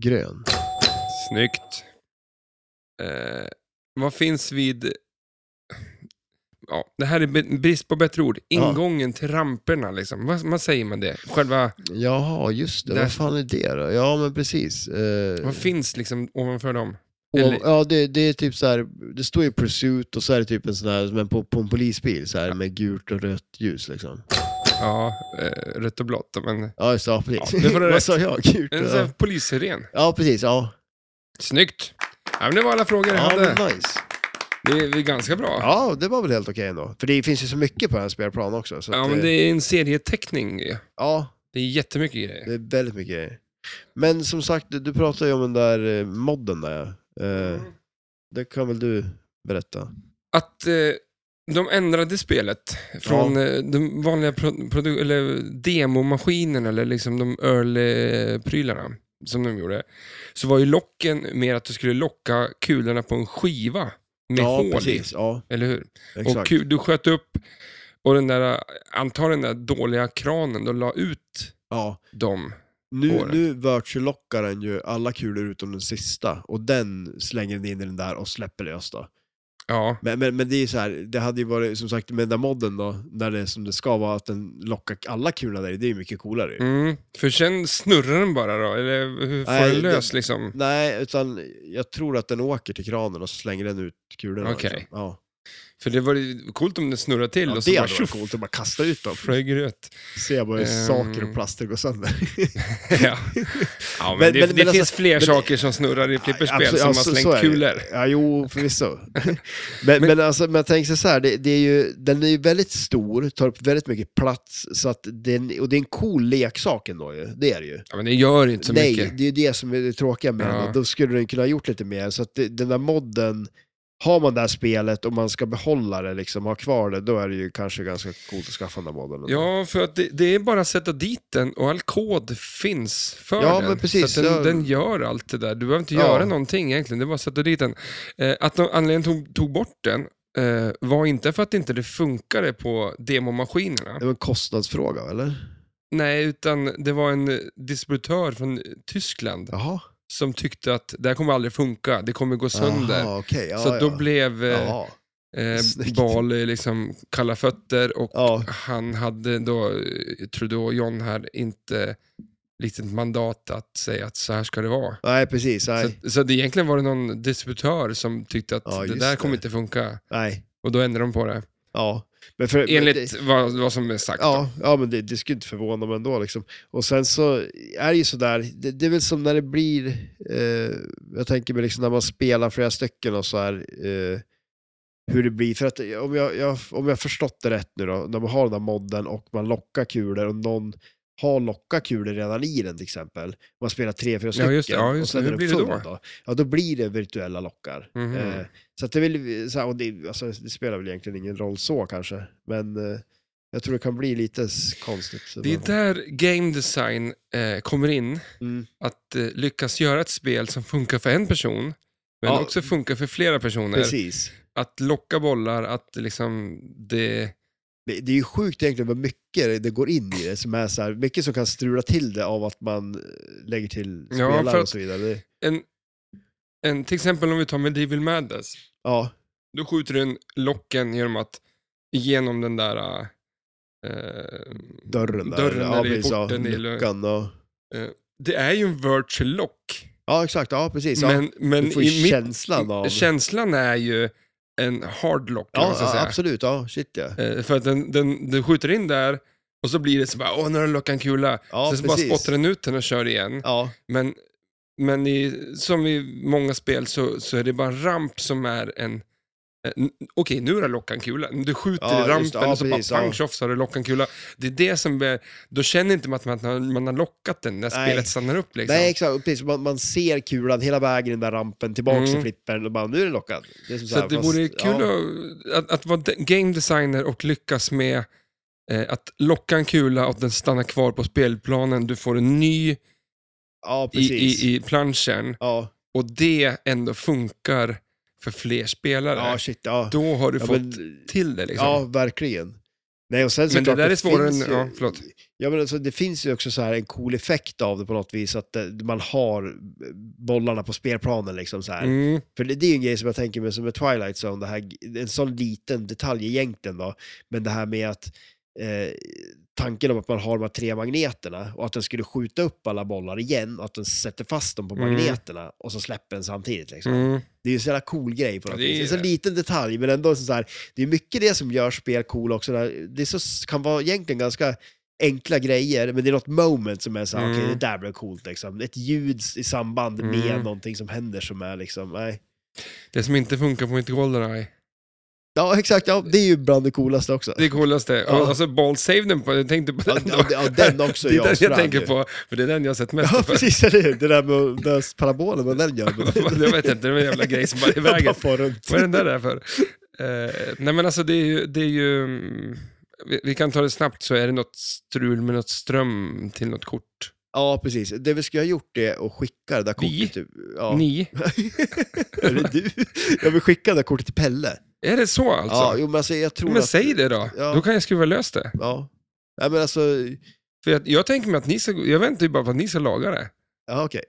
Grön. Snyggt. Eh, vad finns vid... Ja, det här är be- brist på bättre ord. Ja. Ingången till ramperna, liksom. Vad, vad säger man det? Själva, Jaha, just det. Där- Vad fan är det då? Ja, men precis. Eh, vad finns liksom ovanför dem? och- eller- ja, det, det är typ så här, det står ju Pursuit och så är det typ en sån här, men på, på en polisbil så här med gult och rött ljus liksom. Ja, eh, rött och blått. Men... Ja, just det. Ja, precis. Ja, det får du rätt. Vad sa jag? Gult och En sån här rött. polissiren. Ja, precis. Ja, Snyggt! Ja, men det var alla frågor jag ja hade. men nice. Det är, det är ganska bra. Ja, det var väl helt okej ändå. För det finns ju så mycket på den här spelplanen också. Så Ja, att, men eh, det är en serieteckning. ja, Det är jättemycket grejer. det är väldigt mycket grejer. Men som sagt, du, du pratade ju om den där eh, modden där. ja. Eh, Mm. Det kan väl du berätta? Att eh, de ändrade spelet från eh, de vanliga pro- produ- eller demomaskinerna eller liksom de early-prylarna som de gjorde. Så var ju locken mer att du skulle locka kulorna på en skiva med ja, hål i. precis. Ja, Eller hur? Och exakt. kul, du sköt upp och den där, eh, antar den där dåliga kranen, då la ut Ja. dem. Nu, Håret. nu virtuallockar den ju alla kulor utom den sista och den slänger den in i den där och släpper lös då. Ja, Men, men, men det är ju så här, det hade ju varit som sagt med den där modden då, när det är som det ska vara, att den lockar alla kulorna där i, det är ju mycket coolare ju. Mm, för sen snurrar den bara då, eller hur får Nej, den lös det- liksom? Nej, utan jag tror att den åker till kranen och så slänger den ut kulorna. Okej. liksom. Ja. För det var ju coolt om den snurrar till Ja, och så det bara hade varit tjoff, coolt att bara kasta ut dem. flög det ut. Se bara hur Ehm. saker och plaster går sönder. ja. ja, men, det, Men- men- det men alltså- finns fler men- saker som snurrar i flipperspel Absolut, som ja, har så- slängt så är det. kulor. Ja, jo, förvisso. men, men, alltså, men jag tänker så här, det, det är ju, den är ju väldigt stor, tar upp väldigt mycket plats, så att den, och det är en cool leksak ändå ju. Det är det ju. Ja, men det gör inte så Nej, mycket. det är ju det som är det tråkiga med Ja. den. Då skulle den kunna ha gjort lite mer. Så att det, den där modden, har man det här spelet och man ska behålla det, liksom, ha kvar det, då är det ju kanske ganska coolt att skaffa den där modden. ändå. Ja, för att det, det är bara att sätta dit den och all kod finns för Ja, den. men precis, så att den, jag- den gör allt det där. Du behöver inte Ja. göra någonting egentligen, det är bara att sätta dit den. Eh, att de, anledningen tog, tog bort den eh, var inte för att inte det funkade på demomaskinerna. Det var en kostnadsfråga, eller? Nej, utan det var en eh, distributör från eh, Tyskland Jaha. som tyckte att det här kommer aldrig funka, det kommer gå sönder. Jaha, okej. ja, så då ja. blev eh, Jaha. eh, snyggt. Bal eh, liksom kalla fötter och Ja. han hade då, eh, Trudeau, John här, inte riktigt mandat att säga att så här ska det vara. Nej, precis. Nej. Så, så det egentligen var det någon distributör som tyckte att Ja, det just där det. kommer inte funka nej. och då ändrade de på det. Ja. Men för, men Enligt det- vad, vad som är sagt. då. Ja, ja, men det, det skulle inte förvåna mig ändå. Liksom. Och sen så är det ju sådär, det, det är väl som när det blir, eh, jag tänker mig liksom när man spelar flera stycken och så här, eh, hur det blir. För att om jag, jag, om jag har förstått det rätt nu då, när man har den här modden och man lockar kulor och någon har lockat kulor redan i den till exempel. Man spelar tre, fyra stycken Ja, just det. Ja, just och sen det. Hur är den blir det full då? då? Ja, då blir det virtuella lockar. Mhm. Eh, så att det, vill, så här, och det, alltså, det spelar väl egentligen ingen roll så kanske, men eh, jag tror det kan bli lite s- konstigt. Så Det är bara- där game design eh, kommer in. Mm. Att eh, lyckas göra ett spel som funkar för en person, men Ja. också funkar för flera personer. Precis. Att locka bollar, att liksom det... Det, det är ju sjukt egentligen vad mycket det går in i det, som är så här, mycket som kan strula till det av att man eh, lägger till Ja, spelare för att- och så vidare. Det, En, en, till exempel om vi tar Medieval Madness. ja, Då skjuter du en locken genom att, genom den där... Eh, dörren där. Dörren ja, där i precis, ja, porten i- luckan och... det är ju en virtual lock. Ja, exakt. Ja, precis. Ja. men men du får ju känslan av... känslan är ju en hard lock. eller vad ja, man ska ja, säga. absolut. Ja, shit ja. Eh, För att den, den, du skjuter in där och så blir det så bara, åh nu har den lockat en kula. Ja, Sen så bara precis. spottar den ut den och kör igen. Ja, Men, men i, som i många spel så, så är det bara en ramp som är en... en- Okej, nu har jag lockat en kula. Du skjuter Ja, i just det. rampen Ja, och så precis, bara pang ja. tjoff så har du lockat en kula. Det är det som är, Då känner inte man att man, att man- man har lockat den när Nej. spelet stannar upp. Liksom. Nej, exakt. Och Precis, man, man ser kulan hela vägen i den där rampen tillbaka Mm. till flippern och bara, nu är den lockad. Det är som så här, att det fast- vore kul ja. att, att, att vara de- game designer och lyckas med eh, att locka en kula och att den stannar kvar på spelplanen. Du får en ny Ja, i, precis. i, i planschen Ja, och det ändå funkar för fler spelare. ja shit. Ja. Då har du Ja, fått men- till det. Liksom. ja, verkligen. Nej, och sen Men det såklart, där är svårare än... finns ju- Ja, förlåt. Ja, men alltså, det finns ju också så här en cool effekt av det på något vis, att eh, man har bollarna på spelplanen. Liksom, så här. Mm. För det, det är ju en grej som jag tänker mig som med Twilight Zone, det här, en sån liten detalj egentligen då, men det här med att eh, tanken om att man har de här tre magneterna och att den skulle skjuta upp alla bollar igen och att den sätter fast dem på Mm. magneterna och så släpper den samtidigt. Liksom. Mm. Det är ju en sån jävla cool grej på något Ja, det är vis. En det. sån liten detalj, men ändå så här, det är mycket det som gör spel cool också. Där. Det är så, kan vara egentligen ganska enkla grejer, men det är något moment som är så här, Mm. okej det där blev coolt liksom. Ett ljud i samband med Mm. någonting som händer som är liksom, nej. Det som inte funkar på mitt Goldeneye. Ja, exakt. Ja, det är ju bland det coolaste också. Det coolaste. Ja. Alltså ball save den på, jag tänkte på Ja, den ja, då. ja, den också Det är den jag asfrän tänker ju. på, för det är den jag har sett mest Ja, på. precis. Eller hur? Det där med den där parabolen, vad den gör. jag vet inte, det var en jävla grej som bara är i Bara vägen. far runt. Vad är den där där för? Eh, nej men alltså det är ju, det är ju mm, vi, vi kan ta det snabbt så är det något strul med något ström till något kort. Ja, precis. Det vi skulle ha gjort är att skicka det där kortet. Vi? till- Ja. Ni, Eller du. Jag vill skicka det där kortet till Pelle. är det så Ja, alltså? jo, men alltså, jag tror men att... säg det då, Ja. då kan jag skruva lös det. Ja. Nej, men alltså... För jag, jag tänker mig att ni ska, jag väntar ju bara på att ni ska laga det. Ja, okej.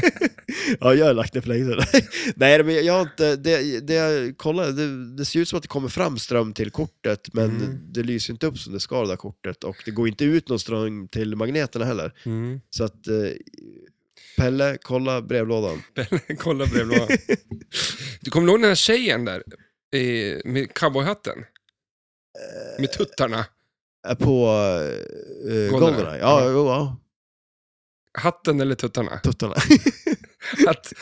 ja, jag har lagt det för länge sedan. Nej, men jag har inte... Det, det jag kollade, det, det ser ut som att det kommer fram ström till kortet, men Mm. det lyser inte upp som det ska, det där kortet. Och det går inte ut någon ström till magneterna heller. Mm. Så att... Eh, Pelle, kolla brevlådan. Kolla brevlådan. du kommer ihåg den här tjejen där eh, med cowboyhatten? Med tuttarna. Eh, På eh, Goldeneye? Ja, Ja. jo, ja. Hatten eller tuttarna? Tuttarna. Att,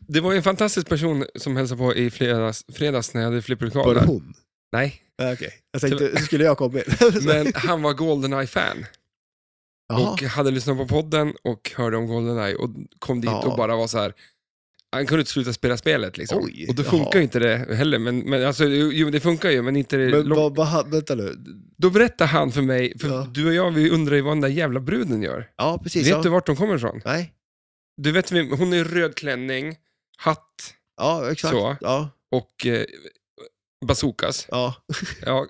det var ju en fantastisk person som hälsade på i fredags, fredags när jag hade Var det flipperlokaler. hon? Nej, Ja, Okej. Jag tänkte, skulle jag komma in? Så- men han var Goldeneye-fan Jaha. och hade lyssnat på podden och hörde om Goldeneye och kom dit Ja. och bara var så här. Han kunde inte sluta spela spelet liksom. Oj, och då jaha. funkar ju inte det heller. Men, men alltså, jo, det funkar ju, men inte det Men eh, lång- vad, vad, han- vänta nu. Då berättar han för mig, för Ja. du och jag vi undrar ju vad den där jävla bruden gör. Ja, precis. ja. Vet du vart de kommer ifrån? Nej. Du vet, vem- hon är i röd klänning, hatt Ja, exakt. Så. Ja, och eh, bazookas. ja. Ja.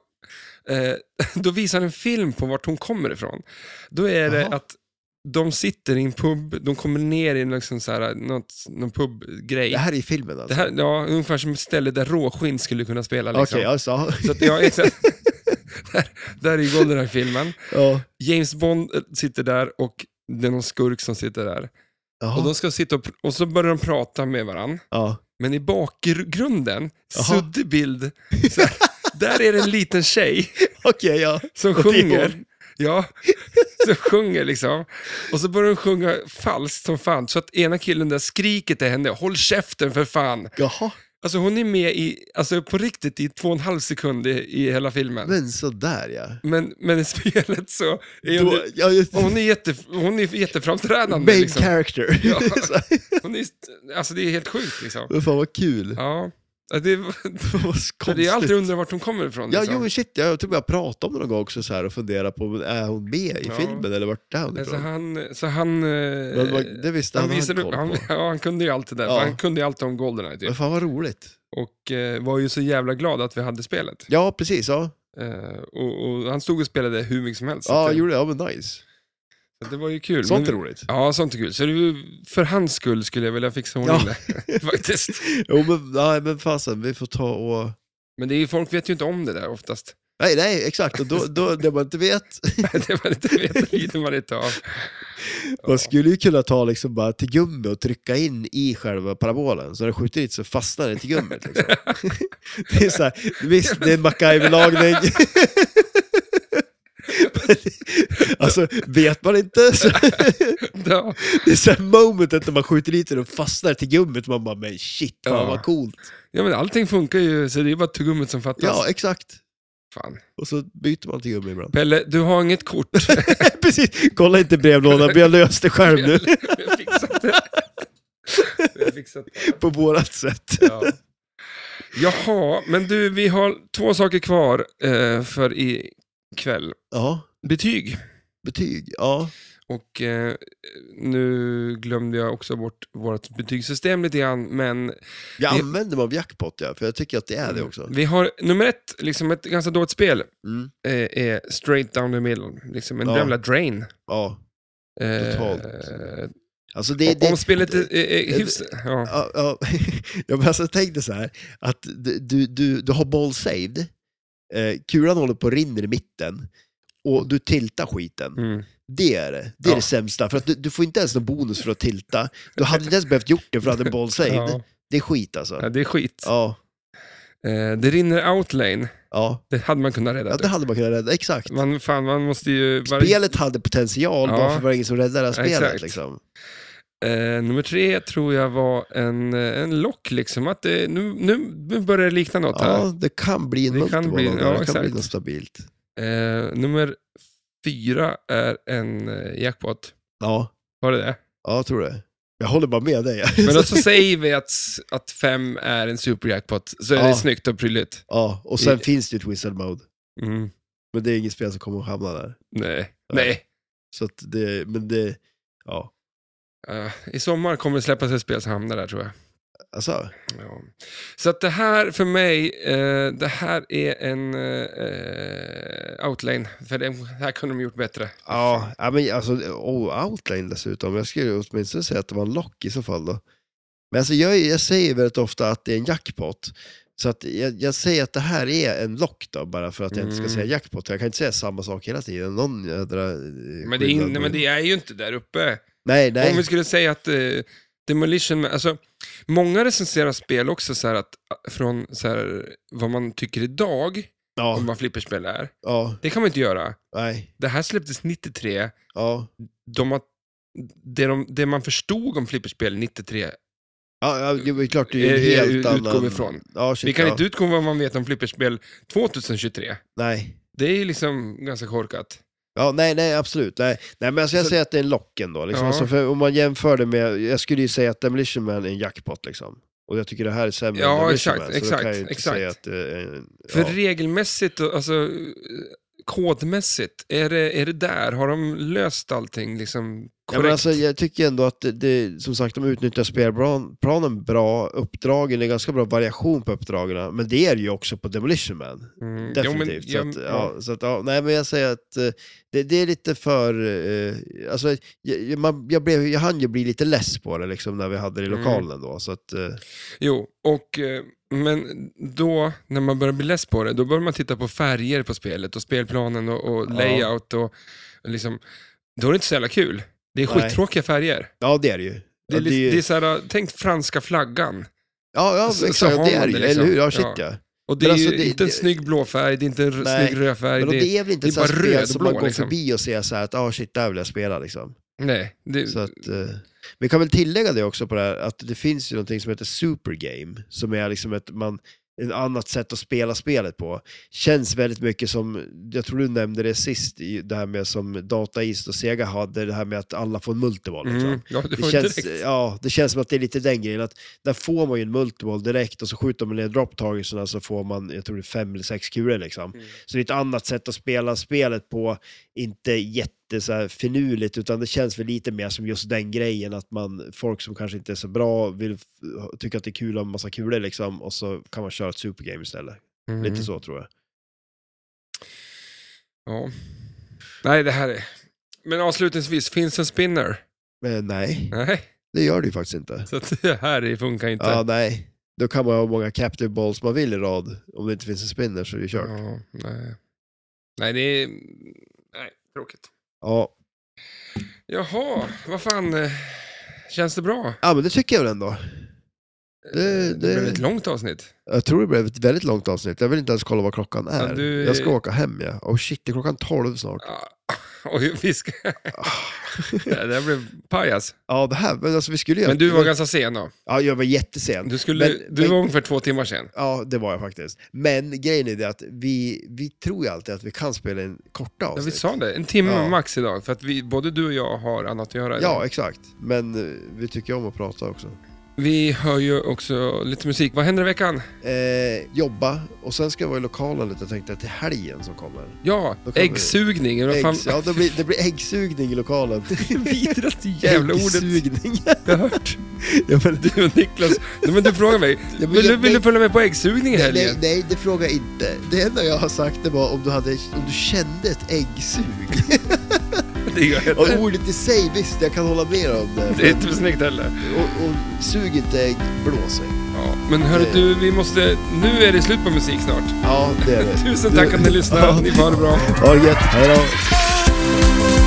Eh, då visar han en film på vart hon kommer ifrån. Då är det Jaha. att de sitter i en pub, de kommer ner i liksom så här, något, någon pubgrej. Det här är i filmen alltså? Det här, ja, ungefär som ett ställe där råskinn skulle kunna spela. Okej, Liksom. alltså. Så att, ja, exakt. där, där är Goldeneye-filmen. Ja. James Bond eh, sitter där och det är någon skurk som sitter där. Och, Jaha. de ska sitta och, pr- och så börjar de prata med varandra. Ja. Men i bakgrunden, Jaha. suddig bild, så här, där är det en liten tjej Okej, ja. som Och det är sjunger. hon. Ja, som sjunger liksom. Och så börjar hon sjunga falskt som fan, så att ena killen där skriker till henne, håll käften för fan. Jaha. Alltså hon är med i, alltså på riktigt i två och en halv sekund i, i hela filmen. Men, Men sådär ja. men, i spelet så är hon, Då, ja just, hon, är jätte, hon är jätteframträdande. main Liksom. character. Ja. Så här, Hon är, alltså det är helt sjukt liksom. Men fan vad kul. Ja. Ja, Det, Vad för det är alltid konstigt. undrar vart hon kommer ifrån. Ja, Liksom. jo shit, jag tror jag pratade om det någon gång också så här och funderade på, men är hon med i Ja. filmen eller vart är hon så ifrån? Alltså, han, så han, eh, Men det var- det visste han, han, han, visade han upp, koll han, på. ja, han kunde ju allt det där, för Ja. han kunde ju allt om Goldeneye Men typ. fan vad roligt. Och eh, var ju så jävla glad att vi hade spelet. Ja, precis. Ja, Eh, och, och han stod och spelade hur mycket som helst. ja så, gjorde det. Ja, men nice. det, så det var ju kul. Sånt är Men- roligt. Ja, sånt är kul. Så det, är ju- för hans skull skulle jag vilja fixa ordning Ja. det, faktiskt. Jo, men, nej, men fasen, vi får ta och... Men det är, ju- folk vet ju inte om det där oftast. Nej, nej, exakt. Och då, då, det man inte vet. det man inte vet lider man inte av. Man skulle ju kunna ta liksom bara till gummi och trycka in i själva parabolen. Så när den skjuter dit så fastnar den till gummit. Liksom. Det är så här, visst, det är en MacGyver-lagning. Men, alltså, vet man inte så Ja. det är så här momentet när man skjuter dit den och fastnar till gummit. Man bara, men shit, fan Ja. vad coolt. ja, men allting funkar ju, så det är bara tuggummet som fattas. Ja, exakt. Fan. Och så byter man till gummi ibland. Pelle, du har inget kort. Precis, kolla inte brevlådan, vi har löst det själv nu Vi har fixat det. Vi har fixat det. på vårat sätt. Ja. Jaha, men du, vi har två saker kvar eh, för ikväll. Ja, Betyg. betyg. Ja, Och eh, nu glömde jag också bort vårt betygssystem lite grann, men Jag Vi- använder mig av jackpot, ja, för jag tycker att det är Mm. det också. vi har nummer ett, liksom ett ganska dåligt spel, Mm. eh, är straight down the middle. Liksom en Ja. jävla drain. Ja, Eh, Totalt. eh, alltså det... det om spelet är, är, är hyfsat... Ja. Ja, ja. alltså Jag bara så tänkte så här, att du- du, du, du har boll saved, eh, kulan håller på och rinner i mitten och du tiltar skiten. Mm. Det är det. Det är Ja. det sämsta. För att du, du får inte ens någon bonus för att tilta. Du hade inte ens behövt gjort det för att du hade en boll saved. Ja. Det är skit alltså. ja, det är skit. Ja, Eh, det rinner outlane. ja. Det hade man kunnat rädda. typ. ja det hade man kunnat rädda. Exakt. Man, fan, man måste ju... varje- Spelet hade potential, Ja. bara för att det var ingen som räddade det här spelet. Exakt. Liksom. Eh, nummer tre tror jag var en, eh, en lock, liksom. Att det, nu, nu nu börjar det likna något här. Ja, det kan bli en Det kan multiball. bli- av det. ja, det kan bli exakt. något stabilt. Eh, nummer fyra är en eh, jackpot. Ja, Var det det? ja, jag tror det. Jag håller bara med dig. Men då så säger vi att, att fem är en superjackpot, så är det Ja. snyggt och prydligt. Ja, och sen I- finns det ju ett whistle mode. Mm. Men det är inget spel som kommer att hamna där. Nej. Ja. Nej. Så att det, men det, ja. Eh, I sommar kommer det släppas ett spel som hamnar där, tror jag. Alltså, Ja. Så att det här för mig, eh, det här är en eh, outlane. För det här kunde de gjort bättre. ja, ja men alltså, oh, outline dessutom. Jag skulle åtminstone säga att det var en lock i så fall då. Men alltså jag, jag säger väldigt ofta att det är en jackpot. Så att jag, jag säger att det här är en lock då, bara för att jag inte Mm. ska säga jackpot. Jag kan inte säga samma sak hela tiden. Någon jädra... eh, Men det, är, skillnad. in- men det är ju inte där uppe. Nej, nej. Om vi skulle säga att eh, Demolition, alltså många recenserar spel också så här att eh, från så här, vad man tycker idag om Ja, vad flipperspel är. ja, Det kan man inte göra. nej, Det här släpptes 93. ja. De har, det, de, det man förstod om flipperspel 93 Ja, ja, det är klart det är Eh, eh, en helt utgår annan... vi ifrån. Ja, shit, Vi kan ja. inte utgå vad man vet om flipperspel 2023. Nej. Det är ju liksom ganska korkat. Ja, nej, nej, absolut. Nej, nej men alltså jag Så- säger att det är en lock ändå. Liksom. Ja. Alltså, för om man jämför det med, jag skulle ju säga att Demolition Man är en jackpot liksom. Och jag tycker det här är sämre Ja, än Demolition exakt, Man, så exakt, då kan jag ju inte exakt. säga att det är en... För ja. regelmässigt, och- alltså eh, kodmässigt, är det, är det där? Har de löst allting liksom Ja, men korrekt? alltså, jag tycker ändå att det, det, som sagt, de utnyttjar spelplanen bra, uppdragen, det är ganska bra variation på uppdragen, men det är det ju också på Demolition Man. Mm, jo, men- Definitivt. ja, så att, ja. ja, så att, ja, nej, men jag säger att eh, det, det är lite för... Eh, alltså, jag, jag- man, jag, blev, jag hann ju bli lite less på det liksom, när vi hade det i Mm. lokalen då. Så att, eh, Jo, och, eh, men då när man börjar bli less på det, då börjar man titta på färger på spelet och spelplanen och, och Ja. layout och, och liksom, då är det inte så jävla kul. Det är Nej. skittråkiga färger. ja, det är det ju. Det är, ja, lite- ju- det är så här, tänk franska flaggan. ja, ja så- så exakt. har det man är det det ju. liksom. Eller hur? Ja, shit Ja. ja. Och det Men är ju alltså, det- inte en det- snygg blå färg, det är inte en r- Nej, snygg röd färg. Men det, det- det är väl inte det är ett sånt bara här spel röd som blå, man går liksom. förbi och ser så här att ah, shit, där vill jag spela liksom. Nej, det, Så att, eh, vi kan väl tillägga det också på det här, att det finns ju någonting som heter supergame, som är liksom ett, man, ett annat sätt att spela spelet på. Känns väldigt mycket som, jag tror du nämnde det sist, i det här med som Data East och Sega hade, det här med att alla får en multiball. Liksom. mm, ja, det Det var känns, eh, direkt. ja, det känns som att det är lite den grejen, att där får man ju en multiball direkt och så skjuter man ner dropptagelserna så får man, jag tror det är fem eller sex kulor liksom. Mm. Så det är ett annat sätt att spela spelet på, inte jätte så här finurligt, utan det känns väl lite mer som just den grejen att man, folk som kanske inte är så bra vill f- tycka att det är kul att ha en massa kulor liksom, och så kan man köra ett supergame istället. Mm. Lite så tror jag. Ja. Nej, det här är... Men avslutningsvis, finns en spinner? Men nej, Nej, det gör det ju faktiskt inte. så att det här är- funkar inte. Ja, nej. Då kan man ha hur många captive balls man vill i rad. Om det inte finns en spinner så är det kört. Ja, nej. nej, det är... Nej, tråkigt. Ja, Jaha, vad fan. eh, Känns det bra? Ja, men det tycker jag väl ändå. Eh, Det, det, det blev ett långt avsnitt. Jag tror det blev ett väldigt långt avsnitt. Jag vill inte ens kolla vad klockan är. Ja, du- Jag ska åka hem, ja. Oh shit, det är klockan 12 snart. Ah, Ja. Ah, Oj, vi ska... det där blev pajas. Ja, det här, men alltså vi skulle ju... Men du var ganska sen då. Ja, jag var jättesen. Du, skulle, Men- du men- var ungefär två timmar sen. Ja, det var jag faktiskt. Men grejen är det att vi, vi tror ju alltid att vi kan spela in korta Ja, avsnitt. vi sa det. En timme Ja. max idag. För att vi, både du och jag har annat att göra idag. Ja, exakt. Men eh, vi tycker om att prata också. Vi hör ju också lite musik. Vad händer i veckan? Eh, jobba och sen ska jag vara i lokalen lite tänkte jag till helgen som kommer. Ja, Då kommer- äggsugning. eller vad fan- Äggs, ja, det blir, det blir äggsugning i lokalen. Vidraste jävla ordet Äggsugning. jag hört. ja, men, Du och Niklas. Nej, men du frågar mig. men Vill, du, jag- vill du följa med på äggssugning i nej, helgen? nej, nej, det frågar jag inte. Det enda jag har sagt det var om du, hade, om du kände ett äggsug. Det gör jag och inte. ordet i sig, visst, jag kan hålla med om det. Det är inte snyggt heller. Och, och sug inte ägg, blås ägg. Ja, men hörru du, vi måste... Nu är det slut på musik snart. Ja, det är det. Tusen tack att ni lyssnade. Ni får ha det bra. Ha det gött. Hej då.